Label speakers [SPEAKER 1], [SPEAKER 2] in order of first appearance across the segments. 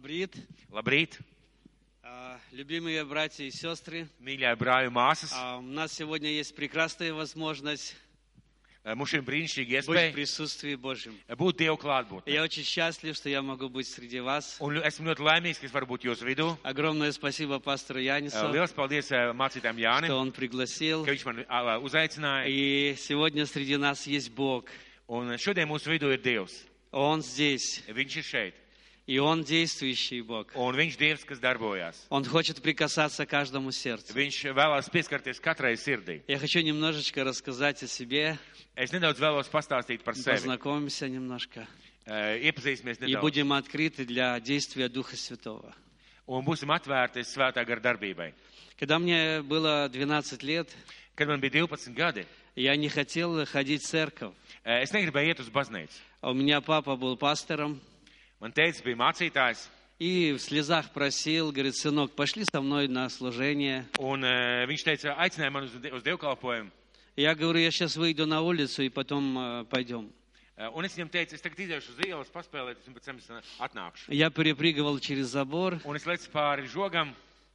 [SPEAKER 1] Labrīt,
[SPEAKER 2] Labrīt,
[SPEAKER 1] А, любимые братья и сестры.
[SPEAKER 2] mīļie brāļi un māsas.
[SPEAKER 1] А, У нас сегодня есть прекрасная возможность
[SPEAKER 2] Mums šī brīnišķīga
[SPEAKER 1] быть в
[SPEAKER 2] iespēja
[SPEAKER 1] присутствии Божьем.
[SPEAKER 2] būt Dievu
[SPEAKER 1] И
[SPEAKER 2] klātbūtnē.
[SPEAKER 1] Я очень счастлив, что я могу быть среди вас.
[SPEAKER 2] Un ļo- esmu ļoti laimīgs, ka es varu būt jūsu vidū.
[SPEAKER 1] Огромное спасибо пастору Янису,
[SPEAKER 2] Lielas paldies eh, mācītājiem
[SPEAKER 1] что
[SPEAKER 2] Jānim,
[SPEAKER 1] он пригласил.
[SPEAKER 2] ka viņš man eh, uzaicināja.
[SPEAKER 1] И сегодня среди нас есть Бог.
[SPEAKER 2] Un šodien mūsu vidū ir Dievs.
[SPEAKER 1] Он здесь,
[SPEAKER 2] Viņš ir šeit.
[SPEAKER 1] и Он действующий Бог.
[SPEAKER 2] Un viņš ir Dievs, kas darbojās.
[SPEAKER 1] Он хочет прикасаться к каждому сердцу.
[SPEAKER 2] Viņš vēlās pieskarties katrai sirdī.
[SPEAKER 1] Я хочу немножечко рассказать о себе,
[SPEAKER 2] Es nedaudz vēlos pastāstīt par sevi.
[SPEAKER 1] познакомимся немножко
[SPEAKER 2] Eh, Iepazīsimies
[SPEAKER 1] и
[SPEAKER 2] nedaudz.
[SPEAKER 1] будем открыты для действия Духа Святого.
[SPEAKER 2] Un būsim atvērti svētā gara darbībai.
[SPEAKER 1] Когда мне было 12 лет,
[SPEAKER 2] Kad man bija 12 gadi,
[SPEAKER 1] я не хотел ходить в церковь.
[SPEAKER 2] eh, es negribēju iet uz baznīcu.
[SPEAKER 1] А У меня папа был пастором
[SPEAKER 2] Man teica, bija mācītājs.
[SPEAKER 1] и в слезах просил, говорит, сынок, пошли со мной на служение.
[SPEAKER 2] Un uh, viņš teica, aicināja mani uz, die- uz dievkalpojumu.
[SPEAKER 1] Я говорю, я сейчас выйду на улицу и потом э, пойдем.
[SPEAKER 2] Uh, un es viņam teicu, es tagad iziešu uz ielas, paspēlēties, un pēc tam es ā, atnākšu.
[SPEAKER 1] Я перепрыгивал через забор,
[SPEAKER 2] Un es lecu pāri žogam,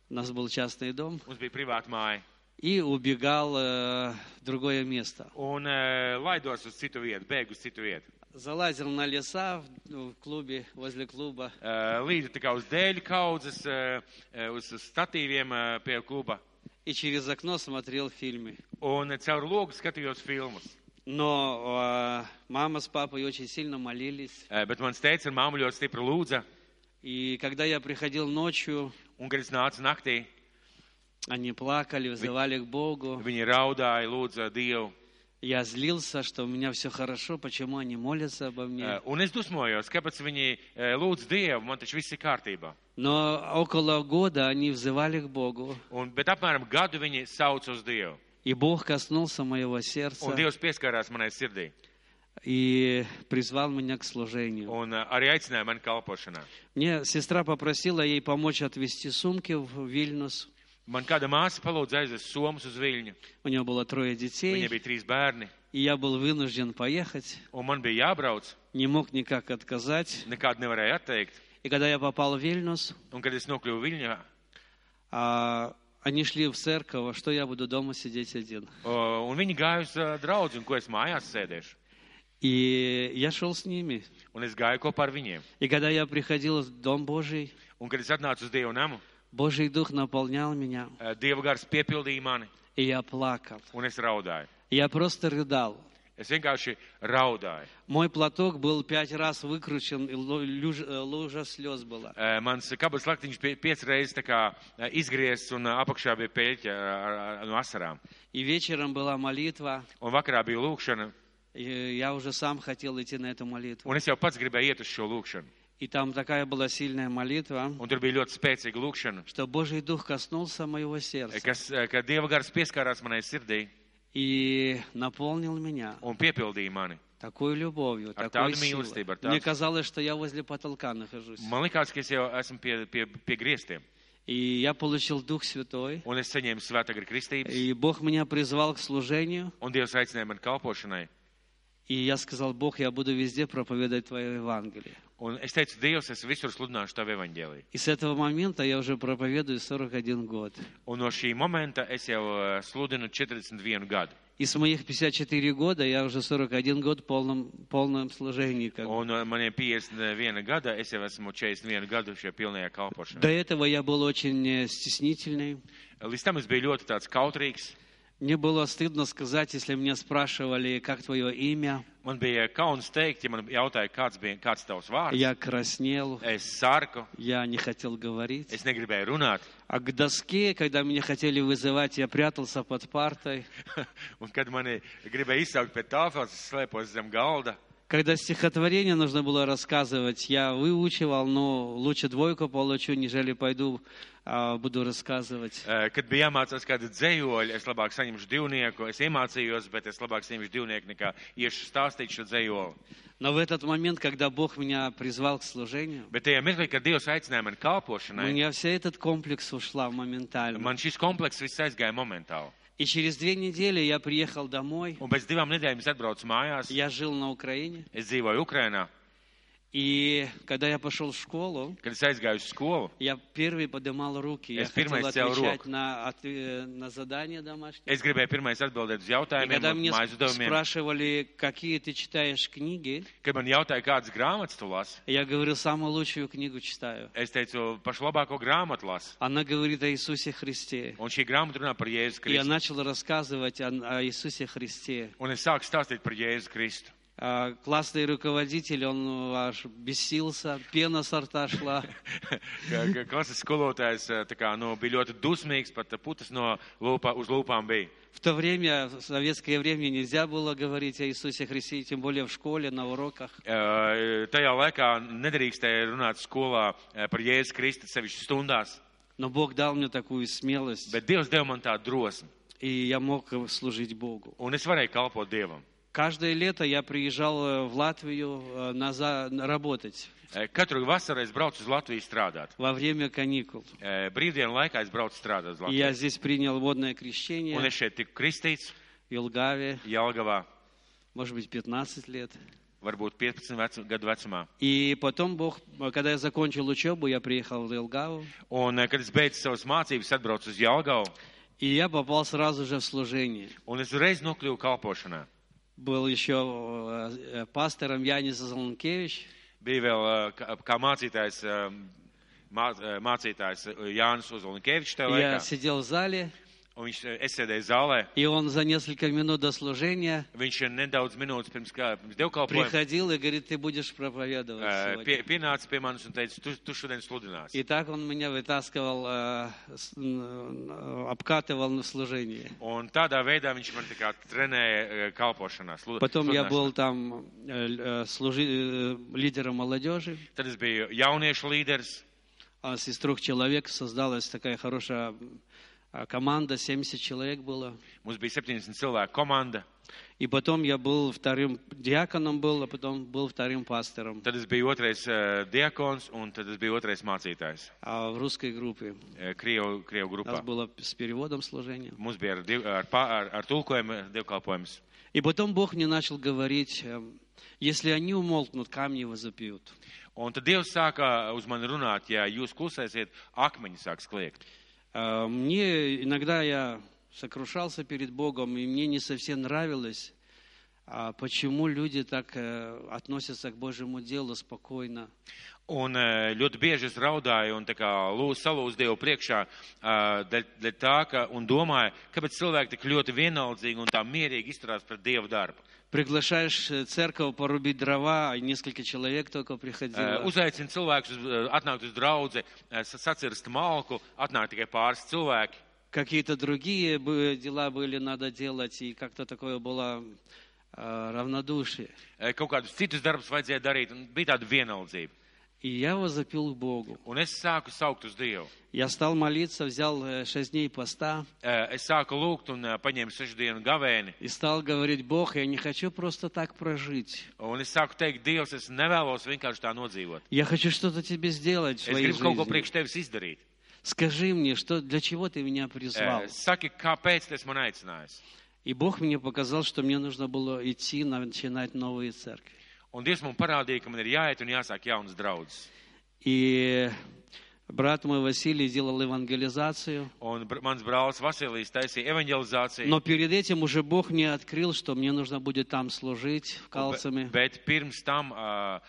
[SPEAKER 1] у нас был частный дом,
[SPEAKER 2] mums bija privāta māja.
[SPEAKER 1] и убегал э, в другое место.
[SPEAKER 2] Un uh, laidos uz citu vietu, bēgu uz citu vietu.
[SPEAKER 1] Залазил на леса в- ну, в клубе, возле клуба.
[SPEAKER 2] Uh, līdzi tā kā uz dēļu kaudzes, uh, uz uz statīviem uh, pie kluba.
[SPEAKER 1] и через окно смотрел фильмы.
[SPEAKER 2] Un eh, caur logu skatījos filmas.
[SPEAKER 1] Но э, мама с папой очень сильно молились.
[SPEAKER 2] Uh, bet mans teica, ar māmu ļoti stipri lūdza.
[SPEAKER 1] И когда я приходил ночью,
[SPEAKER 2] Un, kad es nācu naktī,
[SPEAKER 1] они плакали, вызывали к Богу.
[SPEAKER 2] viņi raudāja, lūdza Dievu.
[SPEAKER 1] Я злился, что у меня все хорошо, почему они молятся обо
[SPEAKER 2] Uh,
[SPEAKER 1] мне.
[SPEAKER 2] un es dusmojos, kāpēc viņi eh, lūdz Dievu, man taču viss ir kārtībā.
[SPEAKER 1] Но около года они взывали к Богу.
[SPEAKER 2] Un, bet apmēram gadu viņi sauc uz Dievu.
[SPEAKER 1] И Бог коснулся моего
[SPEAKER 2] Un
[SPEAKER 1] сердца
[SPEAKER 2] Dievs pieskārās manai sirdī.
[SPEAKER 1] и призвал меня к служению.
[SPEAKER 2] Un ā, arī aicināja mani kalpošanā.
[SPEAKER 1] Мне сестра попросила ей помочь отвезти сумки в Вильнюс.
[SPEAKER 2] Man kāda māsa palūdza aizvest somas uz Viļņu.
[SPEAKER 1] У нее было трое детей.
[SPEAKER 2] Viņai bija trīs bērni.
[SPEAKER 1] И я был вынужден поехать,
[SPEAKER 2] Un man bija jābrauc.
[SPEAKER 1] не мог никак отказать.
[SPEAKER 2] Nekādu nevarēja atteikt.
[SPEAKER 1] И когда я попал в Вильнюс,
[SPEAKER 2] Un, kad es nokļuvu Viļņā,
[SPEAKER 1] а, они шли в церковь, а что я буду дома sидеть один.
[SPEAKER 2] o, un viņi gāja uz ā, draudzi, un ko es mājās sēdēšu.
[SPEAKER 1] И я шел с ними.
[SPEAKER 2] Un es gāju kopā ar viņiem.
[SPEAKER 1] И когда я приходил в Дом Божий,
[SPEAKER 2] Un, kad es atnācu uz Dievu namu,
[SPEAKER 1] Божий Дух наполнял меня,
[SPEAKER 2] ā, Dieva gars piepildīja mani,
[SPEAKER 1] и я плакал.
[SPEAKER 2] un es raudāju.
[SPEAKER 1] Я просто рыдал.
[SPEAKER 2] Es vienkārši raudāju.
[SPEAKER 1] Мой платок был пять раз выкручен, и лу- люж- э, лужа слез была.
[SPEAKER 2] Eh, Mans kabatas laktiņš bija piecas reizes tā kā eh, izgriezts un eh, apakšā bija pēļķa ar- ar- no asarām.
[SPEAKER 1] И вечером была молитва,
[SPEAKER 2] Un vakarā bija lūkšana,
[SPEAKER 1] и я уже сам хотел идти на эту молитву.
[SPEAKER 2] un es jau pats gribēju iet uz šo lūkšanu.
[SPEAKER 1] И там такая была сильная молитва,
[SPEAKER 2] Un tur bija ļoti spēcīga lūkšana,
[SPEAKER 1] что Божий Дух коснулся моего
[SPEAKER 2] eh,
[SPEAKER 1] сердца
[SPEAKER 2] kas, eh, ka Dieva gars pieskārās manai sirdī
[SPEAKER 1] и наполнил меня
[SPEAKER 2] un piepildīja mani.
[SPEAKER 1] такой любовью,
[SPEAKER 2] Артам
[SPEAKER 1] такой
[SPEAKER 2] милости,
[SPEAKER 1] силой.
[SPEAKER 2] братан.
[SPEAKER 1] Мне казалось, что я возле потолка нахожусь.
[SPEAKER 2] Man likās, ka es jau esmu pie, pie, pie griestiem,
[SPEAKER 1] И я получил Дух Святой,
[SPEAKER 2] un es saņēmu svētagri kristības,
[SPEAKER 1] и Бог меня призвал к служению,
[SPEAKER 2] un Dievs aicināja mani kalpošanai.
[SPEAKER 1] и я сказал, Бог, я буду везде проповедовать Твое Евангелие.
[SPEAKER 2] Un es teicu, Dievs, es visur sludināšu Tavu evaņģēliju.
[SPEAKER 1] И с этого момента я уже проповедую 41 год.
[SPEAKER 2] Un no šī momenta es jau eh, sludinu 41 gadu.
[SPEAKER 1] И с моих 54 года я уже 41 год в полном, полном служении. как бы.
[SPEAKER 2] Un uh, man ir 51 gada, es jau esmu 41 gadu šajā pilnajā kalpošanā.
[SPEAKER 1] До этого я был очень э, стеснительный.
[SPEAKER 2] Līdz tam es biju ļoti tāds kautrīgs.
[SPEAKER 1] Мне было стыдно сказать, если меня спрашивали, как твое имя.
[SPEAKER 2] Man bija kauns teikt, ja man jautāja, kāds bija kāds tavs vārds.
[SPEAKER 1] Я краснел,
[SPEAKER 2] Es sarku,
[SPEAKER 1] я не хотел говорить.
[SPEAKER 2] es negribēju runāt.
[SPEAKER 1] А к доске, когда меня хотели вызывать, я прятался под партой.
[SPEAKER 2] Un kad mani gribēja izsaukt pie tāfeles, es slēpos zem galda.
[SPEAKER 1] Когда стихотворение нужно было рассказывать, я выучивал, но лучше двойку получу, нежели пойду, а, буду рассказывать.
[SPEAKER 2] Eh, Kad bija jāmācās kādu dzējoļu, es labāk saņemšu divnieku. Es iemācījos, bet es labāk saņemšu divnieku nekā iešu stāstīt šo dzējoli.
[SPEAKER 1] Но в этот момент, когда Бог меня призвал к служению,
[SPEAKER 2] Bet tajā mirklī, kad Dievs aicināja mani
[SPEAKER 1] у
[SPEAKER 2] kalpošanai,
[SPEAKER 1] меня вся этот комплекс ушла моментально.
[SPEAKER 2] man šis komplekss viss aizgāja momentāli.
[SPEAKER 1] И через две недели я приехал домой,
[SPEAKER 2] Un pēc divām nedēļām es atbraucu mājās.
[SPEAKER 1] я жил на Украине,
[SPEAKER 2] Es dzīvoju Ukrajinā,
[SPEAKER 1] И когда я пошел в школу,
[SPEAKER 2] Kad es aizgāju uz skolu,
[SPEAKER 1] я первый поднимал руки. Я
[SPEAKER 2] Es pirmais
[SPEAKER 1] хотел
[SPEAKER 2] cēlu
[SPEAKER 1] отвечать
[SPEAKER 2] roku.
[SPEAKER 1] на, от- э, на задания домашние.
[SPEAKER 2] es gribēju pirmais atbildēt uz
[SPEAKER 1] И
[SPEAKER 2] jautājumiem,
[SPEAKER 1] когда
[SPEAKER 2] un
[SPEAKER 1] мне
[SPEAKER 2] mājas uzdevumiem.
[SPEAKER 1] спрашивали, какие ты читаешь книги,
[SPEAKER 2] Kad man jautāja, kādas grāmatas tu lasi,
[SPEAKER 1] я говорил, самую лучшую книгу читаю.
[SPEAKER 2] es teicu, pašu labāko grāmatu lasi.
[SPEAKER 1] Она говорит о Иисусе Христе.
[SPEAKER 2] Un šī grāmata runā par Jēzu
[SPEAKER 1] И я
[SPEAKER 2] Kristu.
[SPEAKER 1] начал рассказывать о, о Иисусе Христе.
[SPEAKER 2] Un es sāku stāstīt par Jēzu Kristu.
[SPEAKER 1] А, Классный руководитель, он аж бесился, пена с рта шла.
[SPEAKER 2] Ka- ka Klases skolotājs eh, tā kā, nu, bija ļoti dusmīgs, pat eh, putas no lūpā, uz lūpām bija.
[SPEAKER 1] В то время, в советское время, нельзя было говорить о Иисусе Христе, и тем более в школе, на уроках.
[SPEAKER 2] Eh, Tajā laikā nedrīkstēja runāt skolā eh, par Jēzu Kristu sevišķi stundās,
[SPEAKER 1] Но Бог дал мне такую смелость,
[SPEAKER 2] bet Dievs deva man tādu drosmi,
[SPEAKER 1] и я мог служить Богу.
[SPEAKER 2] un es varēju kalpot Dievam.
[SPEAKER 1] Каждое лето я приезжал э, в Латвию э, на за- на- работать
[SPEAKER 2] Eh, Katru vasaru es braucu uz Latviju strādāt.
[SPEAKER 1] во время каникул.
[SPEAKER 2] Eh, Brīvdienu laikā es braucu strādāt uz
[SPEAKER 1] И
[SPEAKER 2] Latviju.
[SPEAKER 1] я здесь принял водное
[SPEAKER 2] Un
[SPEAKER 1] крещение
[SPEAKER 2] es šeit tiku kristīts
[SPEAKER 1] в Елгаве,
[SPEAKER 2] Jelgavā,
[SPEAKER 1] может быть, 15 lет.
[SPEAKER 2] varbūt 15 vecu, gadu vecumā.
[SPEAKER 1] И потом Бог, э, когда я закончил учебу, я приехал в Елгаву,
[SPEAKER 2] Un, eh, kad es beidzu savas mācības, atbraucu uz Jelgavu,
[SPEAKER 1] и я попал сразу же в служение.
[SPEAKER 2] un es uzreiz nokļuvu kalpošanā.
[SPEAKER 1] Был еще э, э, пастором Янис Золонкевич.
[SPEAKER 2] Bija vēl eh, kā, kā mācītājs, eh, mā- eh, mācītājs eh, Jānis Uzolinkēvičs tajā
[SPEAKER 1] Я
[SPEAKER 2] laikā.
[SPEAKER 1] сидел в зале,
[SPEAKER 2] Un viņš eh, es sēdēju zālē.
[SPEAKER 1] и он за несколько минут до служения
[SPEAKER 2] Viņš eh, nedaudz minūtes pirms, kā- pirms dievkalpojuma
[SPEAKER 1] приходил и говорит, ты будешь
[SPEAKER 2] eh,
[SPEAKER 1] проповедовать
[SPEAKER 2] pie,
[SPEAKER 1] сегодня.
[SPEAKER 2] pienāca pie manis un teica, tu, tu šodien sludināsi.
[SPEAKER 1] И так он меня вытаскивал, э, с- н- э, обкатывал на служение.
[SPEAKER 2] Un tādā veidā viņš man tā kā trenēja eh, kalpošanā. Slu,
[SPEAKER 1] Потом я
[SPEAKER 2] sludināšanā.
[SPEAKER 1] был там э, л- э, служи, э, лидером молодежи.
[SPEAKER 2] Tad es biju jauniešu līderis.
[SPEAKER 1] А с- из трех человек создалась такая хорошая э, команда, 70 человек было.
[SPEAKER 2] Mums bija 70 cilvēku komanda.
[SPEAKER 1] И потом я был вторым диаконом был, а потом был вторым пастором
[SPEAKER 2] Tad es biju otrais uh, diakons un tad es biju otrais mācītājs
[SPEAKER 1] а, в русской группе.
[SPEAKER 2] uh, Krievu, Krievu
[SPEAKER 1] У нас
[SPEAKER 2] grupā.
[SPEAKER 1] было с perеводом служения.
[SPEAKER 2] Mums bija ar, div, ar, pā- ar, ar tulkojumu dievkalpojums.
[SPEAKER 1] И потом Бог мне начал говорить, эм, если они умолкнут, камни возопьют.
[SPEAKER 2] Un tad Dievs sāka uz mani runāt, ja jūs klusēsiet, akmeņi sāks kliegt.
[SPEAKER 1] А, Мне иногда я сокрушался перед Богом, и мне не совсем нравилось, а, почему люди так э, относятся к Божьему делу спокойно.
[SPEAKER 2] Un eh, ļoti bieži es raudāju un tā kā lūdzu salūzu Dievu priekšā eh, dēļ dēļ tā, ka un domāju, kāpēc cilvēki tik ļoti vienaldzīgi un tā mierīgi izturās pret Dievu darbu. E,
[SPEAKER 1] Приглашаешь э, церковь порубить дрова, и несколько человек только
[SPEAKER 2] Eh,
[SPEAKER 1] приходило.
[SPEAKER 2] Uzaicinu cilvēkus uz, eh, atnākt uz draudzi, eh, sa- sacirst malku, atnāk tikai pāris cilvēki.
[SPEAKER 1] Какие-то другие бы дела были надо делать, и как-то такое было э, равнодушие.
[SPEAKER 2] Eh, Kaut kādus citus darbus vajadzēja darīt, un bija tāda vienaldzība.
[SPEAKER 1] И я возопил к Богу.
[SPEAKER 2] Un es sāku saukt uz Dievu.
[SPEAKER 1] Я стал молиться, взял э, шесть дней поста
[SPEAKER 2] Eh, Es sāku lūgt un eh, paņēmu sešu dienu gavēni.
[SPEAKER 1] и стал говорить, Бог, я не хочу просто так прожить.
[SPEAKER 2] Un es sāku teikt, Dievs, es nevēlos vienkārši tā nodzīvot.
[SPEAKER 1] Я хочу что-то тебе сделать в
[SPEAKER 2] Es
[SPEAKER 1] своей
[SPEAKER 2] gribu kaut ko
[SPEAKER 1] жизни.
[SPEAKER 2] priekš tevis izdarīt.
[SPEAKER 1] Скажи мне, что, для чего ты меня призвал?
[SPEAKER 2] Eh, Saki, kāpēc tas man aicinājis?
[SPEAKER 1] И Бог мне показал, что мне нужно было идти, начинать новые церкви.
[SPEAKER 2] Un Dievs man parādīja, ka man ir jāiet un jāsāk jaunas draudzes.
[SPEAKER 1] И брат мой Василий делал евангелизацию.
[SPEAKER 2] Un br mans brālis Vasilijs taisīja evanģelizāciju.
[SPEAKER 1] Но перед этим уже Бог мне открыл, что мне нужно будет там служить, в Калцами.
[SPEAKER 2] Bet, bet pirms tam uh,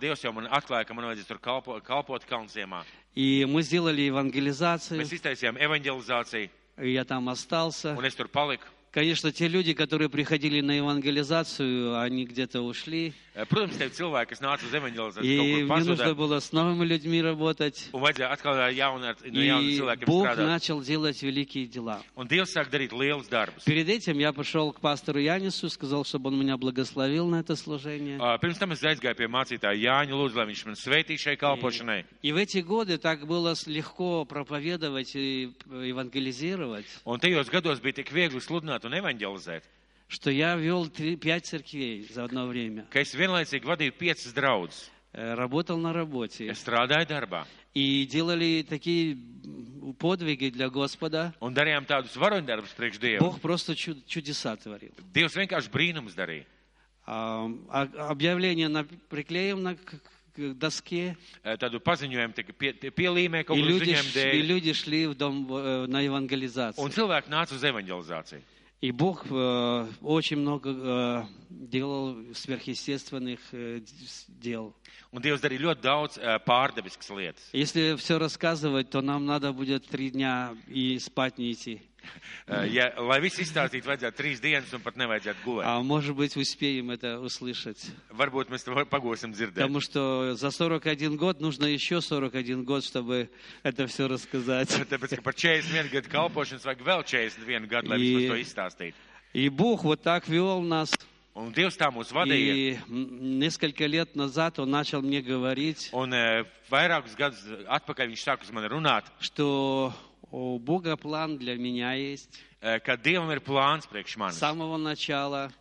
[SPEAKER 2] Dievs jau man atklāja, ka man vajadzēs tur kalpo, kalpot Kalnsiemā.
[SPEAKER 1] И мы сделали евангелизацию,
[SPEAKER 2] Mēs iztaisījām evanģelizāciju,
[SPEAKER 1] и я там остался.
[SPEAKER 2] un es tur paliku.
[SPEAKER 1] Конечно, те люди, которые приходили на евангелизацию, они где-то ушли.
[SPEAKER 2] Eh, Protams, tev cilvēki, kas nāca uz evanģelizāciju, kaut
[SPEAKER 1] И
[SPEAKER 2] kur
[SPEAKER 1] мне нужно
[SPEAKER 2] pazuda,
[SPEAKER 1] было с новыми людьми работать.
[SPEAKER 2] un vajadzēja atkal ar jaunu, ar- no jauna
[SPEAKER 1] И
[SPEAKER 2] cilvēkiem
[SPEAKER 1] Бог
[SPEAKER 2] strādāt.
[SPEAKER 1] начал делать великие дела.
[SPEAKER 2] Un Dievs sāk darīt lielus darbus.
[SPEAKER 1] Перед этим я пошел к пастору Янису, сказал, чтобы он меня благословил на это служение.
[SPEAKER 2] Eh, Pirms tam es aizgāju pie mācītāja Jāņa Lūdzu, lai viņš man sveitīja šai kalpošanai.
[SPEAKER 1] И в эти годы так было с- легко проповедовать и э, евангелизировать,
[SPEAKER 2] Un tajos gados bija tik viegli sludināt un evanģelizēt,
[SPEAKER 1] что я вел три- пять церквей за одно время.
[SPEAKER 2] ka es vienlaicīgi vadīju piecas draudzes.
[SPEAKER 1] Э, Работал на работе.
[SPEAKER 2] Es strādāju darbā
[SPEAKER 1] И делали такие м, подвиги для Господа.
[SPEAKER 2] un darījām tādus varoņdarbus priekš Dievu.
[SPEAKER 1] Бог просто чу- чудеса творил.
[SPEAKER 2] Dievs vienkārši brīnums darīja.
[SPEAKER 1] А а, а- объявление на, приклеим на к- к доске,
[SPEAKER 2] Eh, Tādu paziņojumu tika pie, tie pielīmē kaut
[SPEAKER 1] и
[SPEAKER 2] kādu
[SPEAKER 1] люди,
[SPEAKER 2] ziņojumu
[SPEAKER 1] ш- и
[SPEAKER 2] dēļ.
[SPEAKER 1] люди шли в дом э, на евангелизацию.
[SPEAKER 2] Un cilvēki nāca uz evanģelizāciju.
[SPEAKER 1] И Бог э, очень много э, делал сверхъестественных э, д- с- дел.
[SPEAKER 2] Un Dievs darīja ļoti daudz eh, pārdabiskas lietas.
[SPEAKER 1] Если все рассказывать, то нам надо будет три дня и спать не идти.
[SPEAKER 2] Eh, Ja, lai viss izstāstītu, vajadzētu trīs dienas un pat nevajadzētu gulēt.
[SPEAKER 1] А может быть, успеем это услышать.
[SPEAKER 2] Varbūt mēs to var- pagosim dzirdēt.
[SPEAKER 1] Потому что за 41 год нужно еще 41 год, чтобы это все рассказать.
[SPEAKER 2] Tāpēc, ka par 41 gadu kalpošanas vajag vēl 41 gadu, lai
[SPEAKER 1] I-
[SPEAKER 2] vispār to izstāstītu.
[SPEAKER 1] И Бог вот так вел нас.
[SPEAKER 2] Un Dievs tā mūs vadīja.
[SPEAKER 1] И м, несколько лет назад Он начал мне говорить,
[SPEAKER 2] Un eh, vairākus gadus atpakaļ viņš sāka uz mani runāt,
[SPEAKER 1] что у Бога план для меня есть.
[SPEAKER 2] eh, ka Dievam ir plāns priekš
[SPEAKER 1] С
[SPEAKER 2] manis.
[SPEAKER 1] самого начала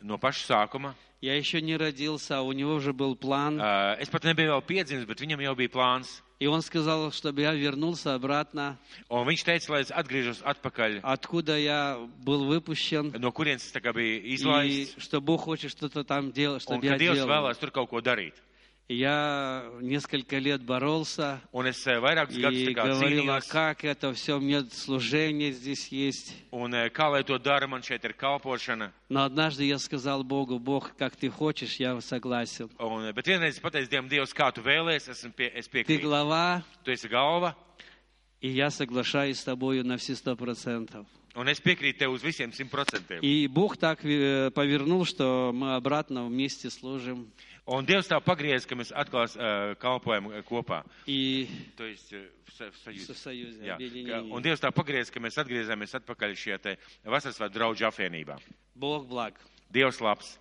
[SPEAKER 2] No paša sākuma.
[SPEAKER 1] я еще не родился, а у него уже был план.
[SPEAKER 2] Eh, Es pat nebiju vēl piedzimis, bet viņam jau bija plāns.
[SPEAKER 1] И он сказал, чтобы я вернулся обратно,
[SPEAKER 2] Un viņš teica, lai es atgriežos atpakaļ,
[SPEAKER 1] откуда я был выпущен.
[SPEAKER 2] no kurienes es tā kā biju
[SPEAKER 1] И
[SPEAKER 2] izlaists.
[SPEAKER 1] что Бог хочет что-то там делать, чтобы
[SPEAKER 2] Un ka
[SPEAKER 1] я
[SPEAKER 2] Dievs
[SPEAKER 1] делал.
[SPEAKER 2] vēlēs tur kaut ko darīt.
[SPEAKER 1] Я несколько лет боролся
[SPEAKER 2] Un es eh, vairākus gadus
[SPEAKER 1] и
[SPEAKER 2] tā kā
[SPEAKER 1] говорил, а
[SPEAKER 2] cīnījos.
[SPEAKER 1] как это все, мне служение здесь есть.
[SPEAKER 2] Un eh, kā lai to dara, man šeit ir kalpošana.
[SPEAKER 1] Но однажды я сказал Богу, Бог, как ты хочешь, я согласен.
[SPEAKER 2] Un, eh, bet vienreiz es pateicu Dievam, Dievs, kā tu vēlēsies, esmu pie, es
[SPEAKER 1] Ты
[SPEAKER 2] piekrītu.
[SPEAKER 1] глава,
[SPEAKER 2] Tu esi galva,
[SPEAKER 1] и я соглашаюсь с тобою на все сто процентов.
[SPEAKER 2] un es piekrītu tev uz visiem simt procentiem.
[SPEAKER 1] И Бог так э, повернул, что мы обратно вместе служим.
[SPEAKER 2] Un Dievs tā pagriez, ka mēs atkal eh, kalpojam eh, kopā.
[SPEAKER 1] И
[SPEAKER 2] Tu esi eh, v sa- v sajūta.
[SPEAKER 1] в союзе,
[SPEAKER 2] Jā, ka,
[SPEAKER 1] объединении.
[SPEAKER 2] un Dievs tā pagriez, ka mēs atgriezāmies atpakaļ šie te vasaras vai draudžu apvienībā.
[SPEAKER 1] Бог благ.
[SPEAKER 2] Dievs labs.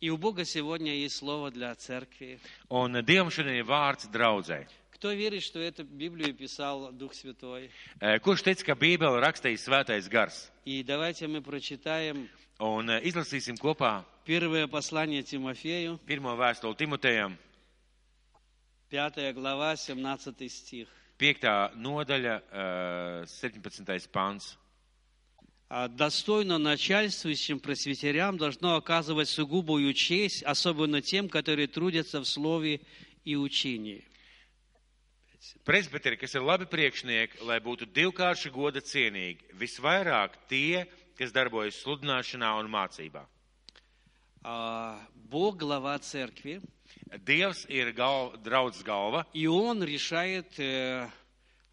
[SPEAKER 1] И у Бога сегодня есть слово для церкви.
[SPEAKER 2] Un eh, Dievam šodien ir vārds draudzē.
[SPEAKER 1] Кто верит, что эту Библию писал Дух Святой?
[SPEAKER 2] Eh, Kurš teica, ka Bībele rakstīja svētais gars?
[SPEAKER 1] И давайте мы прочитаем
[SPEAKER 2] Un eh, izlasīsim kopā
[SPEAKER 1] первое послание Тимофеju,
[SPEAKER 2] pirmo vēstuli Timotejam,
[SPEAKER 1] 5 глава, 17 стих.
[SPEAKER 2] 5. nodaļa, eh, 17. pāns.
[SPEAKER 1] А Достойно начальствующим пресвитерям должно оказывать сугубую честь, особенно тем, которые трудятся в слове и учении.
[SPEAKER 2] Presbiteri, kas ir labi priekšnieki, lai būtu divkārši goda cienīgi, visvairāk tie, kas darbojas sludināšanā un mācībā.
[SPEAKER 1] А, Бог глава церкви,
[SPEAKER 2] Dievs ir gal, draudz galva,
[SPEAKER 1] и Он решает, э,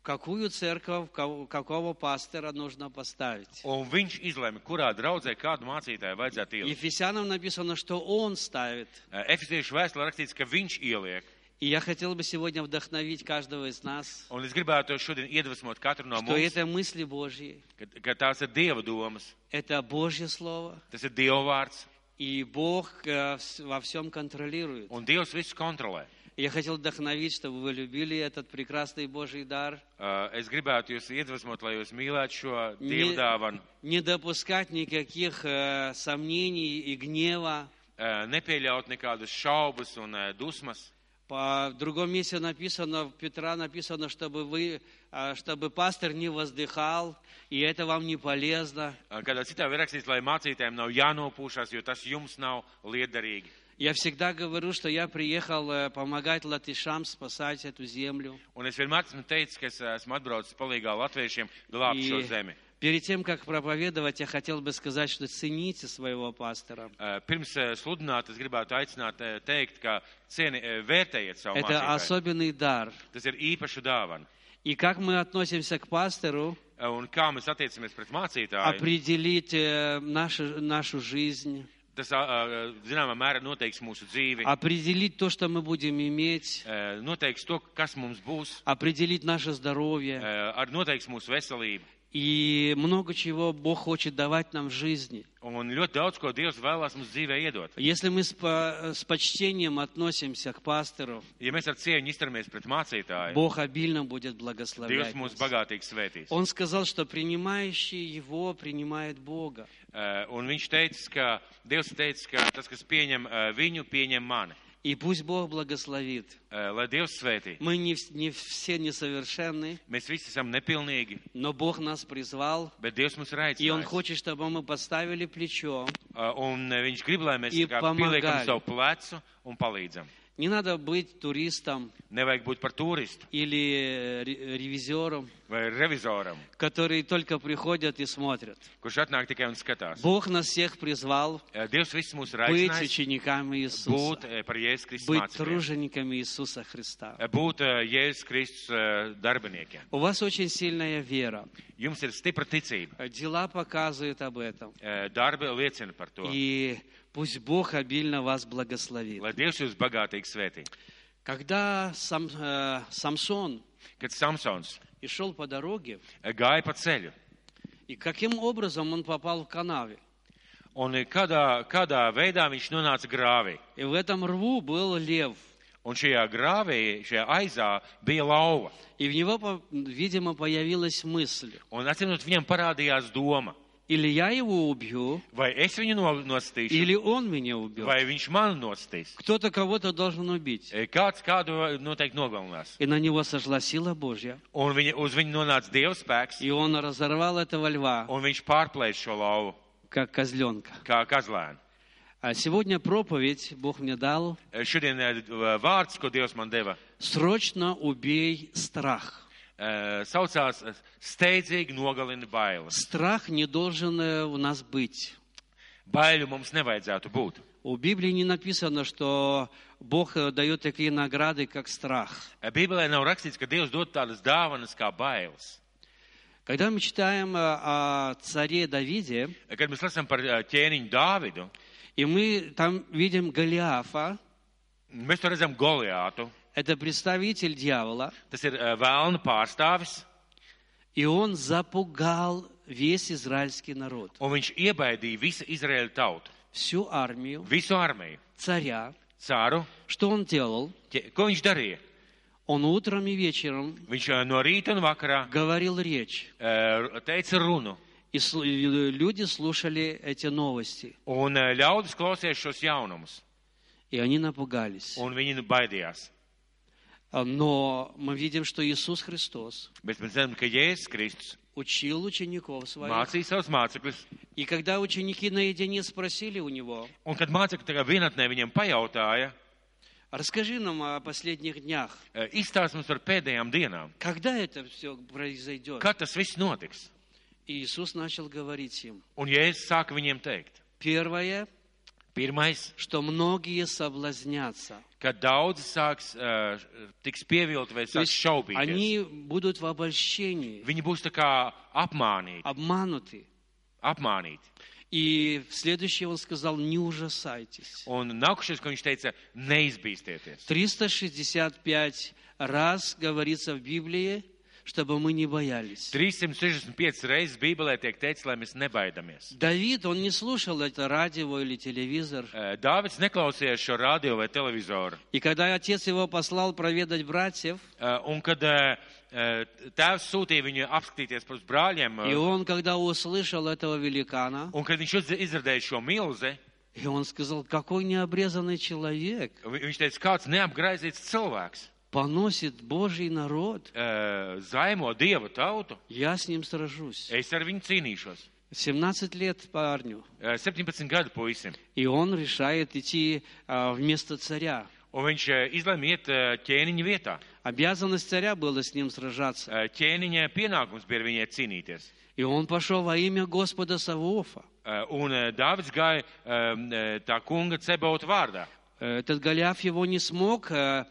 [SPEAKER 1] какую церковь, кого- какого пастора нужно поставить.
[SPEAKER 2] un viņš izlēma, kurā draudzē kādu mācītāju vajadzētu ielikt.
[SPEAKER 1] Ефесянам написано, что Он ставит.
[SPEAKER 2] Eh, Efeziešu vēstulē rakstīts, ka viņš ieliek,
[SPEAKER 1] И я хотел бы сегодня vдохновить каждого из нас,
[SPEAKER 2] un es gribētu šodien iedvesmot katru no
[SPEAKER 1] что
[SPEAKER 2] mums,
[SPEAKER 1] это мысли Божьи,
[SPEAKER 2] ka, ka tās ir Dieva domas,
[SPEAKER 1] это Божье Слово,
[SPEAKER 2] tas ir Dieva vārds,
[SPEAKER 1] и Бог э, вс- во всем контролирует.
[SPEAKER 2] un Dievs visu kontrolē.
[SPEAKER 1] Я хотел вдохновить, чтобы вы любили этот прекрасный Божий дар.
[SPEAKER 2] Uh, es gribētu jūs iedvesmot, lai jūs mīlētu šo dievu
[SPEAKER 1] Не,
[SPEAKER 2] dāvanu,
[SPEAKER 1] не допускать никаких э, сомнений и гнева.
[SPEAKER 2] uh, nepieļaut nekādus šaubas un uh, dusmas.
[SPEAKER 1] По в другом месте написано, в Петра написано, чтобы вы, э, чтобы пастор не воздыхал, и это вам не полезно.
[SPEAKER 2] Uh, Kādā citā ir rakstīts, lai mācītājiem nav jānopūšās, jo tas jums nav liederīgi.
[SPEAKER 1] Я всегда говорю, что я приехал э, помогать латышам спасать эту землю.
[SPEAKER 2] Un es vienmēr esmu teicis, ka es uh, esmu atbraucis palīgā latviešiem glābt šo
[SPEAKER 1] И
[SPEAKER 2] zemi.
[SPEAKER 1] перед тем, как проповедовать, я хотел бы сказать, что цените своего пастора.
[SPEAKER 2] Uh, Pirms uh, sludināt, es gribētu aicināt uh, teikt, ka cieni, uh, vērtējiet savu
[SPEAKER 1] Это
[SPEAKER 2] mācītāju.
[SPEAKER 1] особенный дар.
[SPEAKER 2] Tas ir īpaša dāvana.
[SPEAKER 1] И как мы относимся к пастору,
[SPEAKER 2] Uh, Un kā mēs attiecamies pret mācītāju,
[SPEAKER 1] определит э, нашу, нашу жизнь,
[SPEAKER 2] tas, uh, uh, zināmā mērā, noteiks mūsu dzīvi.
[SPEAKER 1] определит то, что мы будем иметь,
[SPEAKER 2] Eh, noteiks to, kas mums būs,
[SPEAKER 1] определит наше
[SPEAKER 2] eh,
[SPEAKER 1] здоровье.
[SPEAKER 2] ar- noteiks mūsu veselību.
[SPEAKER 1] И много чего Бог хочет давать нам в жизни.
[SPEAKER 2] Un ļoti daudz, ko Dievs vēlās mums dzīvē iedot.
[SPEAKER 1] Если мы с, по- э, с почтением относимся к пастору,
[SPEAKER 2] Ja mēs ar cieņu izturamies pret mācītāju,
[SPEAKER 1] Бог обильно будет
[SPEAKER 2] Dievs
[SPEAKER 1] благословлять.
[SPEAKER 2] mūs
[SPEAKER 1] нас.
[SPEAKER 2] bagātīgi svētīs.
[SPEAKER 1] Он сказал, что принимающий его принимает Бога.
[SPEAKER 2] Eh, Un viņš teica, ka Dievs teica, ka tas, kas pieņem eh, viņu, pieņem mani.
[SPEAKER 1] И пусть Бог благословит.
[SPEAKER 2] Eh, Lai Dievs svētī.
[SPEAKER 1] Мы не, вс- не все несовершенны,
[SPEAKER 2] Mēs visi esam nepilnīgi,
[SPEAKER 1] но Бог нас призвал,
[SPEAKER 2] bet Dievs mums ir
[SPEAKER 1] и Он
[SPEAKER 2] aicinājis.
[SPEAKER 1] хочет, чтобы мы поставили плечо.
[SPEAKER 2] Eh, Un eh, viņš grib, lai mēs
[SPEAKER 1] Ir
[SPEAKER 2] tā kā
[SPEAKER 1] pamagāļi.
[SPEAKER 2] pieliekam savu plecu un palīdzam.
[SPEAKER 1] Не надо быть туристом
[SPEAKER 2] Nevajag būt par turistu
[SPEAKER 1] или э, ре- ревизором,
[SPEAKER 2] vai revizoram,
[SPEAKER 1] которые только приходят и смотрят.
[SPEAKER 2] kurš atnāk tikai un skatās.
[SPEAKER 1] Bог нас всех призвал
[SPEAKER 2] Eh, Dievs visus mūs ir
[SPEAKER 1] быть
[SPEAKER 2] aicinājis
[SPEAKER 1] учениками
[SPEAKER 2] būt
[SPEAKER 1] Иисуса,
[SPEAKER 2] eh, par Jēzus Kristus
[SPEAKER 1] быть
[SPEAKER 2] mācībiem.
[SPEAKER 1] тружениками Иисуса Христа.
[SPEAKER 2] Eh, Būt eh, Jēzus Kristus eh, darbiniekiem.
[SPEAKER 1] У вас очень сильная вера.
[SPEAKER 2] Jums ir stipra ticība.
[SPEAKER 1] Э, Дела показывают об этом.
[SPEAKER 2] Eh, Darbi liecina par to.
[SPEAKER 1] И пусть Бог обильно вас благословит.
[SPEAKER 2] Lai Dievs jūs bagātīgi svētī.
[SPEAKER 1] Когда Сам- э, Самсон
[SPEAKER 2] Kad Samsons
[SPEAKER 1] и шел по дороге,
[SPEAKER 2] eh, gāja pa ceļu,
[SPEAKER 1] и каким образом он попал в канаве?
[SPEAKER 2] un eh, kādā, kādā veidā viņš nonāca grāvī.
[SPEAKER 1] И в этом рву был лев.
[SPEAKER 2] Un šajā grāvī, šajā aizā bija lauva.
[SPEAKER 1] И в него, по- видимо, появилась мысль.
[SPEAKER 2] Un atcīmot, viņam parādījās doma,
[SPEAKER 1] Или я его убью,
[SPEAKER 2] vai es viņu no- nostīšu,
[SPEAKER 1] или он меня убьет.
[SPEAKER 2] vai viņš mani nostīs.
[SPEAKER 1] Кто-то кого-то должен убить.
[SPEAKER 2] Eh, Kāds kādu noteikti nogalinās.
[SPEAKER 1] И на него сошла сила Божья.
[SPEAKER 2] Un viņa, uz viņu nonāca Dieva spēks,
[SPEAKER 1] И он разорвал этого льва,
[SPEAKER 2] un viņš pārplēš šo lauvu
[SPEAKER 1] как козленка.
[SPEAKER 2] kā kazlēnu.
[SPEAKER 1] А сегодня проповедь Бог мне дал.
[SPEAKER 2] Eh, Šodien eh, vārds, ko Dievs man deva,
[SPEAKER 1] Срочно убей страх.
[SPEAKER 2] eh, saucās eh, steidzīgi nogalina bailes.
[SPEAKER 1] Страх не должен э, у нас быть.
[SPEAKER 2] Baiļu mums nevajadzētu būt.
[SPEAKER 1] У Библии не написано, что Бог э, дает такие награды, как страх.
[SPEAKER 2] Eh, Bībelē nav rakstīts, ka Dievs dod tādas dāvanas kā bailes.
[SPEAKER 1] Когда мы читаем э, о царе Давиде,
[SPEAKER 2] Eh, Kad mēs lasām par eh, ķēniņu Dāvidu,
[SPEAKER 1] и мы там видим Голиафа,
[SPEAKER 2] mēs to redzam Goliātu.
[SPEAKER 1] это представитель дьявола,
[SPEAKER 2] Tas ir eh, vēlna pārstāvis,
[SPEAKER 1] и он запугал весь израильский народ,
[SPEAKER 2] un viņš iebaidīja visu Izraēlu tautu,
[SPEAKER 1] всю армию
[SPEAKER 2] visu armiju,
[SPEAKER 1] царя.
[SPEAKER 2] cāru.
[SPEAKER 1] Что он делал?
[SPEAKER 2] Ķē- Ko viņš darīja?
[SPEAKER 1] Он утром и вечером
[SPEAKER 2] Viņš eh, no rīta un vakarā
[SPEAKER 1] говорил речь,
[SPEAKER 2] eh, teica runu,
[SPEAKER 1] и слу- и люди слушали эти новости,
[SPEAKER 2] un eh, ļaudis klausījās šos jaunumus,
[SPEAKER 1] и они напугались.
[SPEAKER 2] un viņi nu baidījās.
[SPEAKER 1] А, Но мы видим, что Иисус Христос
[SPEAKER 2] Bet mēs zinām, ka Jēzus Kristus
[SPEAKER 1] учил учеников своих.
[SPEAKER 2] mācīja savus mācekļus.
[SPEAKER 1] И когда ученики наедине спросили у него,
[SPEAKER 2] Un kad mācekļi tagad vienatnē viņam pajautāja,
[SPEAKER 1] расскажи нам о последних днях,
[SPEAKER 2] "E, izstāst mums par pēdējām dienām,
[SPEAKER 1] когда это все произойдет?
[SPEAKER 2] kad tas viss notiks.
[SPEAKER 1] И Иисус начал говорить им,
[SPEAKER 2] Un Jēzus sāka viņiem teikt,
[SPEAKER 1] первое,
[SPEAKER 2] pirmais,
[SPEAKER 1] что многие soblазнятся.
[SPEAKER 2] ka daudzi sāks, eh, tiks pievilti vai
[SPEAKER 1] То
[SPEAKER 2] sāks
[SPEAKER 1] есть
[SPEAKER 2] šaubīties.
[SPEAKER 1] они будут в обольщении,
[SPEAKER 2] Viņi būs tā kā apmānīti,
[SPEAKER 1] обмануты.
[SPEAKER 2] apmānīti.
[SPEAKER 1] И в следующее он сказал, не ужасайтесь.
[SPEAKER 2] Un nākušies, ko viņš teica, neizbīstieties.
[SPEAKER 1] 365 раз говорится в Библии, чтобы мы не боялись.
[SPEAKER 2] 365 reizes Bībelē tiek teikts, lai mēs nebaidamies.
[SPEAKER 1] Давид, он не слушал это радио или телевизор.
[SPEAKER 2] Eh, Dāvids neklausījās šo radio vai televizoru.
[SPEAKER 1] И когда отец его послал проведать братьев,
[SPEAKER 2] Eh, Un kad eh, eh, tēvs sūtīja viņu apskatīties par uz brāļiem, eh,
[SPEAKER 1] и он, когда услышал этого великана,
[SPEAKER 2] Un kad viņš uzz- izradīja šo milzi,
[SPEAKER 1] и он сказал, какой необрезанный человек
[SPEAKER 2] vi- viņš teica, kāds neapgraizīts cilvēks
[SPEAKER 1] поносит Божий народ,
[SPEAKER 2] eh, zaimo dievu tautu,
[SPEAKER 1] я с ним сражусь.
[SPEAKER 2] es ar viņu cīnīšos.
[SPEAKER 1] 17 лет парню,
[SPEAKER 2] Eh, 17 gadu puisim.
[SPEAKER 1] и он решает идти а, вместо царя.
[SPEAKER 2] Un viņš eh, izlēma iet eh, ķēniņa vietā.
[SPEAKER 1] Обязанность царя было с ним сражаться.
[SPEAKER 2] Eh, Ķēniņa pienākums bija ar viņai cīnīties.
[SPEAKER 1] И он пошел во имя Господа Савуофа.
[SPEAKER 2] Eh, Un eh, Dāvids gāja eh, tā kunga cebauta vārdā.
[SPEAKER 1] Э, Этот Голиаф его не смог э,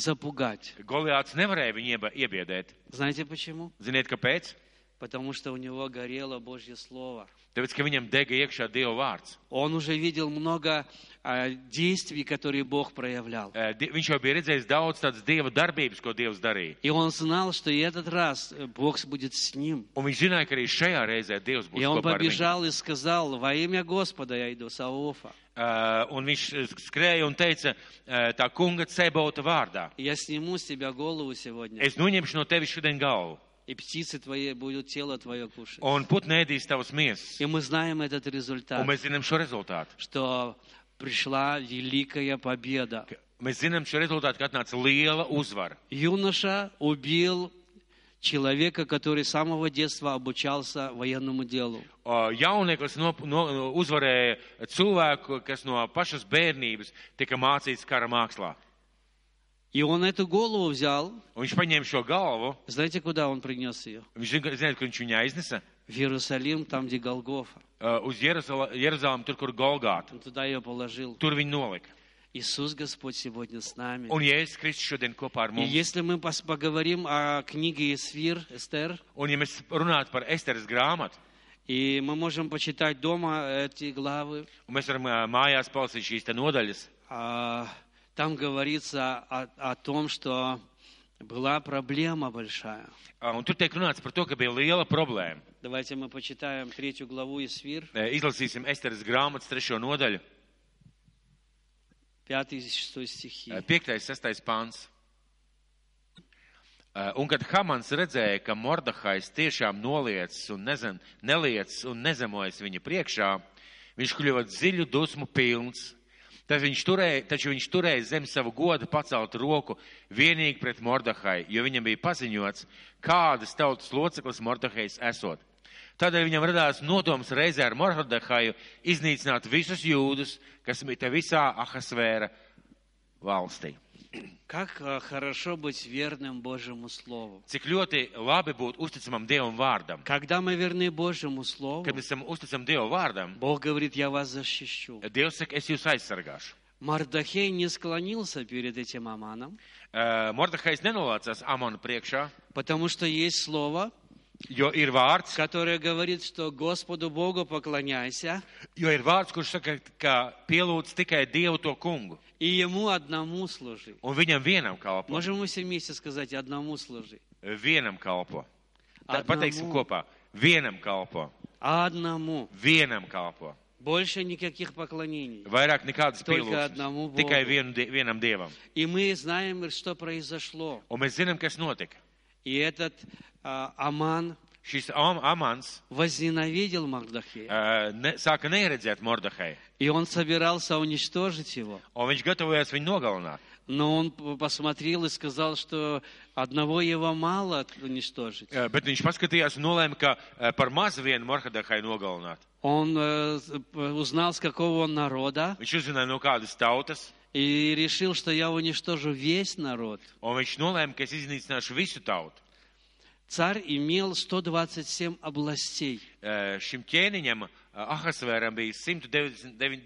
[SPEAKER 1] запугать.
[SPEAKER 2] Goliāts nevarēja viņu ieba- iebiedēt.
[SPEAKER 1] Знаете почему?
[SPEAKER 2] Ziniet, kāpēc?
[SPEAKER 1] Потому что у него горело Божье Слово.
[SPEAKER 2] Tāpēc, ka viņam dega iekšā Dieva vārds.
[SPEAKER 1] Он уже видел много э, действий, которые Бог проявлял.
[SPEAKER 2] Eh, di- Viņš jau bija redzējis daudz tādas Dieva darbības, ko Dievs darīja.
[SPEAKER 1] И он знал, что и этот раз э, Бог будет с ним.
[SPEAKER 2] Un viņš zināja, ka arī šajā reizē Dievs būs
[SPEAKER 1] И он
[SPEAKER 2] kopā ar viņu.
[SPEAKER 1] побежал и сказал, во имя Господа я иду, Савуофа.
[SPEAKER 2] Uh, un viņš eh, skrēja un teica, uh, tā kunga cebauta vārdā.
[SPEAKER 1] Я сниму с тебя голову сегодня,
[SPEAKER 2] Es noņemšu no tevis šodien galvu,
[SPEAKER 1] и птицы твои будут тело твое кушать.
[SPEAKER 2] un putni ēdīs tavas miesas.
[SPEAKER 1] И мы знаем этот
[SPEAKER 2] Un
[SPEAKER 1] результат.
[SPEAKER 2] mēs zinām šo rezultātu,
[SPEAKER 1] что пришла великая победа.
[SPEAKER 2] ka Mēs zinām šo rezultātu, ka atnāca liela uzvara.
[SPEAKER 1] Юноша убил человека, который с самого детства обучался военному делу.
[SPEAKER 2] O, Jaunieklis no, no, no- uzvarēja cilvēku, kas no pašas bērnības tika mācīts kara mākslā.
[SPEAKER 1] И он эту голову взял.
[SPEAKER 2] Un viņš paņēma šo galvu,
[SPEAKER 1] Знаете, куда он принес ее?
[SPEAKER 2] viņš zina- zina, kur viņš viņu aiznesa.
[SPEAKER 1] В Иерусалим, там, где Голгофа.
[SPEAKER 2] Uh, Uz Jeruzalem, tur, kur Golgāta.
[SPEAKER 1] Он туда ее положил.
[SPEAKER 2] Tur viņi nolika.
[SPEAKER 1] Иисус Господь сегодня с нами.
[SPEAKER 2] Un Jēzus Kristus šodien kopā ar
[SPEAKER 1] И
[SPEAKER 2] mums.
[SPEAKER 1] если мы пос- поговорим о книге Исфир, Эстер,
[SPEAKER 2] Un ja mēs runātu par Esteras grāmatu,
[SPEAKER 1] и мы можем почитать дома эти главы,
[SPEAKER 2] un mēs varam uh, mājās palasīt šīs te nodaļas,
[SPEAKER 1] а, там говорится о, о том, что была проблема большая.
[SPEAKER 2] uh, un tur tiek runāts par to, ka bija liela problēma.
[SPEAKER 1] Давайте мы почитаем третью главу Исфир,
[SPEAKER 2] Uh, Izlasīsim Esteras grāmatas trešo nodaļu,
[SPEAKER 1] 5 и 6 стихи.
[SPEAKER 2] 5.6. Eh, pāns. Uh, Un kad Hamans redzēja, ka Mordahais tiešām noliecas un nezem, neliecas un nezemojas viņa priekšā, viņš kļuva dziļu dusmu pilns. Tad viņš turēja, taču viņš turēja zem savu godu pacelt roku vienīgi pret Mordahai, jo viņam bija paziņots, kādas tautas loceklis Mordahais esot. Tādēļ viņam radās nodoms reizē ar Mordahaju iznīcināt visus jūdus, kas mita visā Ahasvēra valstī.
[SPEAKER 1] Как э, хорошо быть верным Божьему Слову.
[SPEAKER 2] Cik ļoti labi būt uzticamam Dievam vārdam.
[SPEAKER 1] Когда мы верны Божьему Слову,
[SPEAKER 2] Kad mēs esam uzticami Dieva vārdam,
[SPEAKER 1] Бог говорит, я вас защищу.
[SPEAKER 2] Dievs saka, es jūs aizsargāšu.
[SPEAKER 1] Мардахей не склонился перед этим Аманом,
[SPEAKER 2] Uh, Mordahais nenolācās Amona priekšā,
[SPEAKER 1] потому что есть Слово,
[SPEAKER 2] jo ir vārds,
[SPEAKER 1] которое говорит, что Господу Богу поклоняйся,
[SPEAKER 2] jo ir vārds kurš saka, ka pielūdz tikai Dievu to kungu.
[SPEAKER 1] и Ему одному служи.
[SPEAKER 2] Un viņam vienam kalpo.
[SPEAKER 1] Можем мы все вместе сказать, одному служи.
[SPEAKER 2] Vienam kalpo. Tā,
[SPEAKER 1] Одному.
[SPEAKER 2] pateiksim kopā. Vienam kalpo.
[SPEAKER 1] Одному.
[SPEAKER 2] Vienam kalpo.
[SPEAKER 1] Больше никаких поклонений.
[SPEAKER 2] Vairāk nekādas
[SPEAKER 1] Tikai
[SPEAKER 2] pielūgsmes.
[SPEAKER 1] одному Bogu.
[SPEAKER 2] Tikai vienu, die- vienam dievam.
[SPEAKER 1] И мы знаем, что произошло.
[SPEAKER 2] Un mēs zinām, kas notika.
[SPEAKER 1] И этот а, Аман
[SPEAKER 2] Šis Am Amans
[SPEAKER 1] возненавидел Мардахея.
[SPEAKER 2] uh, ne, sāka neredzēt Mordahai.
[SPEAKER 1] И он собирался уничтожить его.
[SPEAKER 2] Un viņš gatavojās viņu nogalināt.
[SPEAKER 1] Но он п- посмотрел и сказал, что одного его мало уничтожить.
[SPEAKER 2] Uh, bet viņš paskatījās un nolēma, ka uh, par mazu vienu Mordahai nogalināt.
[SPEAKER 1] Он э, с- п- узнал, с какого он народа,
[SPEAKER 2] Viņš uzzināja no kādas tautas.
[SPEAKER 1] и решил, что я уничтожу весь народ.
[SPEAKER 2] Un viņš nolēma, ka es iznīcināšu visu tautu.
[SPEAKER 1] Царь имел 127 областей.
[SPEAKER 2] Eh, Šim ķēniņam, eh, Ahasvēram, bija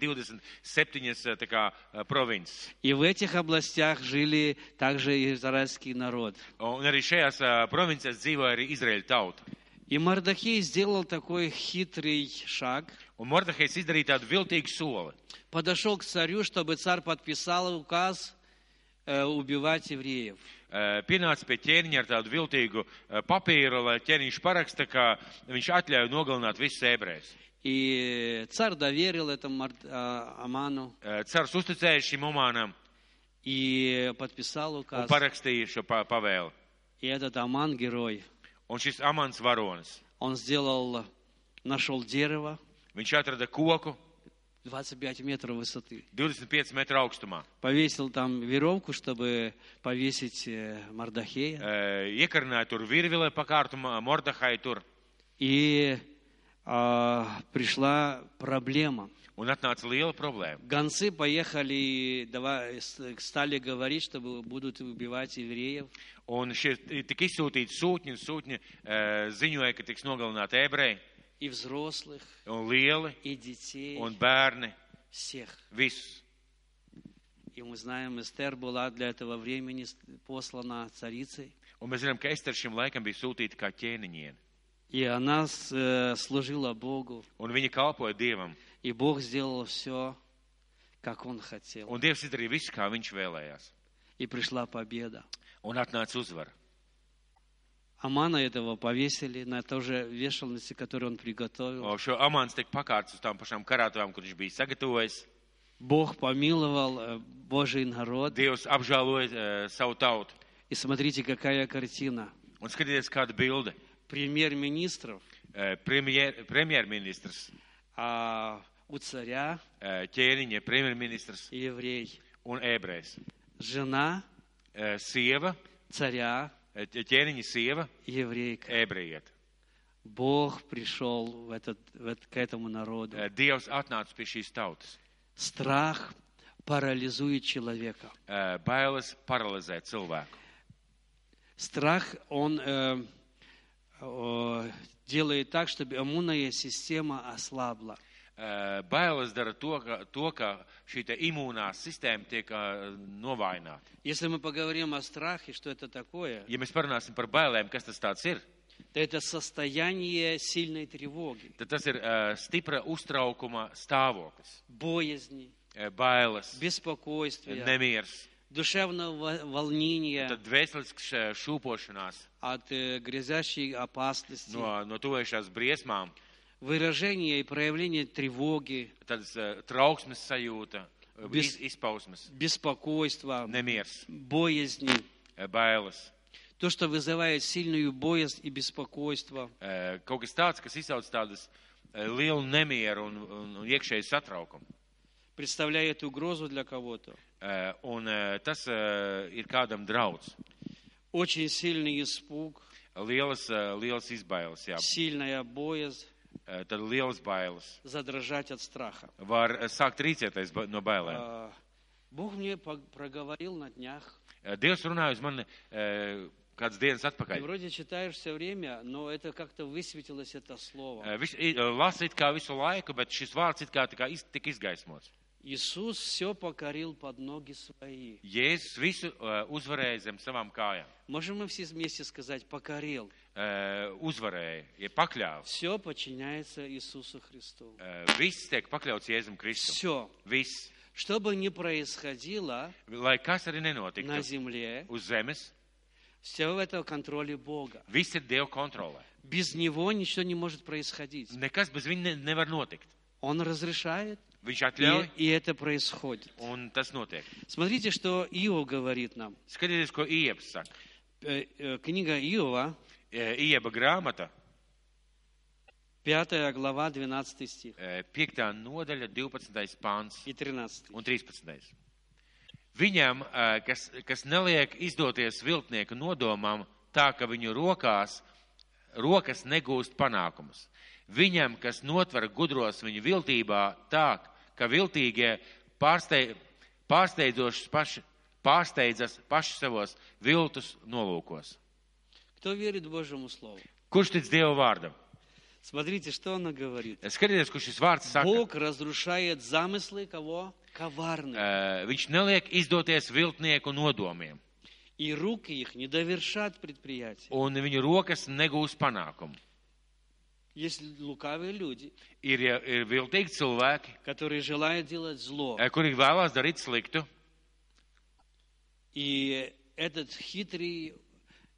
[SPEAKER 2] 127 tā kā, eh, provinces.
[SPEAKER 1] И в этих областях жили также израильский народ.
[SPEAKER 2] Un arī šajās eh, provincēs dzīvoja arī Izraēla tauta.
[SPEAKER 1] И Мардахей сделал такой хитрый шаг.
[SPEAKER 2] Un Mordahejs izdarīja tādu viltīgu soli.
[SPEAKER 1] Подошел к царю, чтобы царь подписал указ э, убивать евреев.
[SPEAKER 2] Eh, Pienāca pie ķēniņa ar tādu viltīgu eh, papīru, lai ķēniņš paraksta, ka viņš atļauj nogalināt visus ebrejus.
[SPEAKER 1] И царь доверил этому Мард- а, Аману
[SPEAKER 2] Eh, Cars uzticēja šim omānam
[SPEAKER 1] и подписал
[SPEAKER 2] un
[SPEAKER 1] указ.
[SPEAKER 2] parakstīja šo pa- pavēli.
[SPEAKER 1] И этот Аман герой.
[SPEAKER 2] Un šis amants varonis,
[SPEAKER 1] Он сделал, нашел дерево,
[SPEAKER 2] viņš atrada koku
[SPEAKER 1] 25 метров высоты.
[SPEAKER 2] 25 metru augstumā,
[SPEAKER 1] Повесил там веревку, чтобы повесить э, Мардахея.
[SPEAKER 2] Eh, iekarināja tur virvilē pakārtumā, Mordahai tur,
[SPEAKER 1] И а, пришла проблема.
[SPEAKER 2] un atnāca liela problēma.
[SPEAKER 1] Гонцы поехали, давай, с- стали говорить, что бу- будут убивать евреев.
[SPEAKER 2] Un šie tika izsūtīti sūtņi, un sūtņi eh, ziņoja, ka tiks nogalināti ebreji,
[SPEAKER 1] И взрослых,
[SPEAKER 2] un lieli,
[SPEAKER 1] и детей,
[SPEAKER 2] un bērni,
[SPEAKER 1] всех.
[SPEAKER 2] visus.
[SPEAKER 1] И мы знаем, Эстер была для этого времени с- послана царицей.
[SPEAKER 2] Un mēs zinām, ka Ester šim laikam bija sūtīta kā ķēniņiene,
[SPEAKER 1] И она с- э, служила Богу.
[SPEAKER 2] un viņa kalpoja Dievam,
[SPEAKER 1] И Бог сделал все, как Он хотел.
[SPEAKER 2] un Dievs izdarīja visu, kā viņš vēlējās,
[SPEAKER 1] И пришла победа.
[SPEAKER 2] un atnāca uzvara.
[SPEAKER 1] Амана этого повесили на ту же вешалнице, которую он приготовил.
[SPEAKER 2] O, Šo amāns tika pakārts uz tām pašām karātavām, kur viņš bija sagatavojis.
[SPEAKER 1] Бог помиловал э, Божий народ.
[SPEAKER 2] Dievs apžēloja eh, savu tautu.
[SPEAKER 1] И смотрите, какая картина.
[SPEAKER 2] Un skatieties, kāda bilde.
[SPEAKER 1] Премьер-министров
[SPEAKER 2] Eh, premjer- Premjerministrs,
[SPEAKER 1] а, у царя
[SPEAKER 2] eh, ķēniņa premjerministrs
[SPEAKER 1] и еврей.
[SPEAKER 2] un ebrejs.
[SPEAKER 1] жена
[SPEAKER 2] eh, sieva,
[SPEAKER 1] царя
[SPEAKER 2] eh, ķēniņa sieva,
[SPEAKER 1] еврейка.
[SPEAKER 2] ebrejiet.
[SPEAKER 1] Бог пришел в этот, в эт- к этому народу.
[SPEAKER 2] Eh, Dievs atnāca pie šīs tautas.
[SPEAKER 1] Страх парализует человека.
[SPEAKER 2] Eh, Bailes paralizē cilvēku.
[SPEAKER 1] Страх, он э, о, делает так, чтобы иммунная система ослабла.
[SPEAKER 2] Eh, Bailes dara to, ka, to, ka šī te imūnā sistēma tiek eh, novājināta.
[SPEAKER 1] Если мы поговорим о страхе, что это такое,
[SPEAKER 2] Ja mēs parunāsim par bailēm, kas tas tāds ir,
[SPEAKER 1] то это состояние сильной тревоги,
[SPEAKER 2] tad tas ir eh, stipra uztraukuma stāvoklis.
[SPEAKER 1] боязни,
[SPEAKER 2] Eh, Bailes,
[SPEAKER 1] беспокойствия,
[SPEAKER 2] nemieris,
[SPEAKER 1] душевного во- волнения
[SPEAKER 2] tad dvēselisks eh, šūpošanās
[SPEAKER 1] от э, грязящей опасности,
[SPEAKER 2] no, no tuvējušās briesmām,
[SPEAKER 1] выражение и проявление тревоги,
[SPEAKER 2] tādas eh, trauksmes sajūta, eh,
[SPEAKER 1] Vis-
[SPEAKER 2] iz, izpausmes,
[SPEAKER 1] беспокойства,
[SPEAKER 2] nemieris,
[SPEAKER 1] боязни.
[SPEAKER 2] eh, bailes.
[SPEAKER 1] То, что вызывает сильную боязнь и беспокойство.
[SPEAKER 2] Eh, Kaut kas tāds, kas izsauc tādas eh, lielu nemieru un, un, un iekšēju satraukumu.
[SPEAKER 1] представляет угрозу для кого-то.
[SPEAKER 2] Eh, Un eh, tas eh, ir kādam draudz.
[SPEAKER 1] Очень сильный испуг,
[SPEAKER 2] Lielas, eh, lielas izbailes, jā.
[SPEAKER 1] сильная боязнь
[SPEAKER 2] Eh, Tad lielas bailes.
[SPEAKER 1] задрожать от страха.
[SPEAKER 2] var sākt rīcēties ba- no bailēm.
[SPEAKER 1] А, Бог мне по- проговорил на днях.
[SPEAKER 2] Dievs runāja uz mani eh, kādas dienas
[SPEAKER 1] Ты
[SPEAKER 2] atpakaļ.
[SPEAKER 1] вроде читаешь все время, но это как-то высветилось это слово.
[SPEAKER 2] Eh, Viņš i- lasa it kā visu laiku, bet šis vārds it kā tika iz, tik izgaismots.
[SPEAKER 1] Иисус все покорил под ноги свои.
[SPEAKER 2] Jēzus visu eh, uzvarēja zem savām kājām.
[SPEAKER 1] Можем мы все вместе сказать «покорил».
[SPEAKER 2] Eh, Uzvarēja, ja pakļāvs.
[SPEAKER 1] Все подчиняется Иисусу Христу.
[SPEAKER 2] Eh, Viss tiek pakļauts Jēzum Kristum.
[SPEAKER 1] Все.
[SPEAKER 2] Viss.
[SPEAKER 1] Что бы ни происходило
[SPEAKER 2] Lai kas arī
[SPEAKER 1] на
[SPEAKER 2] nenotiktu
[SPEAKER 1] земле,
[SPEAKER 2] uz zemes,
[SPEAKER 1] все в этом контроле Бога.
[SPEAKER 2] viss ir Dieva kontrolē.
[SPEAKER 1] Без Него ничего не может происходить.
[SPEAKER 2] Nekas bez viņa ne, nevar notikt.
[SPEAKER 1] Он разрешает,
[SPEAKER 2] Viņš
[SPEAKER 1] и,
[SPEAKER 2] atļauj,
[SPEAKER 1] и это происходит.
[SPEAKER 2] un tas notiek.
[SPEAKER 1] Смотрите, что Иов говорит нам.
[SPEAKER 2] Skatieties, ko Iebs saka.
[SPEAKER 1] Э, э, Книга Иова,
[SPEAKER 2] Eh, Ieba grāmata
[SPEAKER 1] 5 глава, 12 стих
[SPEAKER 2] 5. eh, nodaļa, 12. pāns
[SPEAKER 1] и 13.
[SPEAKER 2] un 13. Viņam, eh, kas, kas neliek izdoties viltnieku nodomam, tā ka viņu rokās, rokas negūst panākumus. Viņam, kas notver gudros viņu viltībā, tā ka viltīgie pārsteid, pārsteidzošas paši, pārsteidzas paši savos viltus nolūkos.
[SPEAKER 1] Кто верит Божьему Слову?
[SPEAKER 2] Kurš tic Dieva vārdam?
[SPEAKER 1] Смотрите, что она говорит.
[SPEAKER 2] Skatieties, kurš šis vārds saka.
[SPEAKER 1] Бог разрушает замыслы кого? Коварных.
[SPEAKER 2] Eh, Viņš neliek izdoties viltnieku nodomiem.
[SPEAKER 1] И руки их не довершат предприятие.
[SPEAKER 2] un viņu rokas negūs panākumu.
[SPEAKER 1] Есть лукавые люди,
[SPEAKER 2] Ir, ir viltīgi cilvēki,
[SPEAKER 1] которые желают делать зло.
[SPEAKER 2] eh, kuri vēlās darīt sliktu,
[SPEAKER 1] И этот хитрый,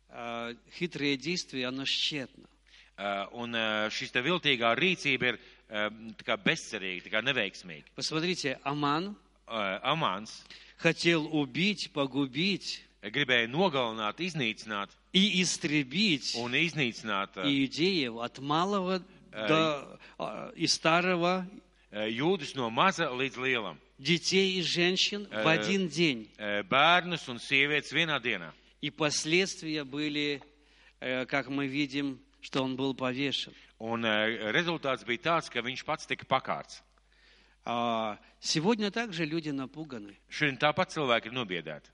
[SPEAKER 1] э, хиtrое действие, оно щетно.
[SPEAKER 2] eh, un eh, šis te viltīgā rīcība ir eh, tā kā bezcerīga, tā kā neveiksmīga.
[SPEAKER 1] Посмотрите, Аман
[SPEAKER 2] Eh, Amāns eh,
[SPEAKER 1] хотел убить, погубить
[SPEAKER 2] gribēja nogalināt, iznīcināt
[SPEAKER 1] и истребить
[SPEAKER 2] un iznīcināt eh,
[SPEAKER 1] иудеев от малого до, а, и старого,
[SPEAKER 2] eh, jūdus no maza līdz lielam,
[SPEAKER 1] детей и женщин в один день.
[SPEAKER 2] eh, bērnus un sievietes vienā dienā.
[SPEAKER 1] И последствия были, э, как мы видим, что он был повешен.
[SPEAKER 2] Un eh, rezultāts bija tāds, ka viņš pats tika pakārts.
[SPEAKER 1] А Сегодня также люди напуганы.
[SPEAKER 2] Šodien tāpat cilvēki ir nobiedēti.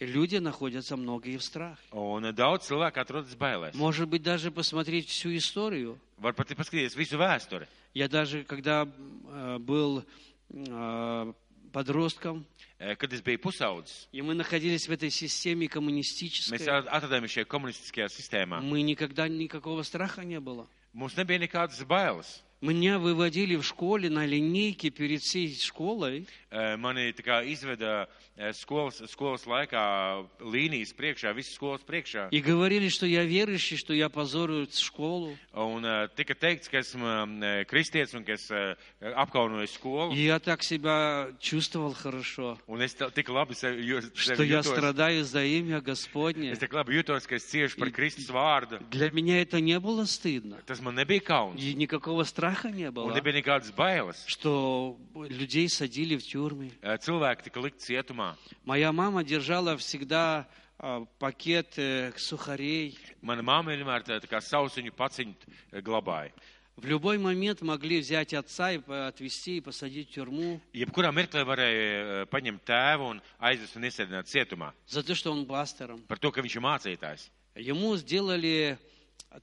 [SPEAKER 1] И Люди находятся многие в страхе.
[SPEAKER 2] Un eh, daudz cilvēku atrodas bailēs.
[SPEAKER 1] Может быть, даже посмотреть всю историю.
[SPEAKER 2] Var pat paskatīties visu vēsturi.
[SPEAKER 1] Я даже, когда э, был э, подростком,
[SPEAKER 2] Eh, Kad es biju pusaudzis,
[SPEAKER 1] и мы находились в этой системе
[SPEAKER 2] mēs
[SPEAKER 1] коммунистической,
[SPEAKER 2] at- atradāmies šajā komunistiskajā sistēmā.
[SPEAKER 1] мы никогда никакого страха не было.
[SPEAKER 2] Mums nebija nekādas bailes.
[SPEAKER 1] Меня выводили в школе на линейке перед всей школой,
[SPEAKER 2] Eh, Mani tā kā izveda eh, skolas, skolas laikā līnijas priekšā, visas skolas priekšā.
[SPEAKER 1] и говорили, что я верующий, что я позорю школу.
[SPEAKER 2] Un eh, tika teikts, ka esmu eh, kristietis un ka es eh, apkaunoju skolu.
[SPEAKER 1] И я так себя чувствовал хорошо,
[SPEAKER 2] Un es tā- tik labi sevi jū-
[SPEAKER 1] что
[SPEAKER 2] sevi
[SPEAKER 1] я
[SPEAKER 2] jūtos.
[SPEAKER 1] страдаю за имя Господне.
[SPEAKER 2] Es tik labi jūtos, ka es ciešu par Kristus vārdu.
[SPEAKER 1] Для меня это не было стыдно.
[SPEAKER 2] Tas man nebija kauns.
[SPEAKER 1] И никакого страха не
[SPEAKER 2] Un
[SPEAKER 1] было,
[SPEAKER 2] nebija nekādas bailes.
[SPEAKER 1] что людей садили в тюрьмы.
[SPEAKER 2] Ā, Cilvēki tika likt cietumā.
[SPEAKER 1] Моя мама держала всегда а, пакет э, сухарей.
[SPEAKER 2] Mana mamma vienmēr tā, tā kā sausiņu paciņu glabāja.
[SPEAKER 1] В любой момент могли взять отца и по- отвезти и посадить в тюрьму
[SPEAKER 2] Jebkurā mirklī varēja ā, paņemt tēvu un aizvest un iesēdināt cietumā
[SPEAKER 1] за то, что он пастором.
[SPEAKER 2] par to, ka viņš ir mācītājs.
[SPEAKER 1] Ему сделали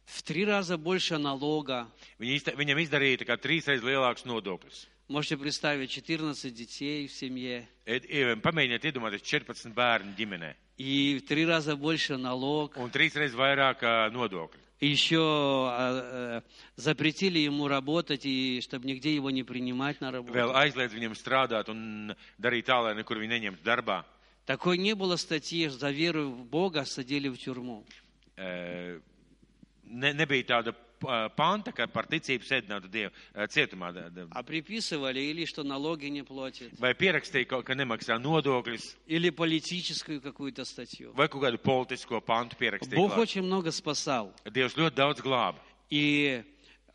[SPEAKER 1] в три раза больше налога.
[SPEAKER 2] Viņi izta, viņam izdarīja tā kā trīsreiz lielāks nodoklis.
[SPEAKER 1] Можете представить, 14 детей в семье.
[SPEAKER 2] Ed- i- Pamēģiniet iedomāties 14 bērnu ģimenē
[SPEAKER 1] И в три раза больше налог.
[SPEAKER 2] un trīsreiz vairāk ā, nodokļu.
[SPEAKER 1] И Еще а, э, запретили ему работать, и чтобы nigде его не принимать на работу.
[SPEAKER 2] Vēl aizliedz viņam strādāt un darīt tā, lai nekur viņu neņemtu darbā.
[SPEAKER 1] Такой не было статьи за веру в Бога садили в тюрьму.
[SPEAKER 2] Ē, Eh, Ne, nebija tāda ā, panta, ka par ticību sēdinātu Dievu ā, cietumā. Da- da-
[SPEAKER 1] А приписывали или что налоги не платит,
[SPEAKER 2] Vai pierakstīja, ka- ka nemaksā nodokļus,
[SPEAKER 1] или политическую какую-то статью.
[SPEAKER 2] vai kaut kādu politisko pantu pierakstīja.
[SPEAKER 1] Бог
[SPEAKER 2] klāt.
[SPEAKER 1] очень много спасал.
[SPEAKER 2] Dievs ļoti daudz glāba.
[SPEAKER 1] И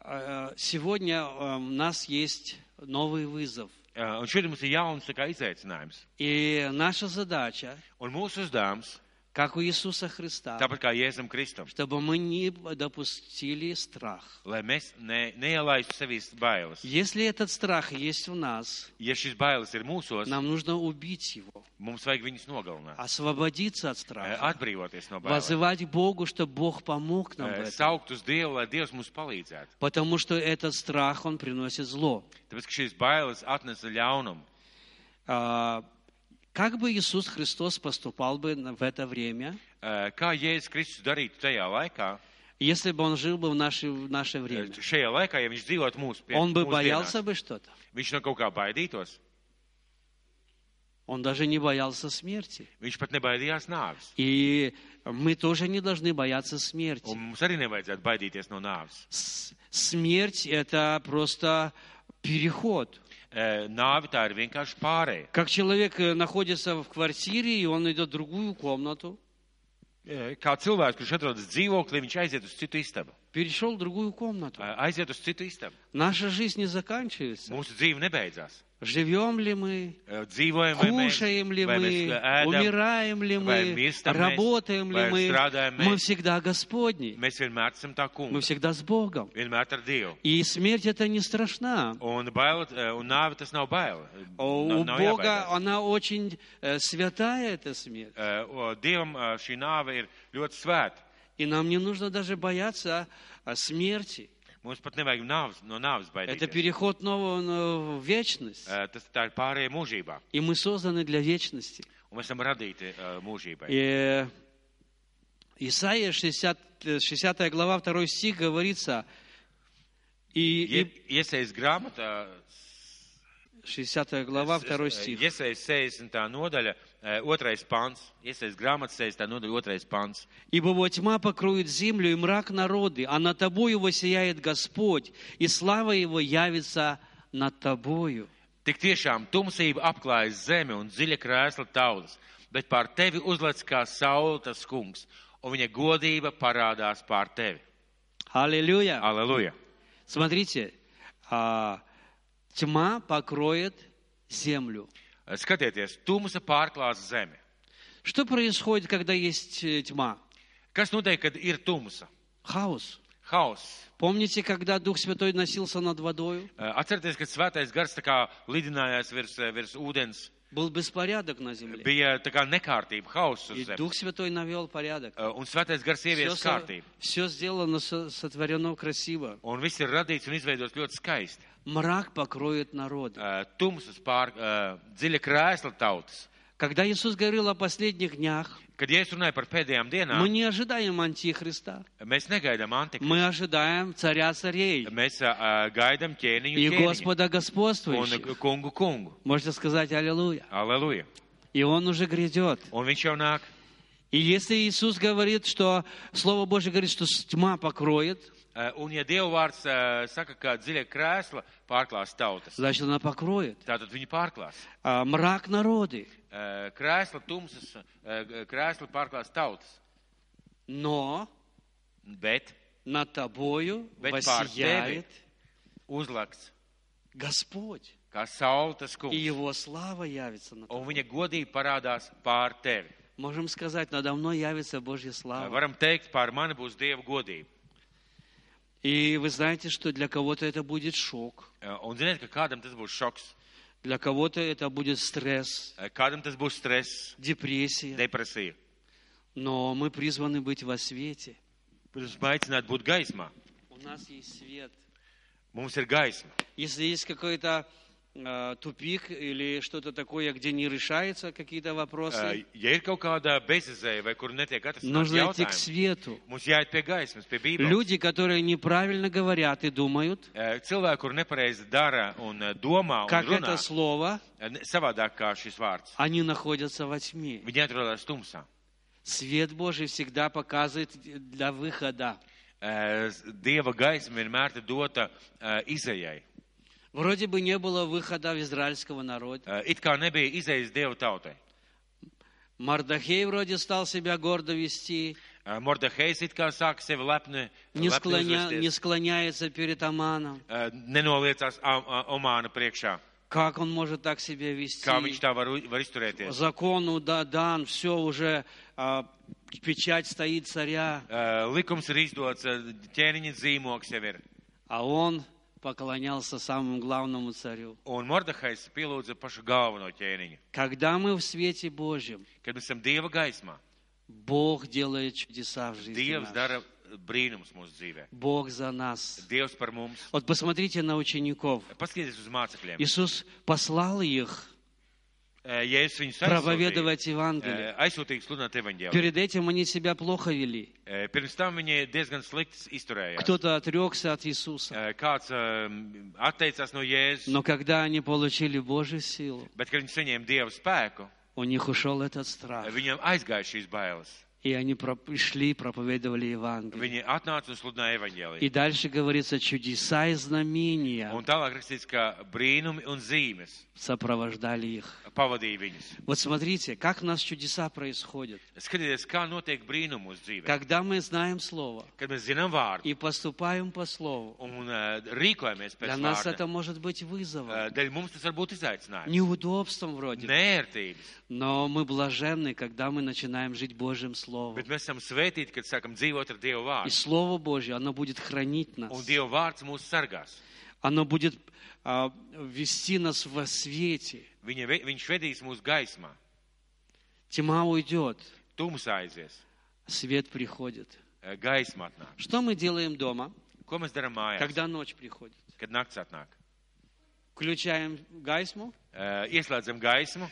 [SPEAKER 1] э, сегодня э, у нас есть новый вызов.
[SPEAKER 2] Ā, Un šodien mums ir jauns tā kā, izaicinājums.
[SPEAKER 1] И наша задача,
[SPEAKER 2] Un mūsu uzdevums,
[SPEAKER 1] как у Иисуса Христа,
[SPEAKER 2] tāpat kā Jēzum Kristum,
[SPEAKER 1] чтобы мы не допустили страх.
[SPEAKER 2] lai mēs ne, neielaistu sevīs bailes.
[SPEAKER 1] Если этот страх есть в нас,
[SPEAKER 2] Ja šis bailes ir mūsos,
[SPEAKER 1] нам нужно убить его,
[SPEAKER 2] mums vajag viņus nogalināt,
[SPEAKER 1] освободиться Э, от Э,
[SPEAKER 2] Ā,
[SPEAKER 1] страха,
[SPEAKER 2] atbrīvoties no bailēm,
[SPEAKER 1] возывать Богу, чтобы Бог помог нам в
[SPEAKER 2] Ā,
[SPEAKER 1] этом.
[SPEAKER 2] saukt uz Dievu, lai Dievs mums palīdzētu.
[SPEAKER 1] Потому что этот страх, он приносит зло.
[SPEAKER 2] Tāpēc, ka šīs bailes atnesa ļaunumu.
[SPEAKER 1] А, Как бы Иисус Христос поступал бы на- в это время,
[SPEAKER 2] Ā, Kā Jēzus Kristus darītu tajā laikā,
[SPEAKER 1] если бы он жил бы в наше, Э, в наше время?
[SPEAKER 2] Ā, šajā laikā, ja viņš dzīvotu mūsu pie-
[SPEAKER 1] Он бы
[SPEAKER 2] mūsdienās,
[SPEAKER 1] боялся бы что-то.
[SPEAKER 2] viņš no kaut kā baidītos,
[SPEAKER 1] Он даже не боялся смерти.
[SPEAKER 2] viņš pat nebaidījās nāves.
[SPEAKER 1] И мы тоже не должны бояться
[SPEAKER 2] Un
[SPEAKER 1] смерти.
[SPEAKER 2] mums arī nevajadzētu baidīties no nāves.
[SPEAKER 1] С- Смерть – это просто переход.
[SPEAKER 2] Ā, Nāve tā ir vienkārši pārēja.
[SPEAKER 1] Как человек э, находится в квартире, и он идет в другую комнату,
[SPEAKER 2] Kā cilvēks, kurš atrodas dzīvoklī, viņš aiziet uz citu istabu.
[SPEAKER 1] перешел в другую комнату.
[SPEAKER 2] Aiziet uz citu istabu.
[SPEAKER 1] Наша жизнь не заканчивается.
[SPEAKER 2] Mūsu dzīve nebeidzās.
[SPEAKER 1] Живем ли мы,
[SPEAKER 2] Dzīvojam, vai mēs,
[SPEAKER 1] Кушаем ли
[SPEAKER 2] vai
[SPEAKER 1] мы,
[SPEAKER 2] mēs ēdam,
[SPEAKER 1] умираем ли
[SPEAKER 2] Vai
[SPEAKER 1] мы,
[SPEAKER 2] mirstam mēs?
[SPEAKER 1] работаем ли
[SPEAKER 2] Vai
[SPEAKER 1] мы,
[SPEAKER 2] strādājam mēs?
[SPEAKER 1] мы всегда Господни,
[SPEAKER 2] mēs vienmēr esam tā
[SPEAKER 1] мы
[SPEAKER 2] kungi.
[SPEAKER 1] всегда с Богом.
[SPEAKER 2] Vienmēr ar Dievu.
[SPEAKER 1] И смерть это не страшна.
[SPEAKER 2] Un, bail, un nāve tas nav bail.
[SPEAKER 1] О, У
[SPEAKER 2] Nav- nav jābaidās.
[SPEAKER 1] Бога она очень э, святая, эта смерть.
[SPEAKER 2] Eh, o, Dievam eh, šī nāve ir ļoti svēta.
[SPEAKER 1] И нам не нужно даже бояться а, смерти.
[SPEAKER 2] Mums pat nevajag nāves, no nāves
[SPEAKER 1] Это
[SPEAKER 2] baidīties.
[SPEAKER 1] переход нового ну, в вечность.
[SPEAKER 2] Eh, Tas tā ir pārējai mūžībā.
[SPEAKER 1] И мы созданы для вечности.
[SPEAKER 2] Un mēs esam radīti eh, mūžībai.
[SPEAKER 1] И э, Исаия 60, э, 60 глава 2 стих говорится, и, и
[SPEAKER 2] Ie- Iesejas grāmatā,
[SPEAKER 1] 60
[SPEAKER 2] Э,
[SPEAKER 1] глава 2 стих.
[SPEAKER 2] iesejas 60. nodaļa, 2. pants. Iesejas grāmatas 60. nodaļa, 2. pants.
[SPEAKER 1] Ибо вот тьма покроет землю и мрак народы, а над тобою воссияет Господь, и слава Его явится над тобою.
[SPEAKER 2] Tik tiešām tumsība apklājas zemi un dziļa krēsla taulas, bet pār tevi uzlec kā saule tas kungs, un viņa godība parādās pār tevi.
[SPEAKER 1] Аллилуйя!
[SPEAKER 2] Aleluja!
[SPEAKER 1] Смотрите, а, тьма покроет землю.
[SPEAKER 2] Э, Skatieties, tumsa pārklās zemi.
[SPEAKER 1] Что происходит, когда есть э, tьма?
[SPEAKER 2] Kas notiek, kad ir tumsa?
[SPEAKER 1] Хаос.
[SPEAKER 2] Hauss.
[SPEAKER 1] Помните, когда Дух Святой носился над водою?
[SPEAKER 2] Э, Atcerieties, kad svētais gars tā kā lidinājās virs, virs ūdens,
[SPEAKER 1] Был беспорядок на земле.
[SPEAKER 2] bija tā kā nekārtība, hauss uz
[SPEAKER 1] И
[SPEAKER 2] zemes.
[SPEAKER 1] Дух Святой навел порядок.
[SPEAKER 2] Un svētais gars
[SPEAKER 1] Все,
[SPEAKER 2] ievies kārtību.
[SPEAKER 1] сделано, со- сотворено красиво.
[SPEAKER 2] Un viss ir radīts un izveidots ļoti skaisti.
[SPEAKER 1] Мрак покроет народ.
[SPEAKER 2] Eh, Tumsas pār eh, dziļa krēsla tautas.
[SPEAKER 1] Когда Иисус говорил о последних днях,
[SPEAKER 2] Kad es runāju par pēdējām dienām,
[SPEAKER 1] мы не ожидаем Антихриста.
[SPEAKER 2] mēs negaidām antiku.
[SPEAKER 1] Мы ожидаем Царя Царей
[SPEAKER 2] Mēs uh, gaidām ķēniņu,
[SPEAKER 1] и
[SPEAKER 2] ķēniņu
[SPEAKER 1] Господа
[SPEAKER 2] un
[SPEAKER 1] Господствующего.
[SPEAKER 2] kungu kungu.
[SPEAKER 1] Можете сказать Аллилуйя.
[SPEAKER 2] Aleluja.
[SPEAKER 1] И Он уже грядет.
[SPEAKER 2] Un viņš jau nāk.
[SPEAKER 1] И если Иисус говорит, что Слово Божье говорит, что тьма покроет,
[SPEAKER 2] Eh, Un ja Dieva vārds eh, saka, ka dziļa krēsla pārklās tautas,
[SPEAKER 1] значит, она покроет.
[SPEAKER 2] tātad viņi pārklās.
[SPEAKER 1] А мрак народы.
[SPEAKER 2] Eh, Krēsla tumsas, eh, krēsla pārklās tautas.
[SPEAKER 1] Но
[SPEAKER 2] Bet
[SPEAKER 1] над тобою
[SPEAKER 2] Bet pār
[SPEAKER 1] воссияет
[SPEAKER 2] uzlikts,
[SPEAKER 1] Господь
[SPEAKER 2] kā saule tas
[SPEAKER 1] и
[SPEAKER 2] kungs,
[SPEAKER 1] Его слава явится на
[SPEAKER 2] un viņa godība parādās pār tevi.
[SPEAKER 1] Можем сказать, надо мной явится Божья слава.
[SPEAKER 2] Eh, Varam teikt, pār mani būs Dieva godība.
[SPEAKER 1] И вы знаете, что для кого-то это будет шок,
[SPEAKER 2] Eh, Un ziniet, ka kādam tas būs šoks, eh,
[SPEAKER 1] для кого-то это будет стресс,
[SPEAKER 2] kādam tas būs stress,
[SPEAKER 1] депрессия.
[SPEAKER 2] depresija.
[SPEAKER 1] Но мы призваны быть во свете.
[SPEAKER 2] Pirms aicināt būt gaismā,
[SPEAKER 1] У нас есть свет.
[SPEAKER 2] mums ir gaisma.
[SPEAKER 1] Если есть какой-то э, тупик или что-то такое, где не решаются какие-то
[SPEAKER 2] Ā,
[SPEAKER 1] вопросы,
[SPEAKER 2] Eh, Ja ir kaut kāda bezizēja vai kur netiek atrasts
[SPEAKER 1] нужно идти к
[SPEAKER 2] jautājums,
[SPEAKER 1] свету.
[SPEAKER 2] mums jāiet pie gaismas, pie bībeles.
[SPEAKER 1] Люди, которые неправильно говорят и думают,
[SPEAKER 2] Ā, Eh, Cilvēki, kur nepareizi dara un ā, domā un
[SPEAKER 1] как
[SPEAKER 2] runā
[SPEAKER 1] это слово,
[SPEAKER 2] ā, ne- savādāk kā šis vārds,
[SPEAKER 1] они находятся во тьме.
[SPEAKER 2] viņi atrodas tumsā.
[SPEAKER 1] Свет Божий всегда показывает для выхода.
[SPEAKER 2] Ā, Eh, s- Dieva gaisma vienmēr ir dota ā, izējai.
[SPEAKER 1] Вроде бы не было выхода в израильского народа.
[SPEAKER 2] Ā, Eh, It kā nebija izējas Dieva tautai.
[SPEAKER 1] Мардахей вроде стал себя гордо вести,
[SPEAKER 2] Ā, Mordehejs it kā sāka sevi lepni,
[SPEAKER 1] не,
[SPEAKER 2] lepni
[SPEAKER 1] склоня-
[SPEAKER 2] uzvesties.
[SPEAKER 1] не склоняется перед Аманом.
[SPEAKER 2] Ā, nenoliecās Am- Ā- Omāna priekšā.
[SPEAKER 1] Как он может так себя вести?
[SPEAKER 2] Kā viņš tā var, u- var izturēties?
[SPEAKER 1] Закону да, дан, все уже, а, печать стоит царя,
[SPEAKER 2] Ā, Likums ir izdots, ā, ķēniņa zīmoks jau ir.
[SPEAKER 1] а он поклонялся самому главному царю.
[SPEAKER 2] Un Mordehais pielūdza pašu galveno ķēniņu.
[SPEAKER 1] Когда мы в свете Божьем,
[SPEAKER 2] Kad mēs esam Dieva gaismā,
[SPEAKER 1] Бог делает чудеса в жизни нашей.
[SPEAKER 2] Dievs dara brīnums mūsu dzīvē.
[SPEAKER 1] Бог за нас.
[SPEAKER 2] Dievs par mums.
[SPEAKER 1] Вот посмотрите на учеников.
[SPEAKER 2] Paskatieties uz mācekļiem.
[SPEAKER 1] Иисус послал их
[SPEAKER 2] Ā, Ja es viņus aizsūtīju,
[SPEAKER 1] проповедовать Евангелие.
[SPEAKER 2] ā, aizsūtīju sludināt evaņģēlu.
[SPEAKER 1] Перед этим они себя плохо вели.
[SPEAKER 2] Ā, Pirms tam viņi diezgan slikti izturējās.
[SPEAKER 1] Кто-то отрекся от Иисуса.
[SPEAKER 2] Ā, Kāds ā, atteicās no Jēzus,
[SPEAKER 1] Но когда они получили Божью силу,
[SPEAKER 2] bet kad viņi saņēma Dieva spēku,
[SPEAKER 1] у них ушел этот страх.
[SPEAKER 2] Viņiem aizgāja šīs bailes.
[SPEAKER 1] И они проп- шли, проповедовали Евангелие.
[SPEAKER 2] Viņi atnāca un sludināja
[SPEAKER 1] И
[SPEAKER 2] evaņģēliju.
[SPEAKER 1] дальше говорится, чудеса и знамения
[SPEAKER 2] Un tālāk rakstīts, ka brīnumi un zīmes
[SPEAKER 1] сопровождали их.
[SPEAKER 2] pavadīja viņus.
[SPEAKER 1] Вот смотрите, как у нас чудеса происходят.
[SPEAKER 2] Skatieties, kā notiek brīnumu uz dzīvē.
[SPEAKER 1] Когда мы знаем Слово
[SPEAKER 2] Kad mēs zinām vārdu
[SPEAKER 1] и поступаем по Слову,
[SPEAKER 2] un ā, rīkojamies pēc
[SPEAKER 1] для нас это
[SPEAKER 2] vārda,
[SPEAKER 1] может быть
[SPEAKER 2] ā,
[SPEAKER 1] вызовом,
[SPEAKER 2] dēļ mums tas var būt izaicinājums.
[SPEAKER 1] неудобством вроде,
[SPEAKER 2] Nērtības.
[SPEAKER 1] Но мы блаженны, когда мы начинаем жить Божьим Словом.
[SPEAKER 2] Bet mēs esam svētīti, kad sākam dzīvot ar Dievu
[SPEAKER 1] И
[SPEAKER 2] vārdu.
[SPEAKER 1] Слово Божье, оно будет хранить
[SPEAKER 2] Un
[SPEAKER 1] нас.
[SPEAKER 2] Dieva vārds mūs sargās.
[SPEAKER 1] Оно будет а, вести нас во свете.
[SPEAKER 2] Viņa, ve- viņš vedīs mūsu gaismā.
[SPEAKER 1] Тьма уйдет,
[SPEAKER 2] Tumsā aizies.
[SPEAKER 1] свет приходит.
[SPEAKER 2] ā, Gaisma atnāk.
[SPEAKER 1] Что мы делаем дома,
[SPEAKER 2] Ko mēs darām mājās,
[SPEAKER 1] когда ночь приходит?
[SPEAKER 2] kad nakts atnāk?
[SPEAKER 1] Включаем гайсму,
[SPEAKER 2] Ā, Ieslēdzam gaismu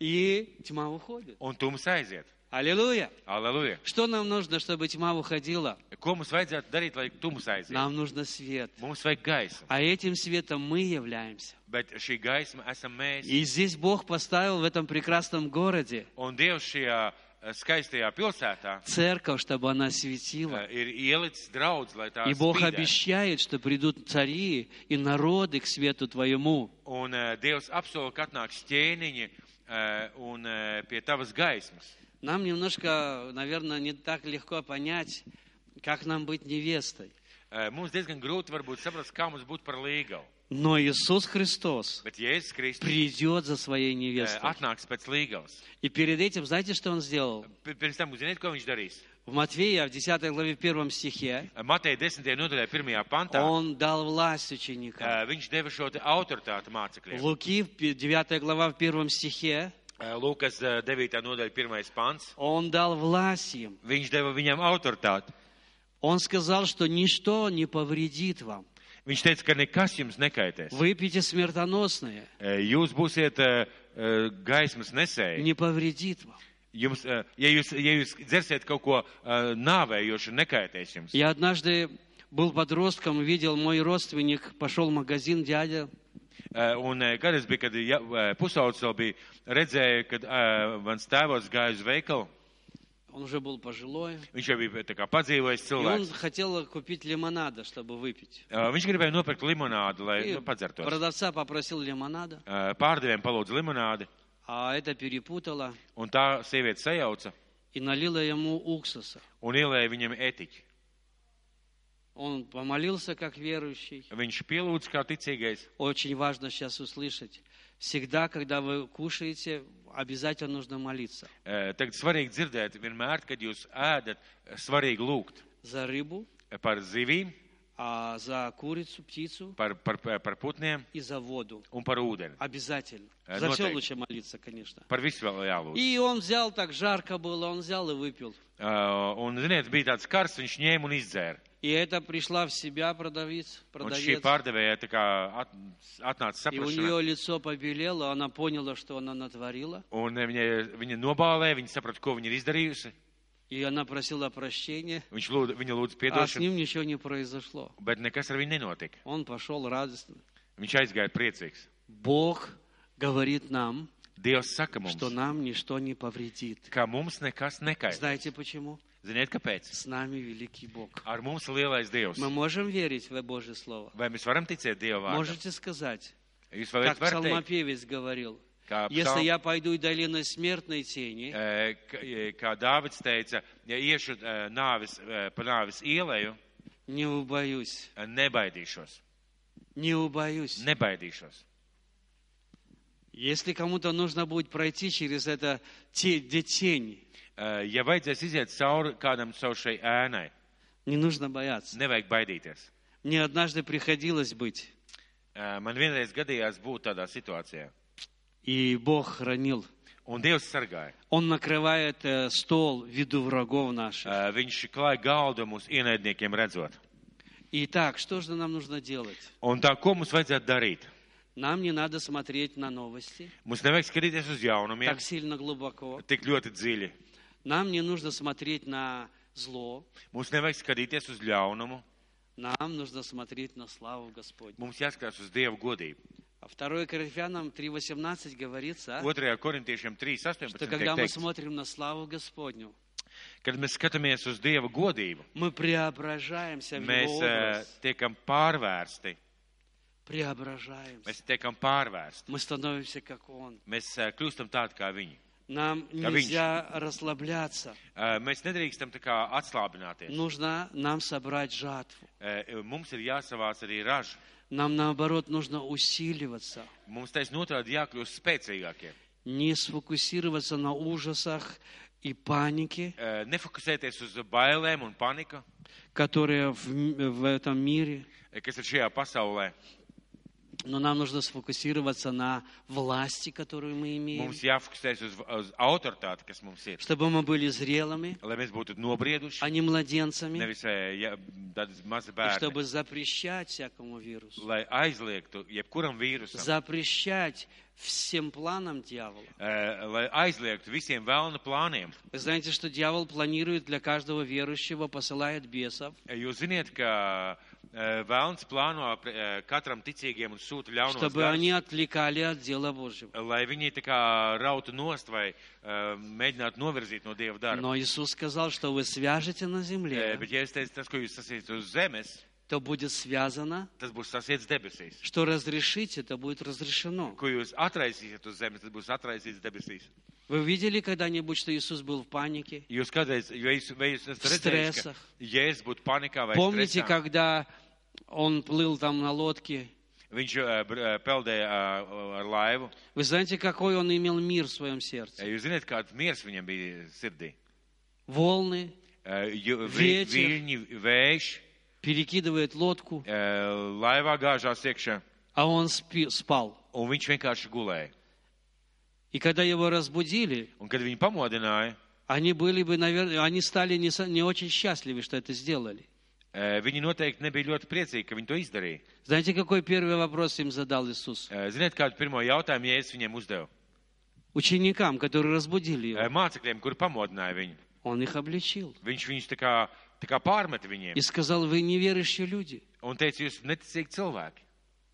[SPEAKER 1] и тьма уходит.
[SPEAKER 2] un tums aiziet.
[SPEAKER 1] Аллилуйя!
[SPEAKER 2] Aleluja!
[SPEAKER 1] Что нам нужно, чтобы тьма уходила?
[SPEAKER 2] Ko mums vajadzētu darīt, lai tums aizietu?
[SPEAKER 1] Нам нужно свет.
[SPEAKER 2] Mums vajag gaismu,
[SPEAKER 1] А этим светом мы являемся.
[SPEAKER 2] bet šī gaisma esam mēs.
[SPEAKER 1] И здесь Бог поставил в этом прекрасном городе
[SPEAKER 2] Un Dievs šajā eh, skaistajā pilsētā
[SPEAKER 1] церковь, чтобы она светила.
[SPEAKER 2] eh, ir ielicis draudz, lai tā
[SPEAKER 1] И Бог
[SPEAKER 2] spīdētu.
[SPEAKER 1] обещает, что придут цари и народы к свету твоему.
[SPEAKER 2] Un eh, Dievs apsola, ka atnāks ķēniņi eh, un eh, pie tavas gaismas.
[SPEAKER 1] Нам немножко, наверное, не так легко понять, как нам быть невестой.
[SPEAKER 2] Eh, Mums diezgan grūti varbūt saprast, kā mums būtu par līgavu.
[SPEAKER 1] Но Иисус Христос
[SPEAKER 2] Bet Jēzus Kristus eh,
[SPEAKER 1] придет за своей невестой.
[SPEAKER 2] atnāks пēc līgavas.
[SPEAKER 1] И перед этим, знаете, что Он сделал?
[SPEAKER 2] P- Pirms tam, ziniet, ko viņš darīs?
[SPEAKER 1] В Матвея, в 10 главе, в 1 стихе,
[SPEAKER 2] Eh, Mateja 10. nodaļā 1. pantā.
[SPEAKER 1] Он дал власть ученикам.
[SPEAKER 2] Eh, Viņš deva šo te autoritāti mācekļiem.
[SPEAKER 1] Луки, в пи- 9 глава, в 1 stихе,
[SPEAKER 2] Lūkas eh, 9. nodaļa 1. pants.
[SPEAKER 1] Он дал власть им.
[SPEAKER 2] Viņš deva viņam autoritāti.
[SPEAKER 1] Он сказал, что ничто не повредит вам.
[SPEAKER 2] Viņš teica, ka nekas jums nekaitēs.
[SPEAKER 1] Выпейте смертоносное.
[SPEAKER 2] Eh, Jūs būsiet eh, eh, gaismas nesēji.
[SPEAKER 1] не повредит вам.
[SPEAKER 2] Jums, eh, ja, jūs, ja jūs dzersiet kaut ko eh, nāvējošu, nekaitēs jums.
[SPEAKER 1] Я однажды был подростком, видел мой родственник, пошел в магазин дядя,
[SPEAKER 2] Eh, Un eh, kad es biju, kad ja, eh, pusaudzis vēl biju, redzēju, kad eh, mans tēvots gāja uz veikalu.
[SPEAKER 1] он уже был пожилой,
[SPEAKER 2] Viņš jau bija tā kā padzīvojis
[SPEAKER 1] и он
[SPEAKER 2] cilvēks.
[SPEAKER 1] хотел купить лимонада, чтобы выпить.
[SPEAKER 2] Eh, Viņš gribēja nopirkt limonādu, lai
[SPEAKER 1] И
[SPEAKER 2] nu, padzertos.
[SPEAKER 1] продавца попросил лимонада,
[SPEAKER 2] Eh, Pārdevējiem palūdza limonādi,
[SPEAKER 1] а это перепутала
[SPEAKER 2] un tā sieviete sajauca
[SPEAKER 1] и налила ему уксуса.
[SPEAKER 2] un ielēja viņam etiķi.
[SPEAKER 1] Он помолился как верующий.
[SPEAKER 2] Viņš pielūdz kā ticīgais.
[SPEAKER 1] Очень важно сейчас услышать. Всегда, когда вы кушаете, обязательно нужно молиться.
[SPEAKER 2] Eh, Tagad svarīgi dzirdēt, vienmēr, kad jūs ēdat, svarīgi lūgt
[SPEAKER 1] За рыбу,
[SPEAKER 2] par zivīm,
[SPEAKER 1] а за курицу, птицу
[SPEAKER 2] par, par, par putniem
[SPEAKER 1] и за воду.
[SPEAKER 2] un par ūdeni.
[SPEAKER 1] Обязательно.
[SPEAKER 2] Э,
[SPEAKER 1] За
[SPEAKER 2] ну,
[SPEAKER 1] все
[SPEAKER 2] так.
[SPEAKER 1] лучше молиться, конечно.
[SPEAKER 2] Par visu vēl jālūdz.
[SPEAKER 1] И он взял, так жарко было, он взяl и выпил.
[SPEAKER 2] Eh, Un, ziniet, bija tāds kars, viņš ņēma un izdzēra.
[SPEAKER 1] И это пришла в себя продавец,
[SPEAKER 2] Un
[SPEAKER 1] продавец.
[SPEAKER 2] šī pārdevēja tā kā at, atnāca
[SPEAKER 1] И у
[SPEAKER 2] saprašanā.
[SPEAKER 1] нее лицо побелело, она поняла, что она натворила.
[SPEAKER 2] Un eh, viņa, viņa nobālē, viņa saprata, ko viņa ir izdarījusi.
[SPEAKER 1] И она просила прощения,
[SPEAKER 2] Viņš lūd, viņa lūdz
[SPEAKER 1] а с
[SPEAKER 2] piedošanu,
[SPEAKER 1] ним ничего не произошло.
[SPEAKER 2] bet nekas ar viņu nenotika.
[SPEAKER 1] Он пошел радостно.
[SPEAKER 2] Viņš aizgāja priecīgs.
[SPEAKER 1] Бог говорит нам,
[SPEAKER 2] Dievs saka
[SPEAKER 1] что
[SPEAKER 2] mums,
[SPEAKER 1] нам ничто не повредит.
[SPEAKER 2] ka mums nekas nekaitē.
[SPEAKER 1] Знаете почему?
[SPEAKER 2] Ziniet, kāpēc?
[SPEAKER 1] С нами великий Бог.
[SPEAKER 2] Ar mums ir lielais Dievs.
[SPEAKER 1] Мы можем верить в Божье Слово.
[SPEAKER 2] Vai mēs varam ticēt Dievam?
[SPEAKER 1] Можете сказать,
[SPEAKER 2] Jūs
[SPEAKER 1] как
[SPEAKER 2] varat var teikt,
[SPEAKER 1] псалмопевец говорил,
[SPEAKER 2] kā,
[SPEAKER 1] если
[SPEAKER 2] psalm-
[SPEAKER 1] я пойду и долиной смертной тени,
[SPEAKER 2] eh, k- eh, kā Dāvids teica, ja iešu eh, nāvis, eh, pa nāvis ielēju,
[SPEAKER 1] не убоюсь,
[SPEAKER 2] eh, nebaidīšos.
[SPEAKER 1] не убоюсь.
[SPEAKER 2] Nebaidīšos.
[SPEAKER 1] Если кому-то нужно будет пройти через это те- где тень,
[SPEAKER 2] Eh, Ja vajadzēs iziet cauri kādam savu šai ēnai,
[SPEAKER 1] не нужно бояться.
[SPEAKER 2] nevajag baidīties.
[SPEAKER 1] Мне однажды приходилось быть,
[SPEAKER 2] Eh, Man vienreiz gadījās būt tādā situācijā.
[SPEAKER 1] и Бог хранил.
[SPEAKER 2] Un Dievs sargāja.
[SPEAKER 1] Он накрывает э, стол в виду врагов наших.
[SPEAKER 2] Eh, Viņš klāja galdu mūsu ienaidniekiem redzot.
[SPEAKER 1] Итак, что же нам нужно делать?
[SPEAKER 2] Un tā, ko mums vajadzētu darīt?
[SPEAKER 1] Нам не надо смотреть на новости
[SPEAKER 2] Mums nevajag skatīties uz jaunumiem
[SPEAKER 1] так сильно глубоко.
[SPEAKER 2] tik ļoti dziļi.
[SPEAKER 1] Нам не нужно смотреть на зло.
[SPEAKER 2] Mums nevajag skatīties uz ļaunumu.
[SPEAKER 1] Нам нужно смотреть на славу Господню.
[SPEAKER 2] Mums jāskatās uz Dieva godību.
[SPEAKER 1] А 2 Коринфянам 3.18 говорится,
[SPEAKER 2] Otrajā korintiešiem 3.18.
[SPEAKER 1] что
[SPEAKER 2] tiek
[SPEAKER 1] когда мы
[SPEAKER 2] teikts,
[SPEAKER 1] смотрим на славу Господню,
[SPEAKER 2] Kad mēs skatāmies uz Dieva godību,
[SPEAKER 1] мы преображаемся в
[SPEAKER 2] mēs
[SPEAKER 1] Его
[SPEAKER 2] eh,
[SPEAKER 1] образ.
[SPEAKER 2] tiekam pārvērsti.
[SPEAKER 1] Преображаемся.
[SPEAKER 2] Mēs tiekam pārvērsti.
[SPEAKER 1] Мы становимся как Он.
[SPEAKER 2] Mēs eh, kļūstam tādi kā viņi.
[SPEAKER 1] Нам
[SPEAKER 2] Да,
[SPEAKER 1] нельзя расслабляться.
[SPEAKER 2] Eh, Mēs nedrīkstam tā kā
[SPEAKER 1] Nu.
[SPEAKER 2] atslābināties.
[SPEAKER 1] Нужно нам собрать жатву.
[SPEAKER 2] Eh, Mums ir jāsavāc arī raža.
[SPEAKER 1] Нам, наоборот, нужно усиливаться.
[SPEAKER 2] Mums taisn otrādi jākļūst spēcīgākiem.
[SPEAKER 1] не сфокусироваться на ужасах и панике,
[SPEAKER 2] Eh, Nefokusēties uz bailēm un paniku,
[SPEAKER 1] которые в, м- в этом мире,
[SPEAKER 2] eh, kas ir šajā pasaulē.
[SPEAKER 1] но нам нужно сфокусироваться на власти, которую мы имеем,
[SPEAKER 2] Mums jāfokusēs uz, uz autoritāti, kas mums ir.
[SPEAKER 1] чтобы мы были зрелыми,
[SPEAKER 2] Lai mēs būtu nobrieduši,
[SPEAKER 1] а не младенцами,
[SPEAKER 2] nevis eh, ja, tādi mazi
[SPEAKER 1] и
[SPEAKER 2] bērni.
[SPEAKER 1] чтобы запрещать всякому вирусу,
[SPEAKER 2] lai aizliegtu jebkuram vīrusam,
[SPEAKER 1] запрещать всем планам дьявола.
[SPEAKER 2] eh, lai aizliegtu visiem vēlna plāniem.
[SPEAKER 1] Вы знаете, что дьявол планирует для каждого верующего, посылает бесов,
[SPEAKER 2] Jūs zināt, Eh, ka eh, vēlns plāno pre- eh, katram ticīgiem un sūta ļaunos
[SPEAKER 1] чтобы они
[SPEAKER 2] garus, eh,
[SPEAKER 1] отвлекали от дела Божьего.
[SPEAKER 2] lai viņi tā kā rautu nost vai eh, mēģinātu novirzīt no Dieva darba.
[SPEAKER 1] Но Иисус сказал, что вы свяжете на
[SPEAKER 2] Eh,
[SPEAKER 1] земле,
[SPEAKER 2] Bet, ja es teicu, tas, ko jūs sasiet uz zemes,
[SPEAKER 1] то будет связано
[SPEAKER 2] tas būs sasiets debesīs.
[SPEAKER 1] что разрешите, это будет разрешено.
[SPEAKER 2] Ko jūs atraisīsiet uz zemes, tas būs atraisīts debesīs.
[SPEAKER 1] Вы видели когда-нибудь, что Иисус был в панике?
[SPEAKER 2] Jūs kādreiz, ja jūs, vai jūs esat redzējis,
[SPEAKER 1] Stresā.
[SPEAKER 2] ka Jēzus būtu panikā vai
[SPEAKER 1] Помните,
[SPEAKER 2] stresā?
[SPEAKER 1] когда он плыл там на лодке?
[SPEAKER 2] Viņš eh, br- eh, peldēja eh, ar laivu. Eh,
[SPEAKER 1] Вы знаете, какой он имел мир в своем сердце?
[SPEAKER 2] Jūs zināt, kāds miers viņam bija sirdī?
[SPEAKER 1] Волны,
[SPEAKER 2] Eh, jo- vi-
[SPEAKER 1] Vieķi.
[SPEAKER 2] Viļņi, vējš,
[SPEAKER 1] перекидывает лодку,
[SPEAKER 2] eh, laivā gāžās iekšā,
[SPEAKER 1] а он спи- спал.
[SPEAKER 2] un viņš vienkārši gulēja.
[SPEAKER 1] И когда его разбудили,
[SPEAKER 2] Un, kad viņu pamodināja,
[SPEAKER 1] они были бы, наверное, они стали не, со- не очень счастливы, что это сделали.
[SPEAKER 2] eh, viņi noteikti nebija ļoti priecīgi, ka viņi to izdarīja.
[SPEAKER 1] Знаете, какой первый вопрос им задал Иисус?
[SPEAKER 2] Eh, Ziniet, kādu pirmo jautājumu Jēzus viņiem uzdeva?
[SPEAKER 1] Ученикам, которые разбудили
[SPEAKER 2] Eh,
[SPEAKER 1] его,
[SPEAKER 2] Mācekļiem, kuri pamodināja viņu.
[SPEAKER 1] он их обличил
[SPEAKER 2] Viņš viņus tā kā, tā kā pārmet viņiem
[SPEAKER 1] и сказал, вы неверующие люди.
[SPEAKER 2] un teica, jūs neticīgi cilvēki.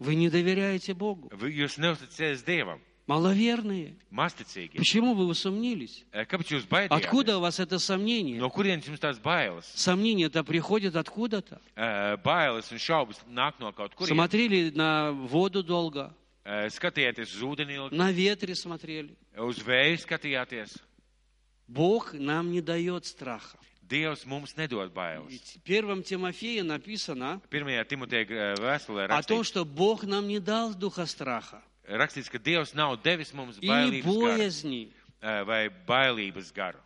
[SPEAKER 1] Вы не доверяете Богу.
[SPEAKER 2] Vi- Jūs neusticaties Dievam,
[SPEAKER 1] Маловерные.
[SPEAKER 2] masticīgi.
[SPEAKER 1] Почему вы усомнились?
[SPEAKER 2] Eh, Kāpēc jūs baidāties?
[SPEAKER 1] Откуда у вас это сомнение?
[SPEAKER 2] No kurienes jums tās bailes?
[SPEAKER 1] сомнение это приходит откуда-то.
[SPEAKER 2] Eh, Bailes un šaubas nāk no kaut kurienes.
[SPEAKER 1] Смотрели на воду долго,
[SPEAKER 2] Eh, skatījāties uz ūdeni, ilgi,
[SPEAKER 1] на ветре смотрели.
[SPEAKER 2] uz vēju skatījāties.
[SPEAKER 1] Бог нам не дает страха.
[SPEAKER 2] Dievs mums nedod bailes.
[SPEAKER 1] В первом Тимофея написано
[SPEAKER 2] Pirmajā Timoteja eh, vēstulē
[SPEAKER 1] о том,
[SPEAKER 2] rakstīts,
[SPEAKER 1] что Бог нам не дал духа страха
[SPEAKER 2] rakstīts, ka Dievs nav devis mums
[SPEAKER 1] и
[SPEAKER 2] bailības garu
[SPEAKER 1] боязни.
[SPEAKER 2] eh, vai bailības garu.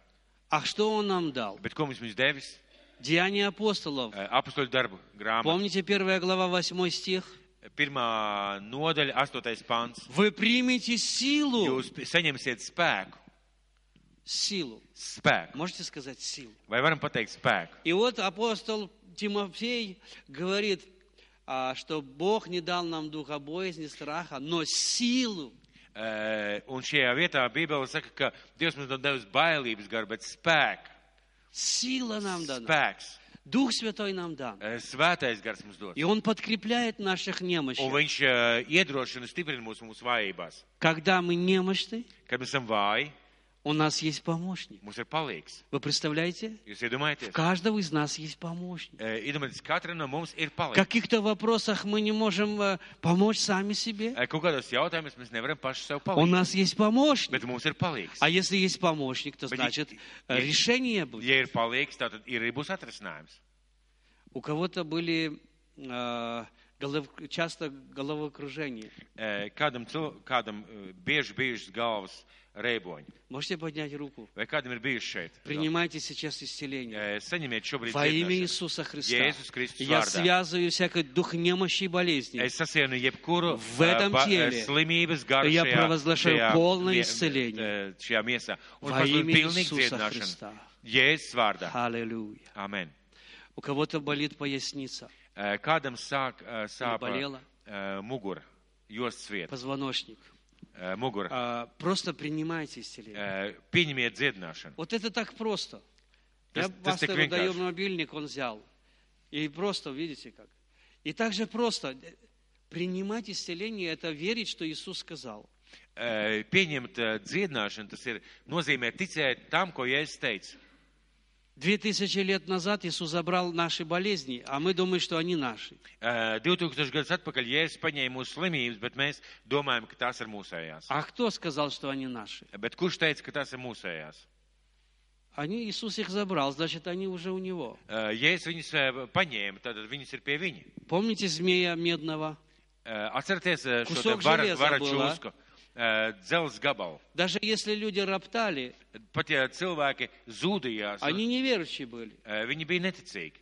[SPEAKER 1] А что Он нам дал?
[SPEAKER 2] Bet ko mums viņš devis?
[SPEAKER 1] Деяния апостолов.
[SPEAKER 2] Eh, Apustuļu darbu grāmatu.
[SPEAKER 1] Помните первая глава, восьмой стих?
[SPEAKER 2] Pirmā nodaļa, astotais pants.
[SPEAKER 1] Вы примете силу.
[SPEAKER 2] Jūs saņemsiet spēku.
[SPEAKER 1] Силу.
[SPEAKER 2] Spēku.
[SPEAKER 1] Можете сказать силу.
[SPEAKER 2] Vai varam pateikt spēku?
[SPEAKER 1] И вот апостол Тимофей говорит, а, что Бог не дал нам духа боязни, страха, но силу.
[SPEAKER 2] Eh, Un šajā vietā Bībele saka, ka Dievs mums nav devis bailības garu, bet spēku.
[SPEAKER 1] Сила нам дана.
[SPEAKER 2] Spēks.
[SPEAKER 1] Дух Святой нам дан.
[SPEAKER 2] Eh, Svētais gars mums dod.
[SPEAKER 1] И Он подкрепляет наших
[SPEAKER 2] Un
[SPEAKER 1] немощных.
[SPEAKER 2] viņš eh, iedrošina, stiprina mūsu, mūsu vājībās.
[SPEAKER 1] Когда мы немощны,
[SPEAKER 2] Kad mēs esam vāji,
[SPEAKER 1] у нас есть помощник.
[SPEAKER 2] mums ir palīgs.
[SPEAKER 1] Вы представляете?
[SPEAKER 2] Jūs iedomājaties?
[SPEAKER 1] У каждого из нас есть помощник.
[SPEAKER 2] Eh, Iedomājieties, katra no mums ir
[SPEAKER 1] В
[SPEAKER 2] palīgs.
[SPEAKER 1] каких-то вопросах мы не можем э, помочь сами себе.
[SPEAKER 2] Eh, Kaut kādos jautājumos mēs nevaram paši sev
[SPEAKER 1] У
[SPEAKER 2] palīdzēt.
[SPEAKER 1] нас есть помощник.
[SPEAKER 2] Bet mums ir palīgs.
[SPEAKER 1] А если есть помощник, то
[SPEAKER 2] Подожди,
[SPEAKER 1] значит э,
[SPEAKER 2] есть-
[SPEAKER 1] решение будет.
[SPEAKER 2] Ja ir palīgs, tad ir arī būs atrisinājums.
[SPEAKER 1] У кого-то были э, голов- часто головокружения.
[SPEAKER 2] Eh, Kādam, cil- kādam eh, bieži bijušas galvas reiboņi,
[SPEAKER 1] Можете поднять руку?
[SPEAKER 2] vai kādam ir bijuši šeit?
[SPEAKER 1] Принимайте сейчас исцеление.
[SPEAKER 2] Eh, Saņemiet šobrīd
[SPEAKER 1] Во имя
[SPEAKER 2] dziedināšanu.
[SPEAKER 1] Иисуса Христа.
[SPEAKER 2] Jēzus Kristus
[SPEAKER 1] Я
[SPEAKER 2] vārdā.
[SPEAKER 1] связываю всякий дух немощи и болезни.
[SPEAKER 2] Es sasienu jebkuru
[SPEAKER 1] В этом
[SPEAKER 2] eh, ba- eh,
[SPEAKER 1] теле
[SPEAKER 2] slimības garu
[SPEAKER 1] я
[SPEAKER 2] šajā,
[SPEAKER 1] провозглашаю
[SPEAKER 2] šajā,
[SPEAKER 1] полное
[SPEAKER 2] mie-
[SPEAKER 1] исцеление.
[SPEAKER 2] eh, šajā miesā. Un
[SPEAKER 1] Во
[SPEAKER 2] pasludinu
[SPEAKER 1] имя
[SPEAKER 2] pilnīgu
[SPEAKER 1] Иисуса
[SPEAKER 2] dziedināšanu.
[SPEAKER 1] Христа.
[SPEAKER 2] Jēzus vārdā.
[SPEAKER 1] Аллилуйя.
[SPEAKER 2] Amen.
[SPEAKER 1] У кого-то болит поясница,
[SPEAKER 2] Eh, Kādam sāk eh, sāp
[SPEAKER 1] Baliela.
[SPEAKER 2] eh, mugura, josts sviet,
[SPEAKER 1] позвоночник.
[SPEAKER 2] eh, mugura.
[SPEAKER 1] А, Просто принимайте исцеление.
[SPEAKER 2] Eh, Pieņemiet dziedināšanu.
[SPEAKER 1] Вот это так просто.
[SPEAKER 2] То
[SPEAKER 1] Я
[SPEAKER 2] есть- то есть ты
[SPEAKER 1] пастору даю
[SPEAKER 2] клинкаешь.
[SPEAKER 1] мобильник, он взял. И просто, видите как. И так же просто э, принимать исцеление, это верить, что Иисус сказал.
[SPEAKER 2] Eh, Pieņemt eh, dziedināšanu, tas ir nozīmē ticēt tam, ko Jēzus teica.
[SPEAKER 1] Две тысячи лет назад Иисус забрал наши болезни, а мы думаем, что они наши.
[SPEAKER 2] Eh, 2000 gadus atpakaļ Jēzus paņēma mūsu slimības, bet mēs domājam, ka tās ir mūsējās.
[SPEAKER 1] А кто сказал, что они наши?
[SPEAKER 2] Bet kurš teica, ka tās ir mūsējās?
[SPEAKER 1] Они, Иисус их забрал, значит, они уже у Него.
[SPEAKER 2] Eh, Jēzus viņas eh, paņēma, tad viņas ir pie viņa.
[SPEAKER 1] Помните змея медного?
[SPEAKER 2] Eh, Atcerieties eh, šo te
[SPEAKER 1] Kusok
[SPEAKER 2] vara,
[SPEAKER 1] želieza
[SPEAKER 2] vara
[SPEAKER 1] byla.
[SPEAKER 2] čūsku, eh, dzelzs gabalu.
[SPEAKER 1] Даже если люди роптали,
[SPEAKER 2] Pat ja cilvēki zūdījās,
[SPEAKER 1] они неверующие были.
[SPEAKER 2] eh, viņi bija neticīgi.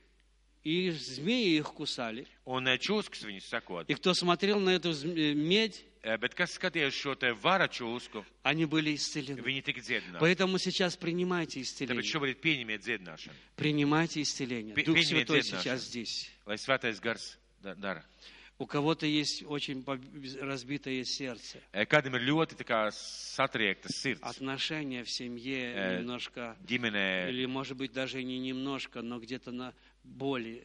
[SPEAKER 1] И змеи их кусали.
[SPEAKER 2] Un eh, čūskas viņus sakot.
[SPEAKER 1] И кто смотрел на эту зм- э, медь,
[SPEAKER 2] Eh, Bet kas skatījās šo te vara čūsku,
[SPEAKER 1] они были исцелены.
[SPEAKER 2] viņi tika dziedināti.
[SPEAKER 1] Поэтому сейчас принимайте
[SPEAKER 2] Tāpēc
[SPEAKER 1] исцеление.
[SPEAKER 2] šobrīd pieņemiet dziedināšanu,
[SPEAKER 1] Принимайте исцеление.
[SPEAKER 2] Пи-
[SPEAKER 1] Дух
[SPEAKER 2] принимайте
[SPEAKER 1] Святой
[SPEAKER 2] это наше.
[SPEAKER 1] сейчас здесь.
[SPEAKER 2] lai svētais gars da- dara.
[SPEAKER 1] У кого-то есть очень поб- разбитое сердце.
[SPEAKER 2] Eh, Kādam ir ļoti tā kā satriekta sirds,
[SPEAKER 1] Отношения в семье
[SPEAKER 2] Э,
[SPEAKER 1] немножко,
[SPEAKER 2] ģimenē,
[SPEAKER 1] или может быть даже не немножко, но где-то на боли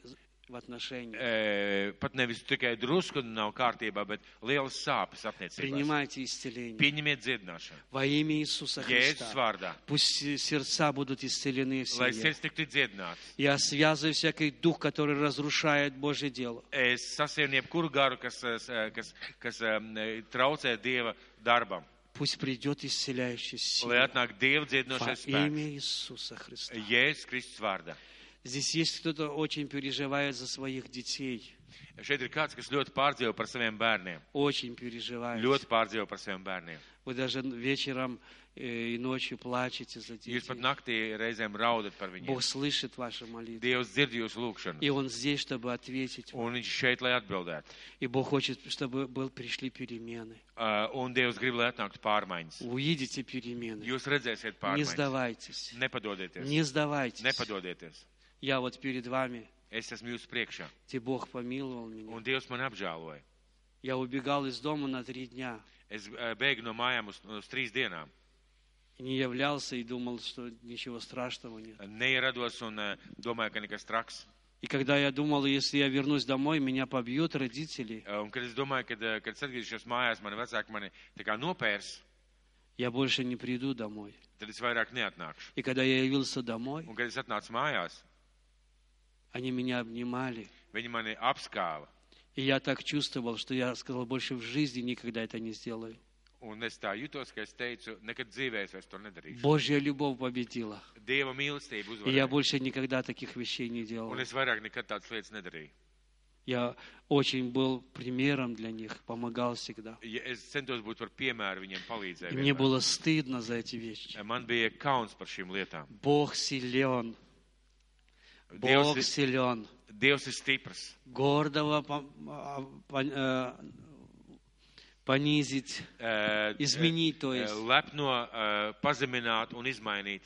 [SPEAKER 1] в отношениях.
[SPEAKER 2] eh, pat nevis tikai drusku nav kārtībā, bet liels sāpes attiecībās.
[SPEAKER 1] Принимайте исцеление
[SPEAKER 2] Pieņemiet dziedināšanu.
[SPEAKER 1] во имя Иисуса
[SPEAKER 2] Jēzus
[SPEAKER 1] Христа.
[SPEAKER 2] vārdā,
[SPEAKER 1] Пусть се- сердца будут исцелены в
[SPEAKER 2] lai
[SPEAKER 1] семье.
[SPEAKER 2] sirds tiktu dziedināts.
[SPEAKER 1] Я связываю всякий дух, который разрушает Божье дело.
[SPEAKER 2] Es sasienu jebkuru garu, kas, eh, s- kas, kas em, eh, traucē Dieva darbam,
[SPEAKER 1] Пусть придет исцеляющая сила.
[SPEAKER 2] lai atnāk Dieva
[SPEAKER 1] Во
[SPEAKER 2] dziedinošais spēks.
[SPEAKER 1] имя Иисуса Христа.
[SPEAKER 2] Jēzus Kristus vārdā.
[SPEAKER 1] Здесь есть кто-то очень переживает за своих детей.
[SPEAKER 2] Šeit ir kāds, kas ļoti pārdzīvo par saviem bērniem.
[SPEAKER 1] Очень переживает.
[SPEAKER 2] Ļoti pārdzīvo par saviem bērniem.
[SPEAKER 1] Вы даже вечером э, и ночью плачете за
[SPEAKER 2] Jūs pat
[SPEAKER 1] детей.
[SPEAKER 2] naktī reizēm raudat par viņiem.
[SPEAKER 1] Бог слышит ваши молитвы.
[SPEAKER 2] Dievs dzird jūsu lūgšanu.
[SPEAKER 1] И Он здесь, чтобы ответить.
[SPEAKER 2] Un viņš šeit, lai atbildētu.
[SPEAKER 1] И Бог хочет, чтобы был, пришли перемены.
[SPEAKER 2] Uh, un Dievs grib, lai atnāktu pārmaiņas.
[SPEAKER 1] Увидите перемены.
[SPEAKER 2] Jūs redzēsiet
[SPEAKER 1] Не
[SPEAKER 2] pārmaiņas.
[SPEAKER 1] сдавайтесь.
[SPEAKER 2] Nepadodieties.
[SPEAKER 1] Не сдавайтесь.
[SPEAKER 2] Nepadodieties.
[SPEAKER 1] Я вот перед вами,
[SPEAKER 2] Es esmu jūsu priekšā.
[SPEAKER 1] где Бог помиловал меня.
[SPEAKER 2] Un Dievs man apžēloja.
[SPEAKER 1] Я убегал из дома на три дня.
[SPEAKER 2] Es uh, bēgu no mājām uz, uz trīs dienām.
[SPEAKER 1] И не являлся и думал, что ничего страшного нет.
[SPEAKER 2] Neierados un uh, domāju, ka nekas traks.
[SPEAKER 1] И когда я думал, если я вернусь домой, меня побьют родители,
[SPEAKER 2] Uh, un kad es domāju, kad, uh, kad es atgriezīšos mājās, mani vecāki mani tā kā nopērs,
[SPEAKER 1] я больше не приду домой.
[SPEAKER 2] tad es vairāk neatnākšu.
[SPEAKER 1] И когда я явился домой,
[SPEAKER 2] Un kad es atnācu mājās,
[SPEAKER 1] они меня обнимали.
[SPEAKER 2] viņi mani apskāva.
[SPEAKER 1] И я так чувствовал, что я сказал, больше в жизни никогда это не сделаю.
[SPEAKER 2] Un es tā jutos, ka es teicu, nekad dzīvē es vairs to nedarīšu.
[SPEAKER 1] Божья любовь победила.
[SPEAKER 2] Dieva mīlestība
[SPEAKER 1] И я
[SPEAKER 2] uzvarēja.
[SPEAKER 1] больше никогда таких вещей не делал.
[SPEAKER 2] Un es vairāk nekad tādas lietas nedarīju.
[SPEAKER 1] Я очень был примером для них, помогал всегда.
[SPEAKER 2] Ja es centos būt par piemēru viņiem
[SPEAKER 1] И мне
[SPEAKER 2] palīdzēt. Eh,
[SPEAKER 1] было стыдно за эти вещи.
[SPEAKER 2] Man bija kauns par šīm lietām.
[SPEAKER 1] Бог силен. Бог
[SPEAKER 2] Dievs,
[SPEAKER 1] силен.
[SPEAKER 2] ir- Dievs ir stiprs.
[SPEAKER 1] Гордого по- а, по- э, понизить,
[SPEAKER 2] Ē,
[SPEAKER 1] изменить, то
[SPEAKER 2] ē,
[SPEAKER 1] есть.
[SPEAKER 2] Eh, Lepno, ē, pazemināt un izmainīt.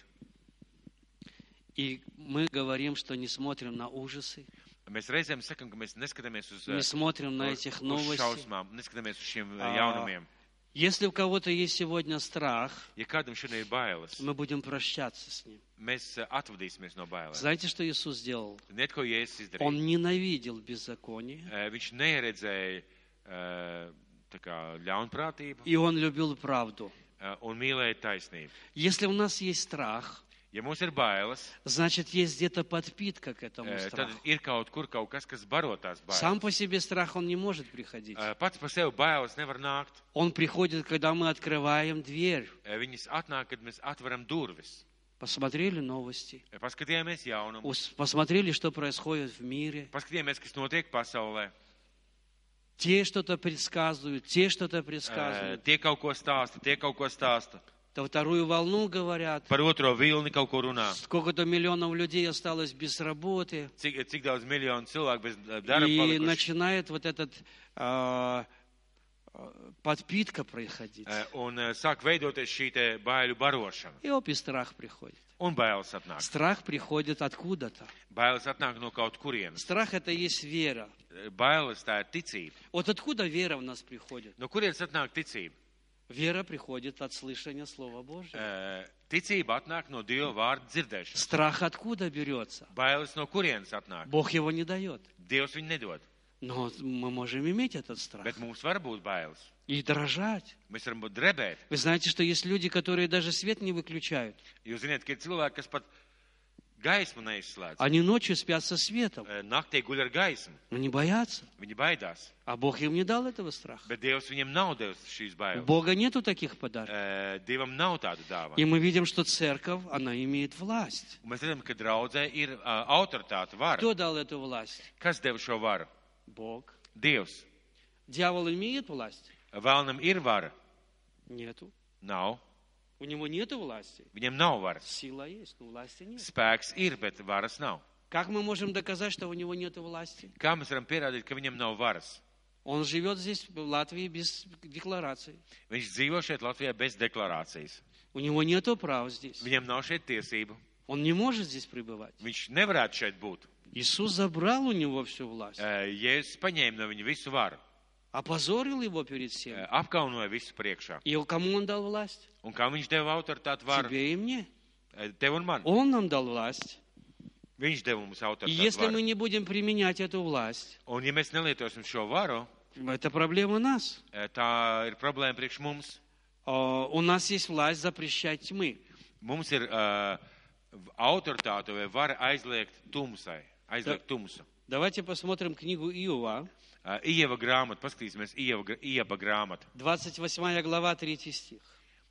[SPEAKER 1] И мы говорим, что не смотрим на ужасы,
[SPEAKER 2] Mēs reizēm sakam, ka mēs neskatāmies uz, ē,
[SPEAKER 1] не смотрим на
[SPEAKER 2] uz,
[SPEAKER 1] этих
[SPEAKER 2] uz
[SPEAKER 1] новостей.
[SPEAKER 2] šausmām, neskatāmies uz šiem ē,
[SPEAKER 1] Ā.
[SPEAKER 2] jaunumiem.
[SPEAKER 1] Если у кого-то есть сегодня страх,
[SPEAKER 2] Ja kādam šodien ir bailes,
[SPEAKER 1] мы будем прощаться с ним.
[SPEAKER 2] mēs ē, atvadīsimies no bailēm.
[SPEAKER 1] Знаете, что Иисус сделал?
[SPEAKER 2] Net ko Jēzus izdarīja.
[SPEAKER 1] Он ненавидел беззаконие,
[SPEAKER 2] Ē, Viņš neieredzēja ē, tā kā ļaunprātību
[SPEAKER 1] и Он любил правду.
[SPEAKER 2] ē, un mīlēja taisnību.
[SPEAKER 1] Если у нас есть страх,
[SPEAKER 2] Ja mums ir bailes,
[SPEAKER 1] значит, есть где-то подпитка к этому
[SPEAKER 2] Ē, Э, tad
[SPEAKER 1] страху.
[SPEAKER 2] ir kaut kur kaut kas, kas baro tās bailes. Э,
[SPEAKER 1] Сам по себе страх, он не может приходить.
[SPEAKER 2] Ē, Pats par sevi bailes nevar nākt.
[SPEAKER 1] Он приходит, когда мы открываем дверь.
[SPEAKER 2] Ē, Viņas Э, atnāk, kad mēs atveram durvis.
[SPEAKER 1] Посмотрели новости,
[SPEAKER 2] Ē, Paskatījāmies jaunumu,
[SPEAKER 1] ус- посмотрели, что происходит в мире.
[SPEAKER 2] paskatījāmies, kas notiek pasaulē.
[SPEAKER 1] Те что-то предсказывают, те что-то
[SPEAKER 2] Ē,
[SPEAKER 1] предсказывают.
[SPEAKER 2] Э, Tie kaut ko stāsta, tie kaut ko stāsta.
[SPEAKER 1] То вторую волну говорят.
[SPEAKER 2] Par otro vilni kaut ko runā.
[SPEAKER 1] Сколько-то миллионов людей осталось без работы.
[SPEAKER 2] Cik, cik daudz miljonu cilvēku bez ē, darba
[SPEAKER 1] И
[SPEAKER 2] palikuši.
[SPEAKER 1] начинает вот этот а, а, подпитка происходить.
[SPEAKER 2] Ē, Э, Un ē, sāk veidoties šī te baiļu barošana.
[SPEAKER 1] И опять страх приходит.
[SPEAKER 2] Un bailes atnāk.
[SPEAKER 1] Страх приходит откуда-то.
[SPEAKER 2] Bailes atnāk no kaut kurienes.
[SPEAKER 1] Страх это и есть вера.
[SPEAKER 2] Ē, Bailes tā ir ticība.
[SPEAKER 1] Вот откуда вера в нас приходит?
[SPEAKER 2] No kurienes atnāk ticība?
[SPEAKER 1] Вера приходит от слышания Слова Божьего.
[SPEAKER 2] Ē, Ticība atnāk no Dieva vārda dzirdēšanas.
[SPEAKER 1] Страх откуда берется?
[SPEAKER 2] Bailes no kurienes atnāk?
[SPEAKER 1] Бог его не дает.
[SPEAKER 2] Dievs viņu nedod.
[SPEAKER 1] Но мы можем иметь этот страх
[SPEAKER 2] Bet mums var būt bailes.
[SPEAKER 1] и дрожать.
[SPEAKER 2] Mēs varam būt drebēt.
[SPEAKER 1] Вы знаете, что есть люди, которые даже свет не выключают.
[SPEAKER 2] Jūs zināt, ka ir cilvēki, kas pat gaismu neizslēdz.
[SPEAKER 1] Они nочью спят со светом.
[SPEAKER 2] Ē, Naktī guļ ar gaismu.
[SPEAKER 1] Они боятся.
[SPEAKER 2] Viņi baidās.
[SPEAKER 1] А Бог им не дал этого страха.
[SPEAKER 2] Bet Dievs viņiem nav devis šīs
[SPEAKER 1] У
[SPEAKER 2] bailes.
[SPEAKER 1] Бога нету таких подарков.
[SPEAKER 2] Ē, Dievam nav tādu dāvanu.
[SPEAKER 1] И мы видим, что церковь, она имеет власть.
[SPEAKER 2] Un Mēs redzam, ka draudzē ir ā, autoritāte, vara.
[SPEAKER 1] Кто дал эту власть?
[SPEAKER 2] Kas deva šo varu?
[SPEAKER 1] Бог.
[SPEAKER 2] Dievs.
[SPEAKER 1] Дьявол имеет власть?
[SPEAKER 2] Vēlnam ir vara?
[SPEAKER 1] Нету.
[SPEAKER 2] Nav.
[SPEAKER 1] У него нету власти.
[SPEAKER 2] Viņam nav varas.
[SPEAKER 1] Сила есть, но власти нет.
[SPEAKER 2] Spēks ir, bet varas nav.
[SPEAKER 1] Как мы можем доказать, что у него нет власти?
[SPEAKER 2] Kā mēs varam pierādīt, ka viņam nav varas?
[SPEAKER 1] Он живет здесь, в Латвии, без декларации.
[SPEAKER 2] Viņš dzīvo šeit Latvijā bez deklarācijas.
[SPEAKER 1] У него нет прав здесь.
[SPEAKER 2] Viņam nav šeit tiesību.
[SPEAKER 1] Он не может здесь пребывать.
[SPEAKER 2] Viņš nevarētu šeit būt.
[SPEAKER 1] Иисус забрал у него всю власть.
[SPEAKER 2] Ē, Jēzus paņēma no viņa visu varu,
[SPEAKER 1] Опозорил его перед
[SPEAKER 2] ē,
[SPEAKER 1] всеми.
[SPEAKER 2] apkaunoja visu priekšā.
[SPEAKER 1] И кому он дал власть?
[SPEAKER 2] Un kā viņš deva autoritāti varu?
[SPEAKER 1] Тебе и мне.
[SPEAKER 2] Ē, Tev un man.
[SPEAKER 1] Он нам дал власть.
[SPEAKER 2] Viņš deva mums
[SPEAKER 1] И если
[SPEAKER 2] autoritāti.
[SPEAKER 1] мы
[SPEAKER 2] Varu.
[SPEAKER 1] не будем применять эту власть,
[SPEAKER 2] Un ja mēs nelietosim šo varu,
[SPEAKER 1] это проблема нас.
[SPEAKER 2] ē, tā ir problēma priekš mums.
[SPEAKER 1] А, У нас есть власть запрещать тьмы.
[SPEAKER 2] Mums ir ā, v- autoritāte vai vara aizliegt tumsai, aizliegt tumsu.
[SPEAKER 1] Давайте посмотрим книгу Иова,
[SPEAKER 2] Ā, Ieva grāmata, paskatīsimies, Ieva, gra- Ieva grāmata.
[SPEAKER 1] 28 глава, 3 стих.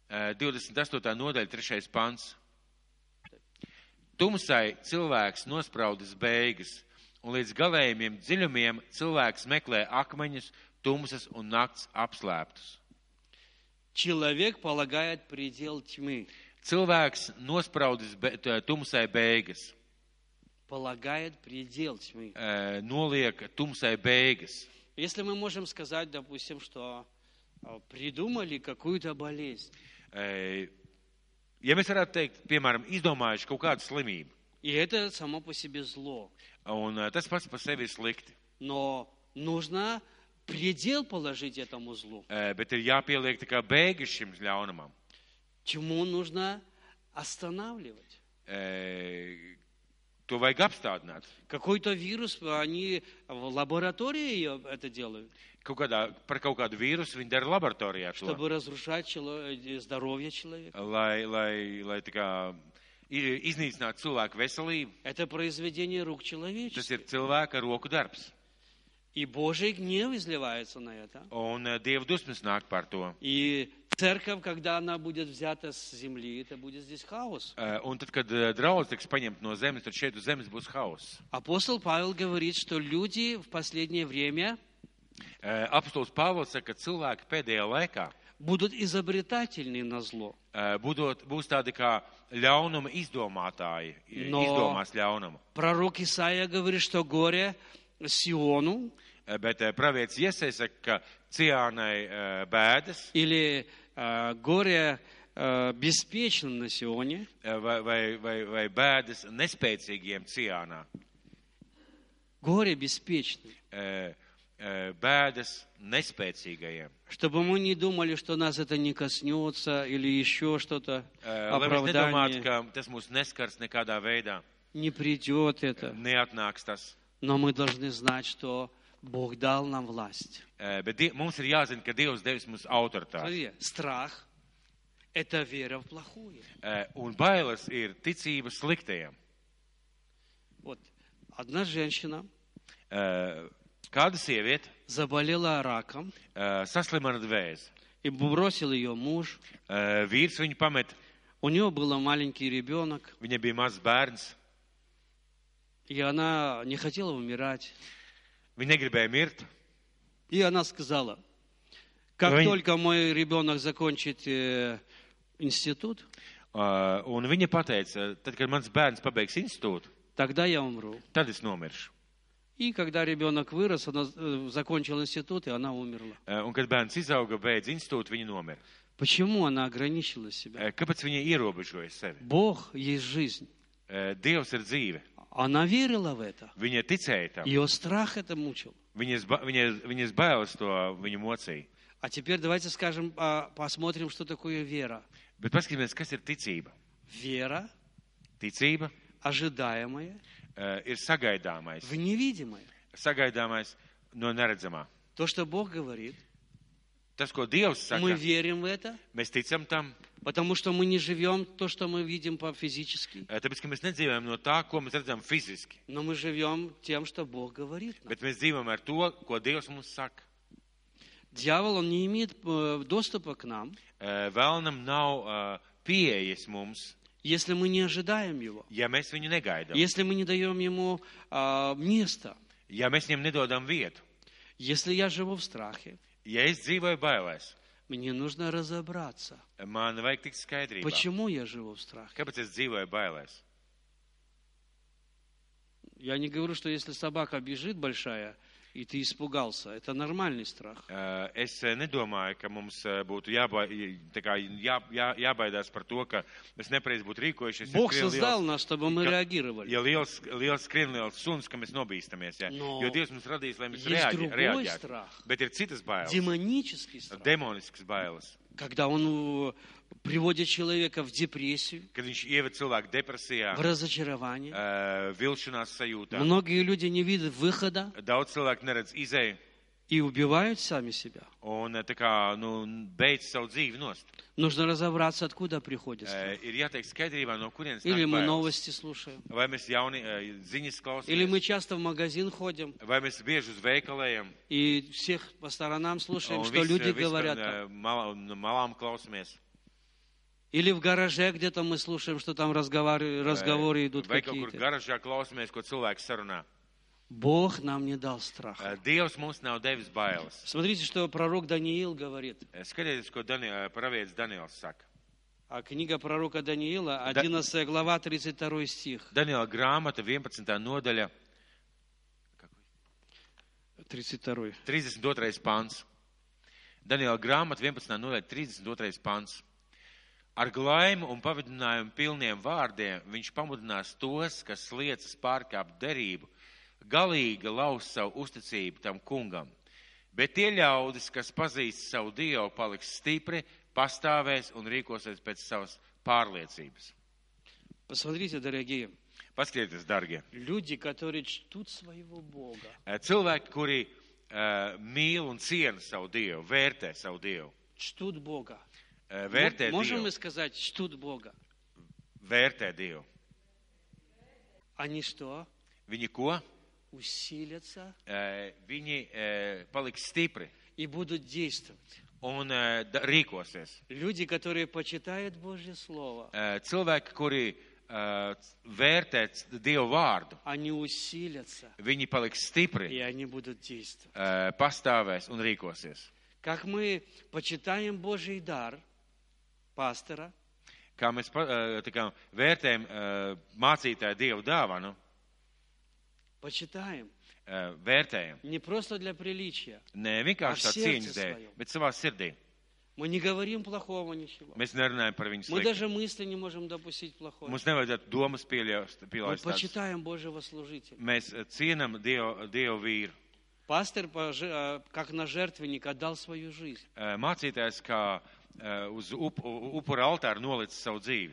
[SPEAKER 2] Ā, 28. Eh, nodaļa, 3. pants. Tumsai cilvēks nospraudis beigas, un līdz galējumiem dziļumiem cilvēks meklē akmeņus, tumsas un nakts apslēptus.
[SPEAKER 1] Человек полагает предел тьмы.
[SPEAKER 2] Cilvēks nospraudis be, t- tumsai beigas,
[SPEAKER 1] Полагает предел тьмы.
[SPEAKER 2] Ā, eh, noliek tumsai beigas.
[SPEAKER 1] Если мы можем сказать, допустим, что а, придумали какую-то болезнь,
[SPEAKER 2] Ei, Eh, Ja mēs varētu teikt, piemēram, izdomājuši kaut kādu slimību,
[SPEAKER 1] и это само по себе зло,
[SPEAKER 2] un eh, tas pats par sevi ir slikti,
[SPEAKER 1] но нужно предел положить этому злу.
[SPEAKER 2] eh, bet ir jāpieliek tā kā beigas šim ļaunumam.
[SPEAKER 1] Чему нужно останавливать?
[SPEAKER 2] Eh, To vajag apstādināt.
[SPEAKER 1] Какой-то вирус, они в лаборатории её это делают,
[SPEAKER 2] Kaut kādā, par kaut kādu vīrusu viņi dara laboratorijā, to,
[SPEAKER 1] чтобы разрушать чело- э, здоровье человека.
[SPEAKER 2] lai, lai, lai tā kā i- iznīcinātu cilvēku veselību.
[SPEAKER 1] Это произведение рук
[SPEAKER 2] Tas
[SPEAKER 1] человеческих.
[SPEAKER 2] ir cilvēka roku darbs,
[SPEAKER 1] И Божий гнев изливается на это.
[SPEAKER 2] e, un eh, dieva dusmas nāk par to.
[SPEAKER 1] И Церковь, когда она будет взята с земли, это будет здесь хаос.
[SPEAKER 2] Eh, Un tad, kad eh, draudz tiks paņemt no zemes, tad šeit uz zemes būs haoss.
[SPEAKER 1] Апостол Павел говорит, что люди в последнее время
[SPEAKER 2] Eh, Apostols Pāvils saka, ka cilvēki pēdējā laikā
[SPEAKER 1] будут изобретательны на зло.
[SPEAKER 2] eh, budot, būs tādi kā ļaunuma izdomātāji, eh,
[SPEAKER 1] No.
[SPEAKER 2] izdomās ļaunumu.
[SPEAKER 1] Пророк Исаия говорит, что горе Сиону
[SPEAKER 2] Eh, Bet eh, pravietis iesēs saka, ka ciānai eh, bēdas
[SPEAKER 1] или э, горе э, беспечным на Сионе,
[SPEAKER 2] eh, vai, vai, vai, vai bēdas nespēcīgiem ciānā.
[SPEAKER 1] горе беспечным.
[SPEAKER 2] Eh, eh, Bēdas nespēcīgajiem.
[SPEAKER 1] Чтобы мы не думали, что нас это не коснется или еще что-то,
[SPEAKER 2] Eh, Lai mēs nedomātu,
[SPEAKER 1] оправдание,
[SPEAKER 2] ka tas mūs neskars nekādā veidā.
[SPEAKER 1] не придет это.
[SPEAKER 2] Neatnāks tas.
[SPEAKER 1] Но мы должны знать, что Бог дал нам власть.
[SPEAKER 2] Eh, Bet die, mums ir jāzina, ka Dievs devis mums autoritāti.
[SPEAKER 1] Смотрите, страх – это вера в плохое.
[SPEAKER 2] Eh, Un bailes ir ticība sliktajiem.
[SPEAKER 1] Вот одна женщина
[SPEAKER 2] Eh, Kāda sieviete
[SPEAKER 1] заболела раком,
[SPEAKER 2] eh, saslima ar vēzi?
[SPEAKER 1] и бросил ее муж.
[SPEAKER 2] Eh, Vīrs viņu pamet,
[SPEAKER 1] У нее был маленький ребенок,
[SPEAKER 2] viņa bija mazs bērns.
[SPEAKER 1] и она не хотела умирать.
[SPEAKER 2] Viņa negribēja mirt.
[SPEAKER 1] И она сказала, как
[SPEAKER 2] Ой.
[SPEAKER 1] только мой ребенок закончит э, институт,
[SPEAKER 2] Eh, Un viņa pateica, tad, kad mans bērns pabeigs institūtu,
[SPEAKER 1] тогда я умру.
[SPEAKER 2] tad es nomiršu.
[SPEAKER 1] И когда ребенок вырос, она э, закончила институт, и она умерла.
[SPEAKER 2] Eh, Un, kad bērns izauga, beidz institūtu, viņa nomira.
[SPEAKER 1] Почему она ограничила себя?
[SPEAKER 2] Eh, Kāpēc viņa ierobežoja sevi?
[SPEAKER 1] Бог есть жизнь.
[SPEAKER 2] Eh, Dievs ir dzīve.
[SPEAKER 1] Она верила в это.
[SPEAKER 2] Viņa ticēja tam.
[SPEAKER 1] Ее страх это мучил.
[SPEAKER 2] Viņas, ba- viņas, viņas bailes to viņa mocīja.
[SPEAKER 1] А теперь давайте скажем, а, посмотрим, что такое вера.
[SPEAKER 2] Bet paskatīsimies, kas ir ticība.
[SPEAKER 1] Вера,
[SPEAKER 2] Ticība
[SPEAKER 1] ожидаемая,
[SPEAKER 2] uh, ir sagaidāmais.
[SPEAKER 1] в невидимое.
[SPEAKER 2] Sagaidāmais no neredzamā.
[SPEAKER 1] То, что Бог говорит,
[SPEAKER 2] Tas, ko Dievs
[SPEAKER 1] мы
[SPEAKER 2] saka,
[SPEAKER 1] верим в это,
[SPEAKER 2] mēs ticam tam, uh,
[SPEAKER 1] потому что мы не живем то, что мы видим по физически.
[SPEAKER 2] eh, tāpēc, ka mēs nedzīvojam no tā, ko mēs redzam fiziski,
[SPEAKER 1] Но мы живем тем, что Бог говорит нам.
[SPEAKER 2] bet mēs dzīvojam ar to, ko Dievs mums saka.
[SPEAKER 1] Дьявол, он не имеет э, доступа к нам,
[SPEAKER 2] Eh, Vēlnam nav eh, pieejas mums,
[SPEAKER 1] если мы не ожидаем его,
[SPEAKER 2] ja mēs viņu negaidām,
[SPEAKER 1] если мы не даем ему а, места,
[SPEAKER 2] ja mēs viņam nedodam vietu.
[SPEAKER 1] если я живу в страхе.
[SPEAKER 2] Ja es dzīvoju bailēs, eh,
[SPEAKER 1] Мне нужно разобраться,
[SPEAKER 2] man vajag tikt skaidrībā,
[SPEAKER 1] почему я живу в страхе.
[SPEAKER 2] kāpēc es dzīvoju bailēs.
[SPEAKER 1] Я не говорю, что если собака бежит большая, и ты испугался, это нормальный страх.
[SPEAKER 2] Uh, Es eh, nedomāju, ka mums eh, būtu jāba, tā kā jā, jā, jābaidās par to, ka mēs nepareizi būtu rīkojušies. Ja
[SPEAKER 1] Бог
[SPEAKER 2] skrien
[SPEAKER 1] создал
[SPEAKER 2] liels-
[SPEAKER 1] нас, чтобы мы
[SPEAKER 2] Ка-
[SPEAKER 1] реагировали.
[SPEAKER 2] Ja liels, liels skrien liels suns, ka mēs nobīstamies, jā.
[SPEAKER 1] No.
[SPEAKER 2] jo Dievs mums radīs, lai
[SPEAKER 1] Есть
[SPEAKER 2] mēs reaģē-
[SPEAKER 1] другой
[SPEAKER 2] reaģētu.
[SPEAKER 1] страх.
[SPEAKER 2] Bet ir citas bailes,
[SPEAKER 1] Демонический страх,
[SPEAKER 2] demoniskas bailes,
[SPEAKER 1] когда он э, приводит человека в депрессию,
[SPEAKER 2] kad viņš ieved cilvēku depresijā,
[SPEAKER 1] в разочарование.
[SPEAKER 2] eh, vilšanās sajūtā.
[SPEAKER 1] Многие люди не видят выхода
[SPEAKER 2] Daudz cilvēku neredz izēju
[SPEAKER 1] и убивают сами себя.
[SPEAKER 2] un eh, tā kā, nu, beidz savu dzīvi nost.
[SPEAKER 1] Нужно разобраться, откуда приходит страх.
[SPEAKER 2] Eh, Ir jāteikt skaidrībā, no kurienes
[SPEAKER 1] Или
[SPEAKER 2] nāk
[SPEAKER 1] мы
[SPEAKER 2] bailes.
[SPEAKER 1] новости слушаем,
[SPEAKER 2] Vai mēs jauni eh, ziņas klausāmies?
[SPEAKER 1] или мы часто в магазин ходим
[SPEAKER 2] Vai mēs bieži uz veikaliem
[SPEAKER 1] и всех по сторонам слушаем,
[SPEAKER 2] un
[SPEAKER 1] что
[SPEAKER 2] vis-
[SPEAKER 1] люди
[SPEAKER 2] vispār,
[SPEAKER 1] говорят. там.
[SPEAKER 2] eh, malā- no malām klausāmies?
[SPEAKER 1] Или в гараже где-то мы слушаем, что там разговоры, разговоры идут
[SPEAKER 2] Vai kaut kur
[SPEAKER 1] какие-то.
[SPEAKER 2] garažā klausāmies, ko cilvēks sarunā?
[SPEAKER 1] Бог нам не дал страха.
[SPEAKER 2] Eh, Dievs mums nav devis bailes.
[SPEAKER 1] Смотрите, что пророк Даниил говорит.
[SPEAKER 2] Eh, Skatieties, ko Dani, eh, pravietis Daniels saka.
[SPEAKER 1] А книга пророка Даниила,
[SPEAKER 2] Да.
[SPEAKER 1] 11 глава, 32 стих.
[SPEAKER 2] Daniela grāmata 11. nodaļa,
[SPEAKER 1] 32.
[SPEAKER 2] 32. pāns. Daniela grāmata 11. nodaļa, 32. pāns. Ar glaimu un pavadinājumu pilniem vārdiem viņš pamudinās tos, kas liecas pārkāpt derību, galīgi laus savu uzticību tam kungam. Bet tie ļaudis, kas pazīst savu dievu, paliks stipri, pastāvēs un rīkosies pēc savas pārliecības.
[SPEAKER 1] Посмотрите, дорогие,
[SPEAKER 2] Paskatieties, darbie!
[SPEAKER 1] люди, которые чтут своего Бога,
[SPEAKER 2] Eh, Cilvēki, kuri uh, mīl un ciena savu dievu, vērtē savu dievu,
[SPEAKER 1] чтут Бога.
[SPEAKER 2] uh,
[SPEAKER 1] М-
[SPEAKER 2] vērtē
[SPEAKER 1] Можем
[SPEAKER 2] dievu,
[SPEAKER 1] мы сказать, чтут Бога?
[SPEAKER 2] vērtē dievu.
[SPEAKER 1] Они что?
[SPEAKER 2] Viņi ko?
[SPEAKER 1] Усилятся
[SPEAKER 2] Eh, viņi eh, paliks stipri
[SPEAKER 1] и будут действовать.
[SPEAKER 2] un eh, da- rīkosies.
[SPEAKER 1] Люди, которые почитают Божье Слово,
[SPEAKER 2] Eh, Cilvēki, kuri eh, vērtē c- Dievu vārdu,
[SPEAKER 1] они усилятся,
[SPEAKER 2] viņi paliks stipri,
[SPEAKER 1] и они будут действовать.
[SPEAKER 2] eh, pastāvēs un rīkosies.
[SPEAKER 1] Как мы почитаем Божий дар пастора,
[SPEAKER 2] Kā mēs pa- eh, tā kā vērtējam eh, mācītāju Dievu dāvanu,
[SPEAKER 1] почитаем
[SPEAKER 2] eh, vērtējam.
[SPEAKER 1] не просто для приличия.
[SPEAKER 2] Ne
[SPEAKER 1] Ar
[SPEAKER 2] vienkārši tā
[SPEAKER 1] sirdi
[SPEAKER 2] cīņas dēļ,
[SPEAKER 1] savu.
[SPEAKER 2] bet savā sirdī.
[SPEAKER 1] Мы не говорим плохого ничего.
[SPEAKER 2] Mēs nerunājam par viņu
[SPEAKER 1] Мы
[SPEAKER 2] sliktu.
[SPEAKER 1] даже мысли не можем допустить плохого.
[SPEAKER 2] Mums nevajadzētu domas pieļaust,
[SPEAKER 1] Мы
[SPEAKER 2] pielaist. tādas.
[SPEAKER 1] почитаем Божьего служителя.
[SPEAKER 2] Mēs eh, cienam Dievu, Dievu vīru.
[SPEAKER 1] Пастор, пожи- а, как на жертвенник, отдал свою жизнь.
[SPEAKER 2] Eh, Mācītājs, kā eh, uz up, u- upura altāra nolicis savu dzīvi.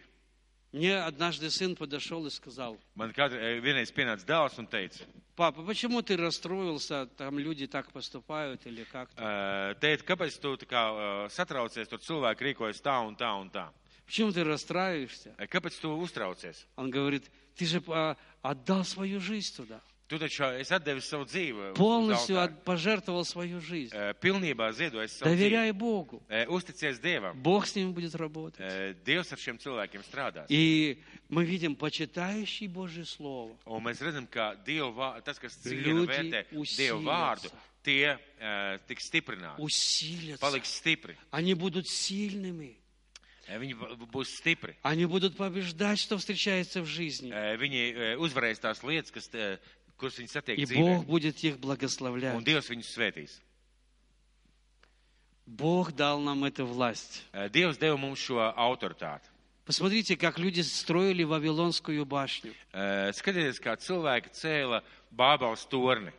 [SPEAKER 1] Мне однажды сын подошел и сказал,
[SPEAKER 2] Man kādre- eh, vienreiz pienāca dēls un teica,
[SPEAKER 1] папа, почему ты расстроился, там люди так поступают или как-то?
[SPEAKER 2] eh, tēt, kāpēc tu tā kā eh, satraucies, tur cilvēki rīkojas tā un tā un tā.
[SPEAKER 1] Почему ты расстраиваешься?
[SPEAKER 2] Eh, Kāpēc tu uztraucies?
[SPEAKER 1] Он говорит, ты же а, отдал свою жизнь туда.
[SPEAKER 2] Tu taču eh, es atdevu savu dzīvi. uz
[SPEAKER 1] Полностью
[SPEAKER 2] altāru.
[SPEAKER 1] от- пожертвовал свою жизнь.
[SPEAKER 2] Eh, Pilnībā ziedoju es savu dzīvi.
[SPEAKER 1] Доверяй Богу.
[SPEAKER 2] Eh, Uzticies Dievam.
[SPEAKER 1] Бог с ним будет работать.
[SPEAKER 2] Eh, Dievs ar šiem cilvēkiem strādās.
[SPEAKER 1] И мы видим, почитающий Божье Слово,
[SPEAKER 2] Un mēs redzam, ka Dievu vā- tas, kas cienu
[SPEAKER 1] Ļudži
[SPEAKER 2] vērtē Dievu
[SPEAKER 1] uzsīlās.
[SPEAKER 2] vārdu, tie uh, tiks stiprināti,
[SPEAKER 1] усилятся.
[SPEAKER 2] paliks stipri.
[SPEAKER 1] Они будут сильными.
[SPEAKER 2] Eh, Viņi va- būs stipri.
[SPEAKER 1] Они будут побеждать, что встречается в жизни.
[SPEAKER 2] Eh, Viņi eh, uzvarēs tās lietas, kas, eh, kuras viņi satiek
[SPEAKER 1] И Бог
[SPEAKER 2] dzīvē.
[SPEAKER 1] будет их
[SPEAKER 2] Un
[SPEAKER 1] благословлять.
[SPEAKER 2] Dievs viņus svētīs.
[SPEAKER 1] Бог дал нам эту власть.
[SPEAKER 2] Eh, Dievs deva mums šo autoritāti.
[SPEAKER 1] Посмотрите, как люди строили Вавилонскую башню.
[SPEAKER 2] Eh, Skatieties, kā cilvēki cēla bābaus torni,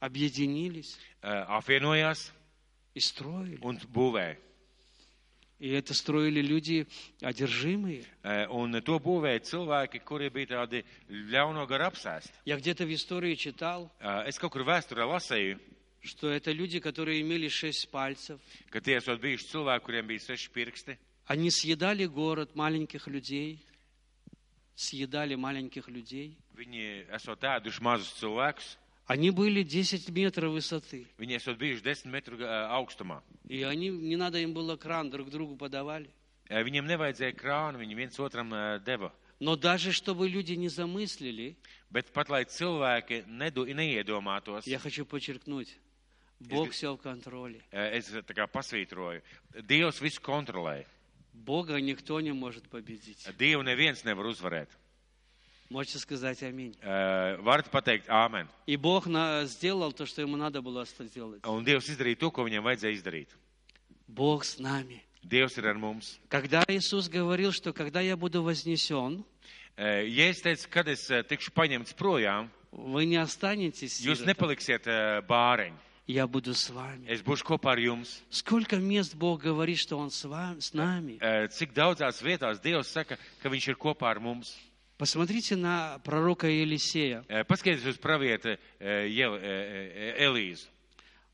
[SPEAKER 1] Объединились
[SPEAKER 2] eh, apvienojās
[SPEAKER 1] и строили.
[SPEAKER 2] un būvēja.
[SPEAKER 1] И это строили люди одержимые.
[SPEAKER 2] Eh, Un to būvēja cilvēki, kuri bija tādi ļauno garu apsēsti.
[SPEAKER 1] Я где-то в истории читал,
[SPEAKER 2] Eh, Es kaut kur vēsturē lasēju,
[SPEAKER 1] что это люди, которые имели шесть пальцев.
[SPEAKER 2] ka tie esot bijuši cilvēki, kuriem bija seši pirksti.
[SPEAKER 1] Они съедали город маленьких людей, съедали маленьких людей.
[SPEAKER 2] Viņi esot ēduši mazus cilvēkus,
[SPEAKER 1] Они были 10 метров высоты.
[SPEAKER 2] viņi esot bijuši desmit metru eh, augstumā.
[SPEAKER 1] И они, не надо им было кран, друг другу подавали.
[SPEAKER 2] Eh, Viņiem nevajadzēja krānu, viņi viens otram eh, deva.
[SPEAKER 1] Но даже чтобы люди не замыслили,
[SPEAKER 2] Bet pat lai cilvēki nedu, neiedomātos,
[SPEAKER 1] я хочу подчеркнуть, Бог
[SPEAKER 2] Если-
[SPEAKER 1] все в контроле.
[SPEAKER 2] eh, es tā kā pasvītroju, Dievs visu kontrolē.
[SPEAKER 1] Бога никто не может победить.
[SPEAKER 2] Dievu neviens nevar uzvarēt.
[SPEAKER 1] Можете сказать аминь.
[SPEAKER 2] Eh, Varat pateikt āmen.
[SPEAKER 1] И Бог на- сделал то, что ему надо было сделать.
[SPEAKER 2] Un Dievs izdarīja to, ko viņam vajadzēja izdarīt.
[SPEAKER 1] Бог с нами.
[SPEAKER 2] Dievs ir ar mums.
[SPEAKER 1] Когда Иисус говорил, что когда я буду вознесен,
[SPEAKER 2] Eh, Ja es teicu, kad es eh, tikšu paņemts projām,
[SPEAKER 1] вы не останетесь,
[SPEAKER 2] jūs
[SPEAKER 1] сиротами,
[SPEAKER 2] nepaliksiet eh, bāriņi.
[SPEAKER 1] я буду с вами.
[SPEAKER 2] Es būšu kopā ar jums.
[SPEAKER 1] Сколько мест Бог говорит, что Он с, вами, с нами.
[SPEAKER 2] Eh, Cik daudzās vietās Dievs saka, ka Viņš ir kopā ar mums.
[SPEAKER 1] Посмотрите на пророка Елисея.
[SPEAKER 2] Eh, Paskatieties uz pravieti eh, Jel- eh, eh, Elīzu.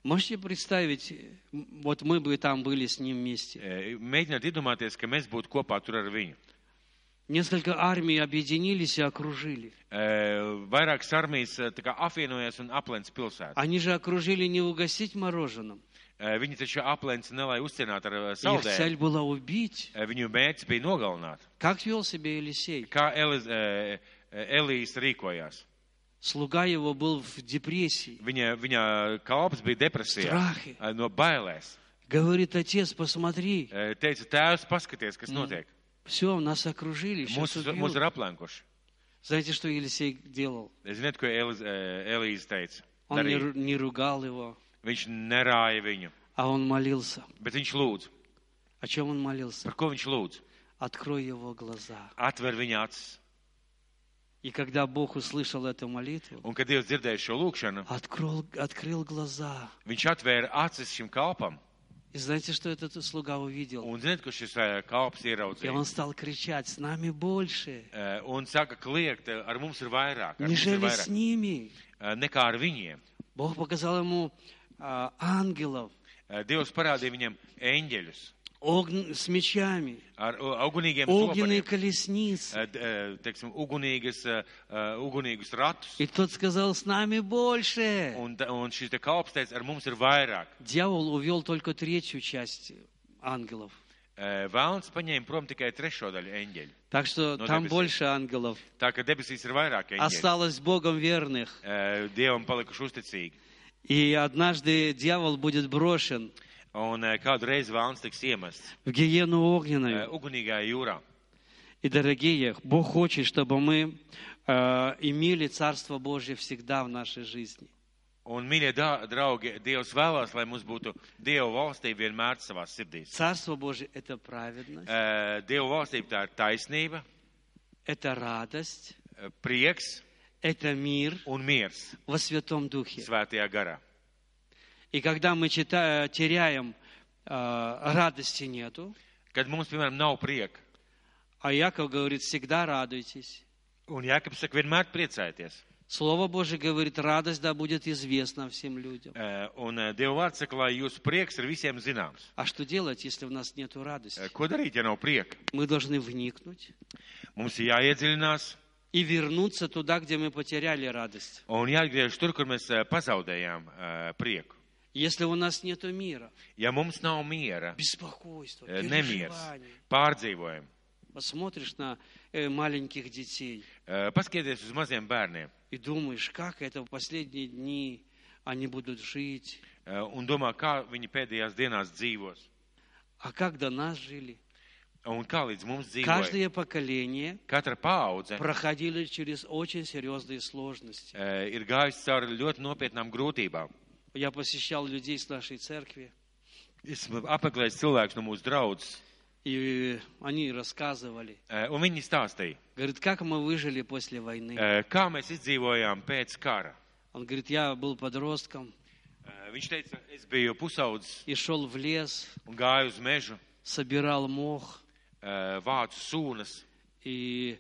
[SPEAKER 1] Можете представить, м, вот мы бы там были с ним вместе.
[SPEAKER 2] Eh, Mēģiniet iedomāties, ka mēs būtu kopā tur ar viņu.
[SPEAKER 1] Несколько армий объединились и окружили.
[SPEAKER 2] Eh, Vairākas armijas eh, tā kā apvienojās un aplēca pilsētu.
[SPEAKER 1] Они же окружили не угостить мороженым.
[SPEAKER 2] Eh, Viņi taču aplēca ne lai uzcienātu ar eh,
[SPEAKER 1] Их
[SPEAKER 2] saldēm.
[SPEAKER 1] цель была убить.
[SPEAKER 2] Eh, Viņu mērķis bija nogalināt.
[SPEAKER 1] Как вел себя Елисей?
[SPEAKER 2] Kā Eliz- eh, eh, Elīs rīkojās?
[SPEAKER 1] Слуга его был в депрессии.
[SPEAKER 2] Viņa, viņa kalps bija depresijā,
[SPEAKER 1] Страхи.
[SPEAKER 2] eh, no bailēs.
[SPEAKER 1] Говорит, отец, посмотри,
[SPEAKER 2] Eh, Teica, tēvs, paskaties, kas notiek.
[SPEAKER 1] все, нас окружили, сейчас
[SPEAKER 2] Mūsu, mūsu ir
[SPEAKER 1] убьют.
[SPEAKER 2] aplēkuši.
[SPEAKER 1] Знаете, что Елисей делал?
[SPEAKER 2] Ziniet, ko Eliz, eh, Elīze teica?
[SPEAKER 1] Он не,
[SPEAKER 2] Darīja.
[SPEAKER 1] ру- не ругал его,
[SPEAKER 2] Viņš nerāja viņu,
[SPEAKER 1] а он молился.
[SPEAKER 2] bet viņš lūdz.
[SPEAKER 1] О чем он молился?
[SPEAKER 2] Par ko viņš lūdz?
[SPEAKER 1] Открой его глаза.
[SPEAKER 2] Atver viņa acis.
[SPEAKER 1] И когда Бог услышал эту молитву,
[SPEAKER 2] Un, kad Dievs dzirdēja šo lūgšanu,
[SPEAKER 1] открыл, открыл глаза.
[SPEAKER 2] viņš atvēra acis šim kalpam.
[SPEAKER 1] И знаете, что этот слуга увидел?
[SPEAKER 2] Un ziniet, ko šis eh, kalps
[SPEAKER 1] И
[SPEAKER 2] ieraudzīja?
[SPEAKER 1] он стал кричать, с нами больше,
[SPEAKER 2] Eh, Un saka, kliegt, eh, ar mums ir vairāk, ar mums ir
[SPEAKER 1] нежели с
[SPEAKER 2] vairāk
[SPEAKER 1] ними.
[SPEAKER 2] eh, nekā ar viņiem.
[SPEAKER 1] Бог показал ему а, ангелов,
[SPEAKER 2] Eh, Dievs parādīja viņam eņģeļus.
[SPEAKER 1] огн- с мечами,
[SPEAKER 2] ar o, augunīgiem
[SPEAKER 1] огненные
[SPEAKER 2] sopariem,
[SPEAKER 1] колесницы.
[SPEAKER 2] eh, d- eh, teiksim, ugunīgas, eh, eh, ugunīgus ratus.
[SPEAKER 1] И тот сказал, с нами больше.
[SPEAKER 2] Un, ta- un šis te kalps teica, ar mums ir vairāk.
[SPEAKER 1] Дьявол увел только третью часть ангелов.
[SPEAKER 2] Eh, Vēlns paņēma prom tikai trešo daļu eņģeļu.
[SPEAKER 1] Так что
[SPEAKER 2] Ну,
[SPEAKER 1] там
[SPEAKER 2] да, без-
[SPEAKER 1] больше ангелов.
[SPEAKER 2] Tā ka debesīs ir vairāk eņģeļu.
[SPEAKER 1] Осталось Богом верных.
[SPEAKER 2] Eh, Dievam palikuši uzticīgi.
[SPEAKER 1] И однажды дьявол будет брошен
[SPEAKER 2] Un eh, kādu reizi vēlns tiks iemests
[SPEAKER 1] в гиену
[SPEAKER 2] eh,
[SPEAKER 1] огненную.
[SPEAKER 2] ugunīgajā jūrā.
[SPEAKER 1] И, дорогие, Бог хочет, чтобы мы э, имели Царство Божье всегда в нашей жизни.
[SPEAKER 2] Un, mīļie dā- draugi, Dievs vēlās, lai mums būtu Dieva valstība vienmēr savā sirdīs.
[SPEAKER 1] Царство Божье – это праведность,
[SPEAKER 2] Eh, Dieva valstība tā ir taisnība,
[SPEAKER 1] это радость,
[SPEAKER 2] eh, prieks
[SPEAKER 1] это мир
[SPEAKER 2] un miers
[SPEAKER 1] во Святом Духе.
[SPEAKER 2] svētajā garā.
[SPEAKER 1] И когда мы чита- теряем, э, радости нету,
[SPEAKER 2] Kad mums, piemēram, nav prieka,
[SPEAKER 1] а Яков говорит, всегда радуйтесь.
[SPEAKER 2] un Jākapis saka, vienmēr priecājieties.
[SPEAKER 1] Слово Божье говорит, радость да будет известна всем людям.
[SPEAKER 2] Eh, Un eh, Dieva vārds saka, lai jūsu prieks ir visiem zināms.
[SPEAKER 1] А что делать, если у нас нет
[SPEAKER 2] Eh,
[SPEAKER 1] радости?
[SPEAKER 2] Ko darīt, ja nav prieka?
[SPEAKER 1] Мы должны вникнуть
[SPEAKER 2] Mums ir jāiedziļinās
[SPEAKER 1] и вернуться туда, где мы потеряли радость.
[SPEAKER 2] un jāatgriežas tur, kur mēs eh, pazaudējām eh, prieku.
[SPEAKER 1] Если у нас нет мира,
[SPEAKER 2] Ja mums nav miera,
[SPEAKER 1] беспокойства,
[SPEAKER 2] eh, nemieres,
[SPEAKER 1] переживаний,
[SPEAKER 2] pārdzīvojam,
[SPEAKER 1] посмотришь на э, маленьких детей
[SPEAKER 2] eh, paskatieties uz maziem bērniem.
[SPEAKER 1] и думаешь, как это в последние дни они будут жить,
[SPEAKER 2] Eh, un domā, kā viņi pēdējās dienās dzīvos
[SPEAKER 1] а как до нас жили.
[SPEAKER 2] un kā līdz mums dzīvoja.
[SPEAKER 1] Каждое поколение
[SPEAKER 2] Katra paudze
[SPEAKER 1] проходили через очень серьезные сложности.
[SPEAKER 2] eh, ir gājusi cauri ļoti nopietnām grūtībām.
[SPEAKER 1] Я посещал людей с нашей церкви,
[SPEAKER 2] Esmu apmeklējis cilvēkus no mūsu draudzes,
[SPEAKER 1] и они рассказывали.
[SPEAKER 2] eh, un viņi stāstīja,
[SPEAKER 1] Говорит, как мы выжили после войны?
[SPEAKER 2] eh, kā mēs izdzīvojām pēc kara.
[SPEAKER 1] Он говорит, я был подростком
[SPEAKER 2] Eh, Viņš teica, es biju pusaudzis
[SPEAKER 1] и шел в лес,
[SPEAKER 2] un gāju uz mežu,
[SPEAKER 1] собирал мох
[SPEAKER 2] eh, vācu sūnas
[SPEAKER 1] и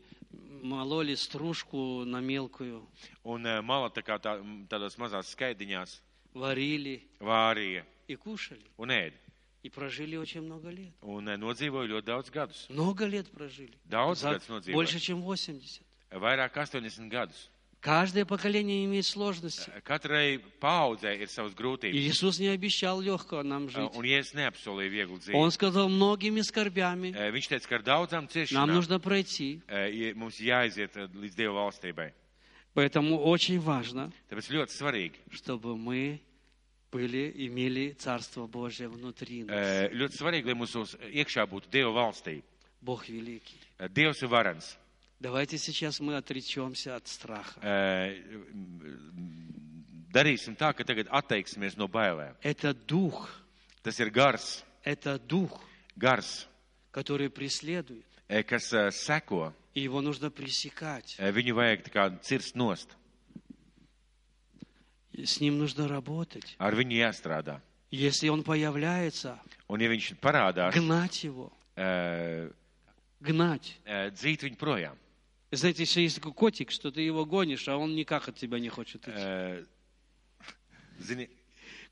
[SPEAKER 1] мололи стружку на мелкую,
[SPEAKER 2] un eh, mala tā kā tā, tādās mazās skaidiņās
[SPEAKER 1] варили
[SPEAKER 2] vārīja
[SPEAKER 1] и кушали.
[SPEAKER 2] un ēda.
[SPEAKER 1] И прожили очень много лет.
[SPEAKER 2] Un eh, nodzīvoju ļoti daudz gadus.
[SPEAKER 1] Много лет прожили.
[SPEAKER 2] Daudz
[SPEAKER 1] За-
[SPEAKER 2] gadus nodzīvoju.
[SPEAKER 1] Больше, чем 80.
[SPEAKER 2] Vairāk kā 80 gadus.
[SPEAKER 1] Каждое поколение имеет сложности.
[SPEAKER 2] Katrai paudzei ir savas
[SPEAKER 1] И
[SPEAKER 2] grūtības.
[SPEAKER 1] Иисус не обещал легко нам жить.
[SPEAKER 2] Un Jēzus neapsolīja vieglu dzīvi.
[SPEAKER 1] Он сказал, многими скорбями
[SPEAKER 2] Eh, Viņš teica, ka ar daudzām
[SPEAKER 1] нам
[SPEAKER 2] ciešanām
[SPEAKER 1] нужно пройти.
[SPEAKER 2] eh, ie- mums jāiziet eh, līdz Dieva valstībai.
[SPEAKER 1] Поэтому очень важно,
[SPEAKER 2] Tāpēc ļoti svarīgi,
[SPEAKER 1] чтобы мы были, имели Царство Божие внутри нас.
[SPEAKER 2] eh, ļoti svarīgi, lai mūsu iekšā būtu Dieva valstība.
[SPEAKER 1] Бог великий.
[SPEAKER 2] Eh, Dievs ir varans.
[SPEAKER 1] Давайте сейчас мы отречемся от страха.
[SPEAKER 2] Eh, Darīsim tā, ka tagad atteiksimies no bailēm.
[SPEAKER 1] Это дух,
[SPEAKER 2] Tas ir gars,
[SPEAKER 1] это дух,
[SPEAKER 2] gars
[SPEAKER 1] который преследует.
[SPEAKER 2] eh, kas eh, seko.
[SPEAKER 1] И его нужно пресекать.
[SPEAKER 2] Eh, Viņu vajag tā kā cirst nost.
[SPEAKER 1] И С ним нужно работать.
[SPEAKER 2] Ar viņu jāstrādā.
[SPEAKER 1] Если он появляется,
[SPEAKER 2] Un ja viņš parādās,
[SPEAKER 1] гнать его.
[SPEAKER 2] eh,
[SPEAKER 1] Гнать.
[SPEAKER 2] eh, dzīt viņu projām.
[SPEAKER 1] Знаете, если есть такой котик, что ты его гонишь, а он никак от тебя не хочет идти.
[SPEAKER 2] Eh, Zini,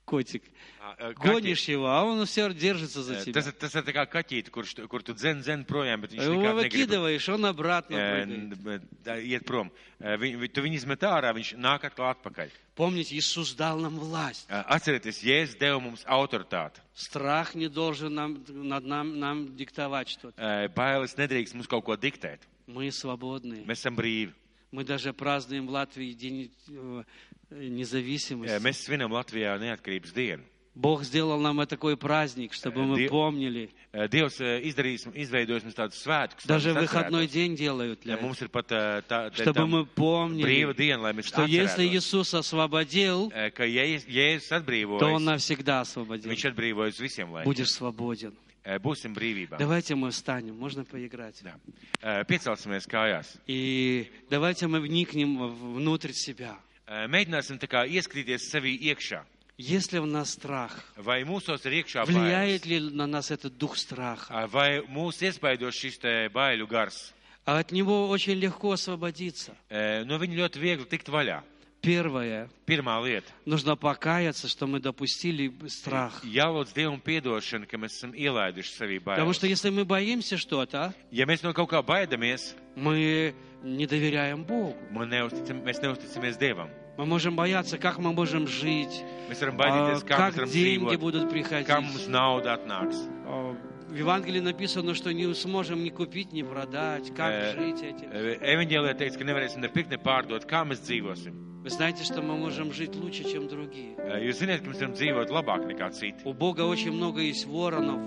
[SPEAKER 1] Котик.
[SPEAKER 2] ā, eh, kaķi-
[SPEAKER 1] Гонишь его, а он все держится за
[SPEAKER 2] eh,
[SPEAKER 1] тебя.
[SPEAKER 2] tas, ir- tas ir tā kā kaķīt, kurš, tu- kur tu dzen, dzen projām, bet viņš
[SPEAKER 1] Его
[SPEAKER 2] nekad negrib.
[SPEAKER 1] выкидываешь, он обратно
[SPEAKER 2] eh,
[SPEAKER 1] прыгает.
[SPEAKER 2] eh, Iet prom. Eh, viņ- vi- Tu viņu izmet ārā, viņš nāk atkal atpakaļ.
[SPEAKER 1] Помните, Иисус дал нам власть.
[SPEAKER 2] Eh, Atcerieties, Jēzus deva mums autoritāti.
[SPEAKER 1] Страх не должен нам, над нам, нам диктовать что-то.
[SPEAKER 2] Eh, Bailes nedrīkst mums kaut ko diktēt.
[SPEAKER 1] Мы свободные.
[SPEAKER 2] Mēs esam брīvi.
[SPEAKER 1] Мы даже празднуем в Латвии День э,
[SPEAKER 2] Eh,
[SPEAKER 1] независимости.
[SPEAKER 2] Mēs svinam Latvijā neatkarības dienu.
[SPEAKER 1] Бог сделал нам такой праздник, чтобы
[SPEAKER 2] Э,
[SPEAKER 1] мы
[SPEAKER 2] Ди-
[SPEAKER 1] помнили.
[SPEAKER 2] Eh, Dievs eh, izdarīs, izveidojis mums tādus svētkus.
[SPEAKER 1] Даже
[SPEAKER 2] lai mēs
[SPEAKER 1] выходной
[SPEAKER 2] atcerētos.
[SPEAKER 1] день делают для
[SPEAKER 2] Ja
[SPEAKER 1] этого.
[SPEAKER 2] mums ir pat eh, tā, tā,
[SPEAKER 1] Чтобы мы
[SPEAKER 2] tam brīva
[SPEAKER 1] помнили,
[SPEAKER 2] diena, lai mēs
[SPEAKER 1] что если
[SPEAKER 2] atcerētos.
[SPEAKER 1] Иисус освободил,
[SPEAKER 2] Eh, ka Jēzus Jēzus
[SPEAKER 1] то Он
[SPEAKER 2] atbrīvojas,
[SPEAKER 1] навсегда освободил.
[SPEAKER 2] viņš atbrīvojas visiem laikiem.
[SPEAKER 1] Будешь свободен.
[SPEAKER 2] Eh, Būsim brīvībā.
[SPEAKER 1] Давайте мы встанем, можно поиграть.
[SPEAKER 2] Jā. Eh, Piecelsimies kājās.
[SPEAKER 1] И давайте мы вникнем в- внутрь себя.
[SPEAKER 2] Eh, Mēģināsim tā kā ieskrīties sevi iekšā.
[SPEAKER 1] Если у нас страх,
[SPEAKER 2] Vai mūsos ir iekšā
[SPEAKER 1] влияет
[SPEAKER 2] bailes?
[SPEAKER 1] ли на нас этот дух страха?
[SPEAKER 2] Eh, Vai mūs iespaido šis te baiļu gars?
[SPEAKER 1] А от него очень легко освободиться.
[SPEAKER 2] Eh, No viņa ļoti viegli tikt vaļā.
[SPEAKER 1] Первое,
[SPEAKER 2] Pirmā lieta
[SPEAKER 1] нужно покаяться, что мы допустили страх.
[SPEAKER 2] - jālūdz Dievam piedošana, ka mēs esam ielaiduši sevī
[SPEAKER 1] Потому
[SPEAKER 2] bailes.
[SPEAKER 1] что если мы боимся что-то,
[SPEAKER 2] Ja mēs no kaut kā baidamies,
[SPEAKER 1] мы не доверяем Богу.
[SPEAKER 2] man neusticam, mēs neusticamies Dievam.
[SPEAKER 1] Мы можем бояться, как мы можем жить,
[SPEAKER 2] Mēs varam
[SPEAKER 1] а,
[SPEAKER 2] baidīties, kā mēs
[SPEAKER 1] как
[SPEAKER 2] varam
[SPEAKER 1] деньги
[SPEAKER 2] dzīvot,
[SPEAKER 1] будут
[SPEAKER 2] kā mums
[SPEAKER 1] приходить.
[SPEAKER 2] nauda atnāks.
[SPEAKER 1] А, В Евангелии написано, что не сможем ни купить, ни продать, как
[SPEAKER 2] Э,
[SPEAKER 1] жить этим.
[SPEAKER 2] Evanģēlē teiks, ka nevarēsim ne pirkt, ne pārdot, kā mēs dzīvosim.
[SPEAKER 1] Вы знаете, что мы можем жить лучше, чем другие.
[SPEAKER 2] Jūs zināt, ka mēs varam dzīvot labāk nekā citi.
[SPEAKER 1] У Бога очень много есть воронов,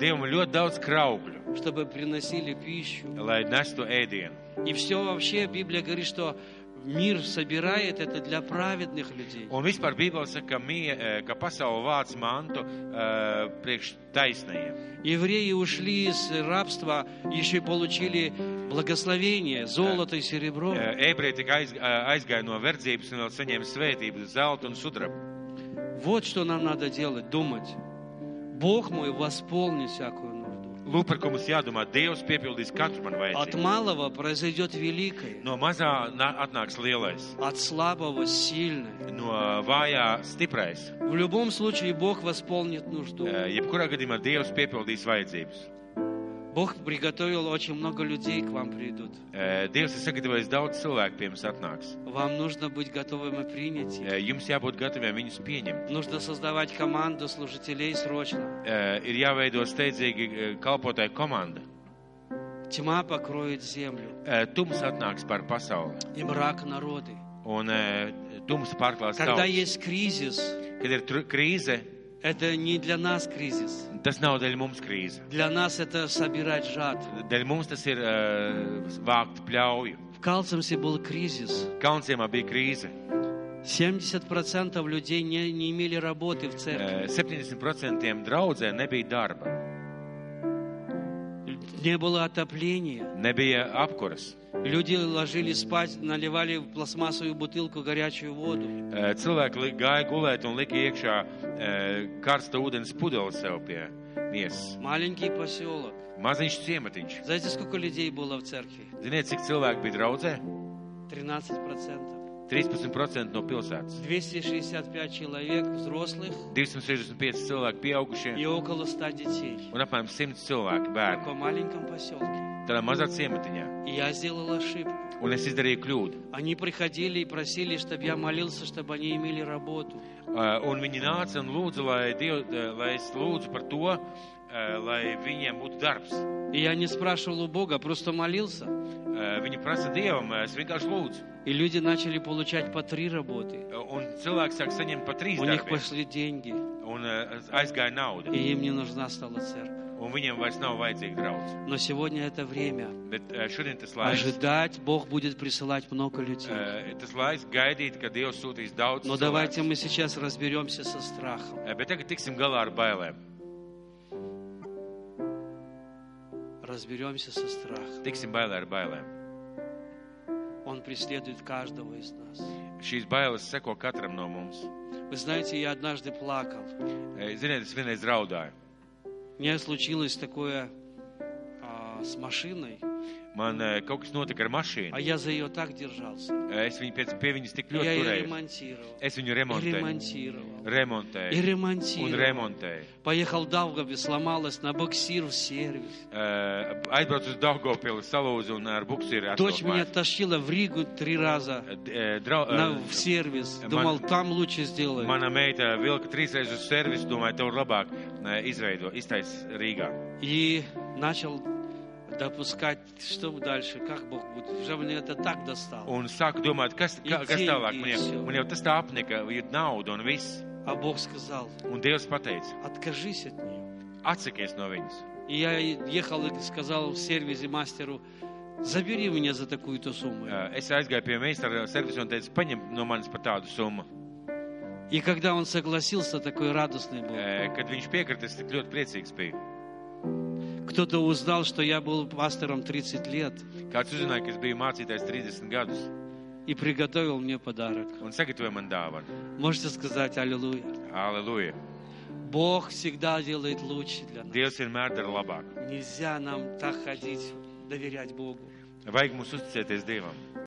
[SPEAKER 2] Dievam ir ļoti daudz kraukļu,
[SPEAKER 1] чтобы приносили пищу.
[SPEAKER 2] lai nestu ēdienu.
[SPEAKER 1] И все вообще, Библия говорит, что мир собирает это для праведных людей.
[SPEAKER 2] Un vispār Bībelē saka, ka, mie, ka pasaule vāc mantu eh, priekš taisnajiem.
[SPEAKER 1] Евреи ушли из рабства, еще и получили благословение, золото и серебро.
[SPEAKER 2] Eh, Ebreji tika aiz, eh, aizgāja no verdzības un vēl saņēma svētību, zeltu un sudrabu.
[SPEAKER 1] Вот что нам надо делать, думать. Бог мой восполнит всякую нужду.
[SPEAKER 2] Lūk, par ko mums jādomā. Dievs piepildīs katru man
[SPEAKER 1] От
[SPEAKER 2] vajadzību.
[SPEAKER 1] малого произойдет великое,
[SPEAKER 2] No mazā nā- atnāks lielais,
[SPEAKER 1] от слабого сильное.
[SPEAKER 2] no vājā stiprais.
[SPEAKER 1] В любом случае Бог восполнит нужду.
[SPEAKER 2] Eh, Jebkurā gadījumā Dievs piepildīs vajadzības.
[SPEAKER 1] Бог приготовил очень много людей к вам придут.
[SPEAKER 2] Eh, Dievs ir sagatavojis daudz cilvēku, pie mums atnāks.
[SPEAKER 1] Вам нужно быть готовым и принять. их.
[SPEAKER 2] Eh, Jums jābūt gataviem viņus pieņemt.
[SPEAKER 1] Нужно создавать команду служителей срочно.
[SPEAKER 2] Eh, Ir jāveido steidzīgi eh, kalpotāju komanda.
[SPEAKER 1] Тьма покроет землю,
[SPEAKER 2] Eh, Tums atnāks par pasauli.
[SPEAKER 1] и мрак народы.
[SPEAKER 2] Un eh, tums pārklās
[SPEAKER 1] Когда
[SPEAKER 2] tautas.
[SPEAKER 1] есть кризис,
[SPEAKER 2] Kad ir tru- krīze,
[SPEAKER 1] это не для нас кризис.
[SPEAKER 2] tas nav dēļ mums krīze.
[SPEAKER 1] Для нас это собирать жатву.
[SPEAKER 2] Dēļ mums tas ir eh, vākt pļauju.
[SPEAKER 1] В Калцемсе был кризис.
[SPEAKER 2] Kalnciemā bija krīze.
[SPEAKER 1] 70% людей не, не имели работы в церкви.
[SPEAKER 2] Eh, 70% draudzē nebija darba,
[SPEAKER 1] Не было отопления.
[SPEAKER 2] nebija apkuras.
[SPEAKER 1] Люди ложились спать, наливали в пластмассовую бутылку горячую воду.
[SPEAKER 2] Eh, Cilvēki li- gāja gulēt un lika iekšā eh, karsta ūdens pudeli sev pie miesas.
[SPEAKER 1] Маленький поселок.
[SPEAKER 2] Maziņš ciematiņš.
[SPEAKER 1] Знаете, сколько людей было в церкви?
[SPEAKER 2] Ziniet, cik cilvēki bija draudzē?
[SPEAKER 1] 13%.
[SPEAKER 2] 13% no pilsētas.
[SPEAKER 1] 265 человек взрослых
[SPEAKER 2] 265 cilvēki pieaugušie
[SPEAKER 1] и около 100 детей.
[SPEAKER 2] un apmēram 100 cilvēki
[SPEAKER 1] В
[SPEAKER 2] bērni.
[SPEAKER 1] таком маленьком поселке.
[SPEAKER 2] Tādā mazā ciematiņā.
[SPEAKER 1] И я сделал ошибку.
[SPEAKER 2] Un es izdarīju kļūdu.
[SPEAKER 1] Они приходили и просили, чтобы я молился, чтобы они имели работу.
[SPEAKER 2] Eh, Un viņi nāca un lūdza, lai, Diev, eh, lai es lūdzu par to, eh, lai viņiem būtu darbs.
[SPEAKER 1] И я не спрашивал у Бога, просто молился.
[SPEAKER 2] Eh, Viņi prasa Dievam, eh, es vienkārši lūdzu.
[SPEAKER 1] И люди начали получать по три работы.
[SPEAKER 2] Eh, Un cilvēki sāk saņemt pa trīs
[SPEAKER 1] У них
[SPEAKER 2] darbiem.
[SPEAKER 1] пошли деньги,
[SPEAKER 2] Un eh, aizgāja nauda.
[SPEAKER 1] и им не нужна стала церковь.
[SPEAKER 2] Un viņiem vairs nav vajadzīga draudz.
[SPEAKER 1] Но сегодня это время.
[SPEAKER 2] Bet eh, šodien tas laiks,
[SPEAKER 1] Ожидать Бог будет присылать много людей.
[SPEAKER 2] eh, tas laiks gaidīt, ka Dievs sūtīs daudz.
[SPEAKER 1] Но
[SPEAKER 2] cilvēkus.
[SPEAKER 1] давайте мы сейчас разберемся со страхом.
[SPEAKER 2] Eh, Bet tagad tiksim galā ar bailēm.
[SPEAKER 1] Разберемся со страхом.
[SPEAKER 2] Tiksim bailē ar bailēm.
[SPEAKER 1] Он преследует каждого из нас.
[SPEAKER 2] Šīs bailes seko katram no mums.
[SPEAKER 1] Вы знаете, я однажды плакал.
[SPEAKER 2] Eh, Ziniet, es vienreiz raudāju.
[SPEAKER 1] У меня случилось такое а, с машиной,
[SPEAKER 2] Man eh, kaut kas notika ar
[SPEAKER 1] а
[SPEAKER 2] mašīnu.
[SPEAKER 1] я за ее так держался.
[SPEAKER 2] Eh, Es viņu pēc, pie viņas tik
[SPEAKER 1] Я
[SPEAKER 2] ļoti
[SPEAKER 1] ее
[SPEAKER 2] turēju.
[SPEAKER 1] ремонтировал.
[SPEAKER 2] Es viņu
[SPEAKER 1] И
[SPEAKER 2] remontēju.
[SPEAKER 1] ремонтировал. И
[SPEAKER 2] Remontēju. Un
[SPEAKER 1] ремонтировал.
[SPEAKER 2] remontēju.
[SPEAKER 1] Поехал в Давгобе, сломалась на буксир в сервис.
[SPEAKER 2] Eh, Aizbraucu uz Daugopili, salūzu un ar buksīru.
[SPEAKER 1] Дочь меня тащила в Ригу три раза на, в сервис.
[SPEAKER 2] э,
[SPEAKER 1] Думал,
[SPEAKER 2] ман-
[SPEAKER 1] там лучше сделают.
[SPEAKER 2] э, Mana meita vilka trīsreiz uz servisu, domāju, tev labāk eh, izveido, iztais Rīgā.
[SPEAKER 1] И начал допускать, что дальше, как Бог будет. Уже мне это так достало.
[SPEAKER 2] Un sāku domāt, kas, ka, kas tālāk. Man
[SPEAKER 1] Idejas.
[SPEAKER 2] jau, man jau tas tā apnika, ir nauda un viss.
[SPEAKER 1] А Бог сказал,
[SPEAKER 2] Un Dievs pateica,
[SPEAKER 1] откажись от нее.
[SPEAKER 2] atsakies no viņas.
[SPEAKER 1] И я ехал и сказал в сервисе мастеру, забери меня за такую-то сумму.
[SPEAKER 2] Eh, Es aizgāju pie meistara servisa un teicu, paņem no manis par tādu summu.
[SPEAKER 1] И когда он согласился, такой радостный был.
[SPEAKER 2] Eh, Kad viņš piekrita, es tik ļoti priecīgs biju.
[SPEAKER 1] Кто-то узнал, что я был пастором 30 лет
[SPEAKER 2] Kāds uzzināja, ka es biju mācītājs 30 gadus
[SPEAKER 1] и приготовил мне подарок.
[SPEAKER 2] un sagatavoja man dāvanu.
[SPEAKER 1] Можете сказать аллилуйя.
[SPEAKER 2] Aleluja!
[SPEAKER 1] Бог всегда делает лучше для нас.
[SPEAKER 2] Dievs vienmēr dara labāk.
[SPEAKER 1] Нельзя нам так ходить, доверять Богу.
[SPEAKER 2] Vajag mums uzticēties Dievam.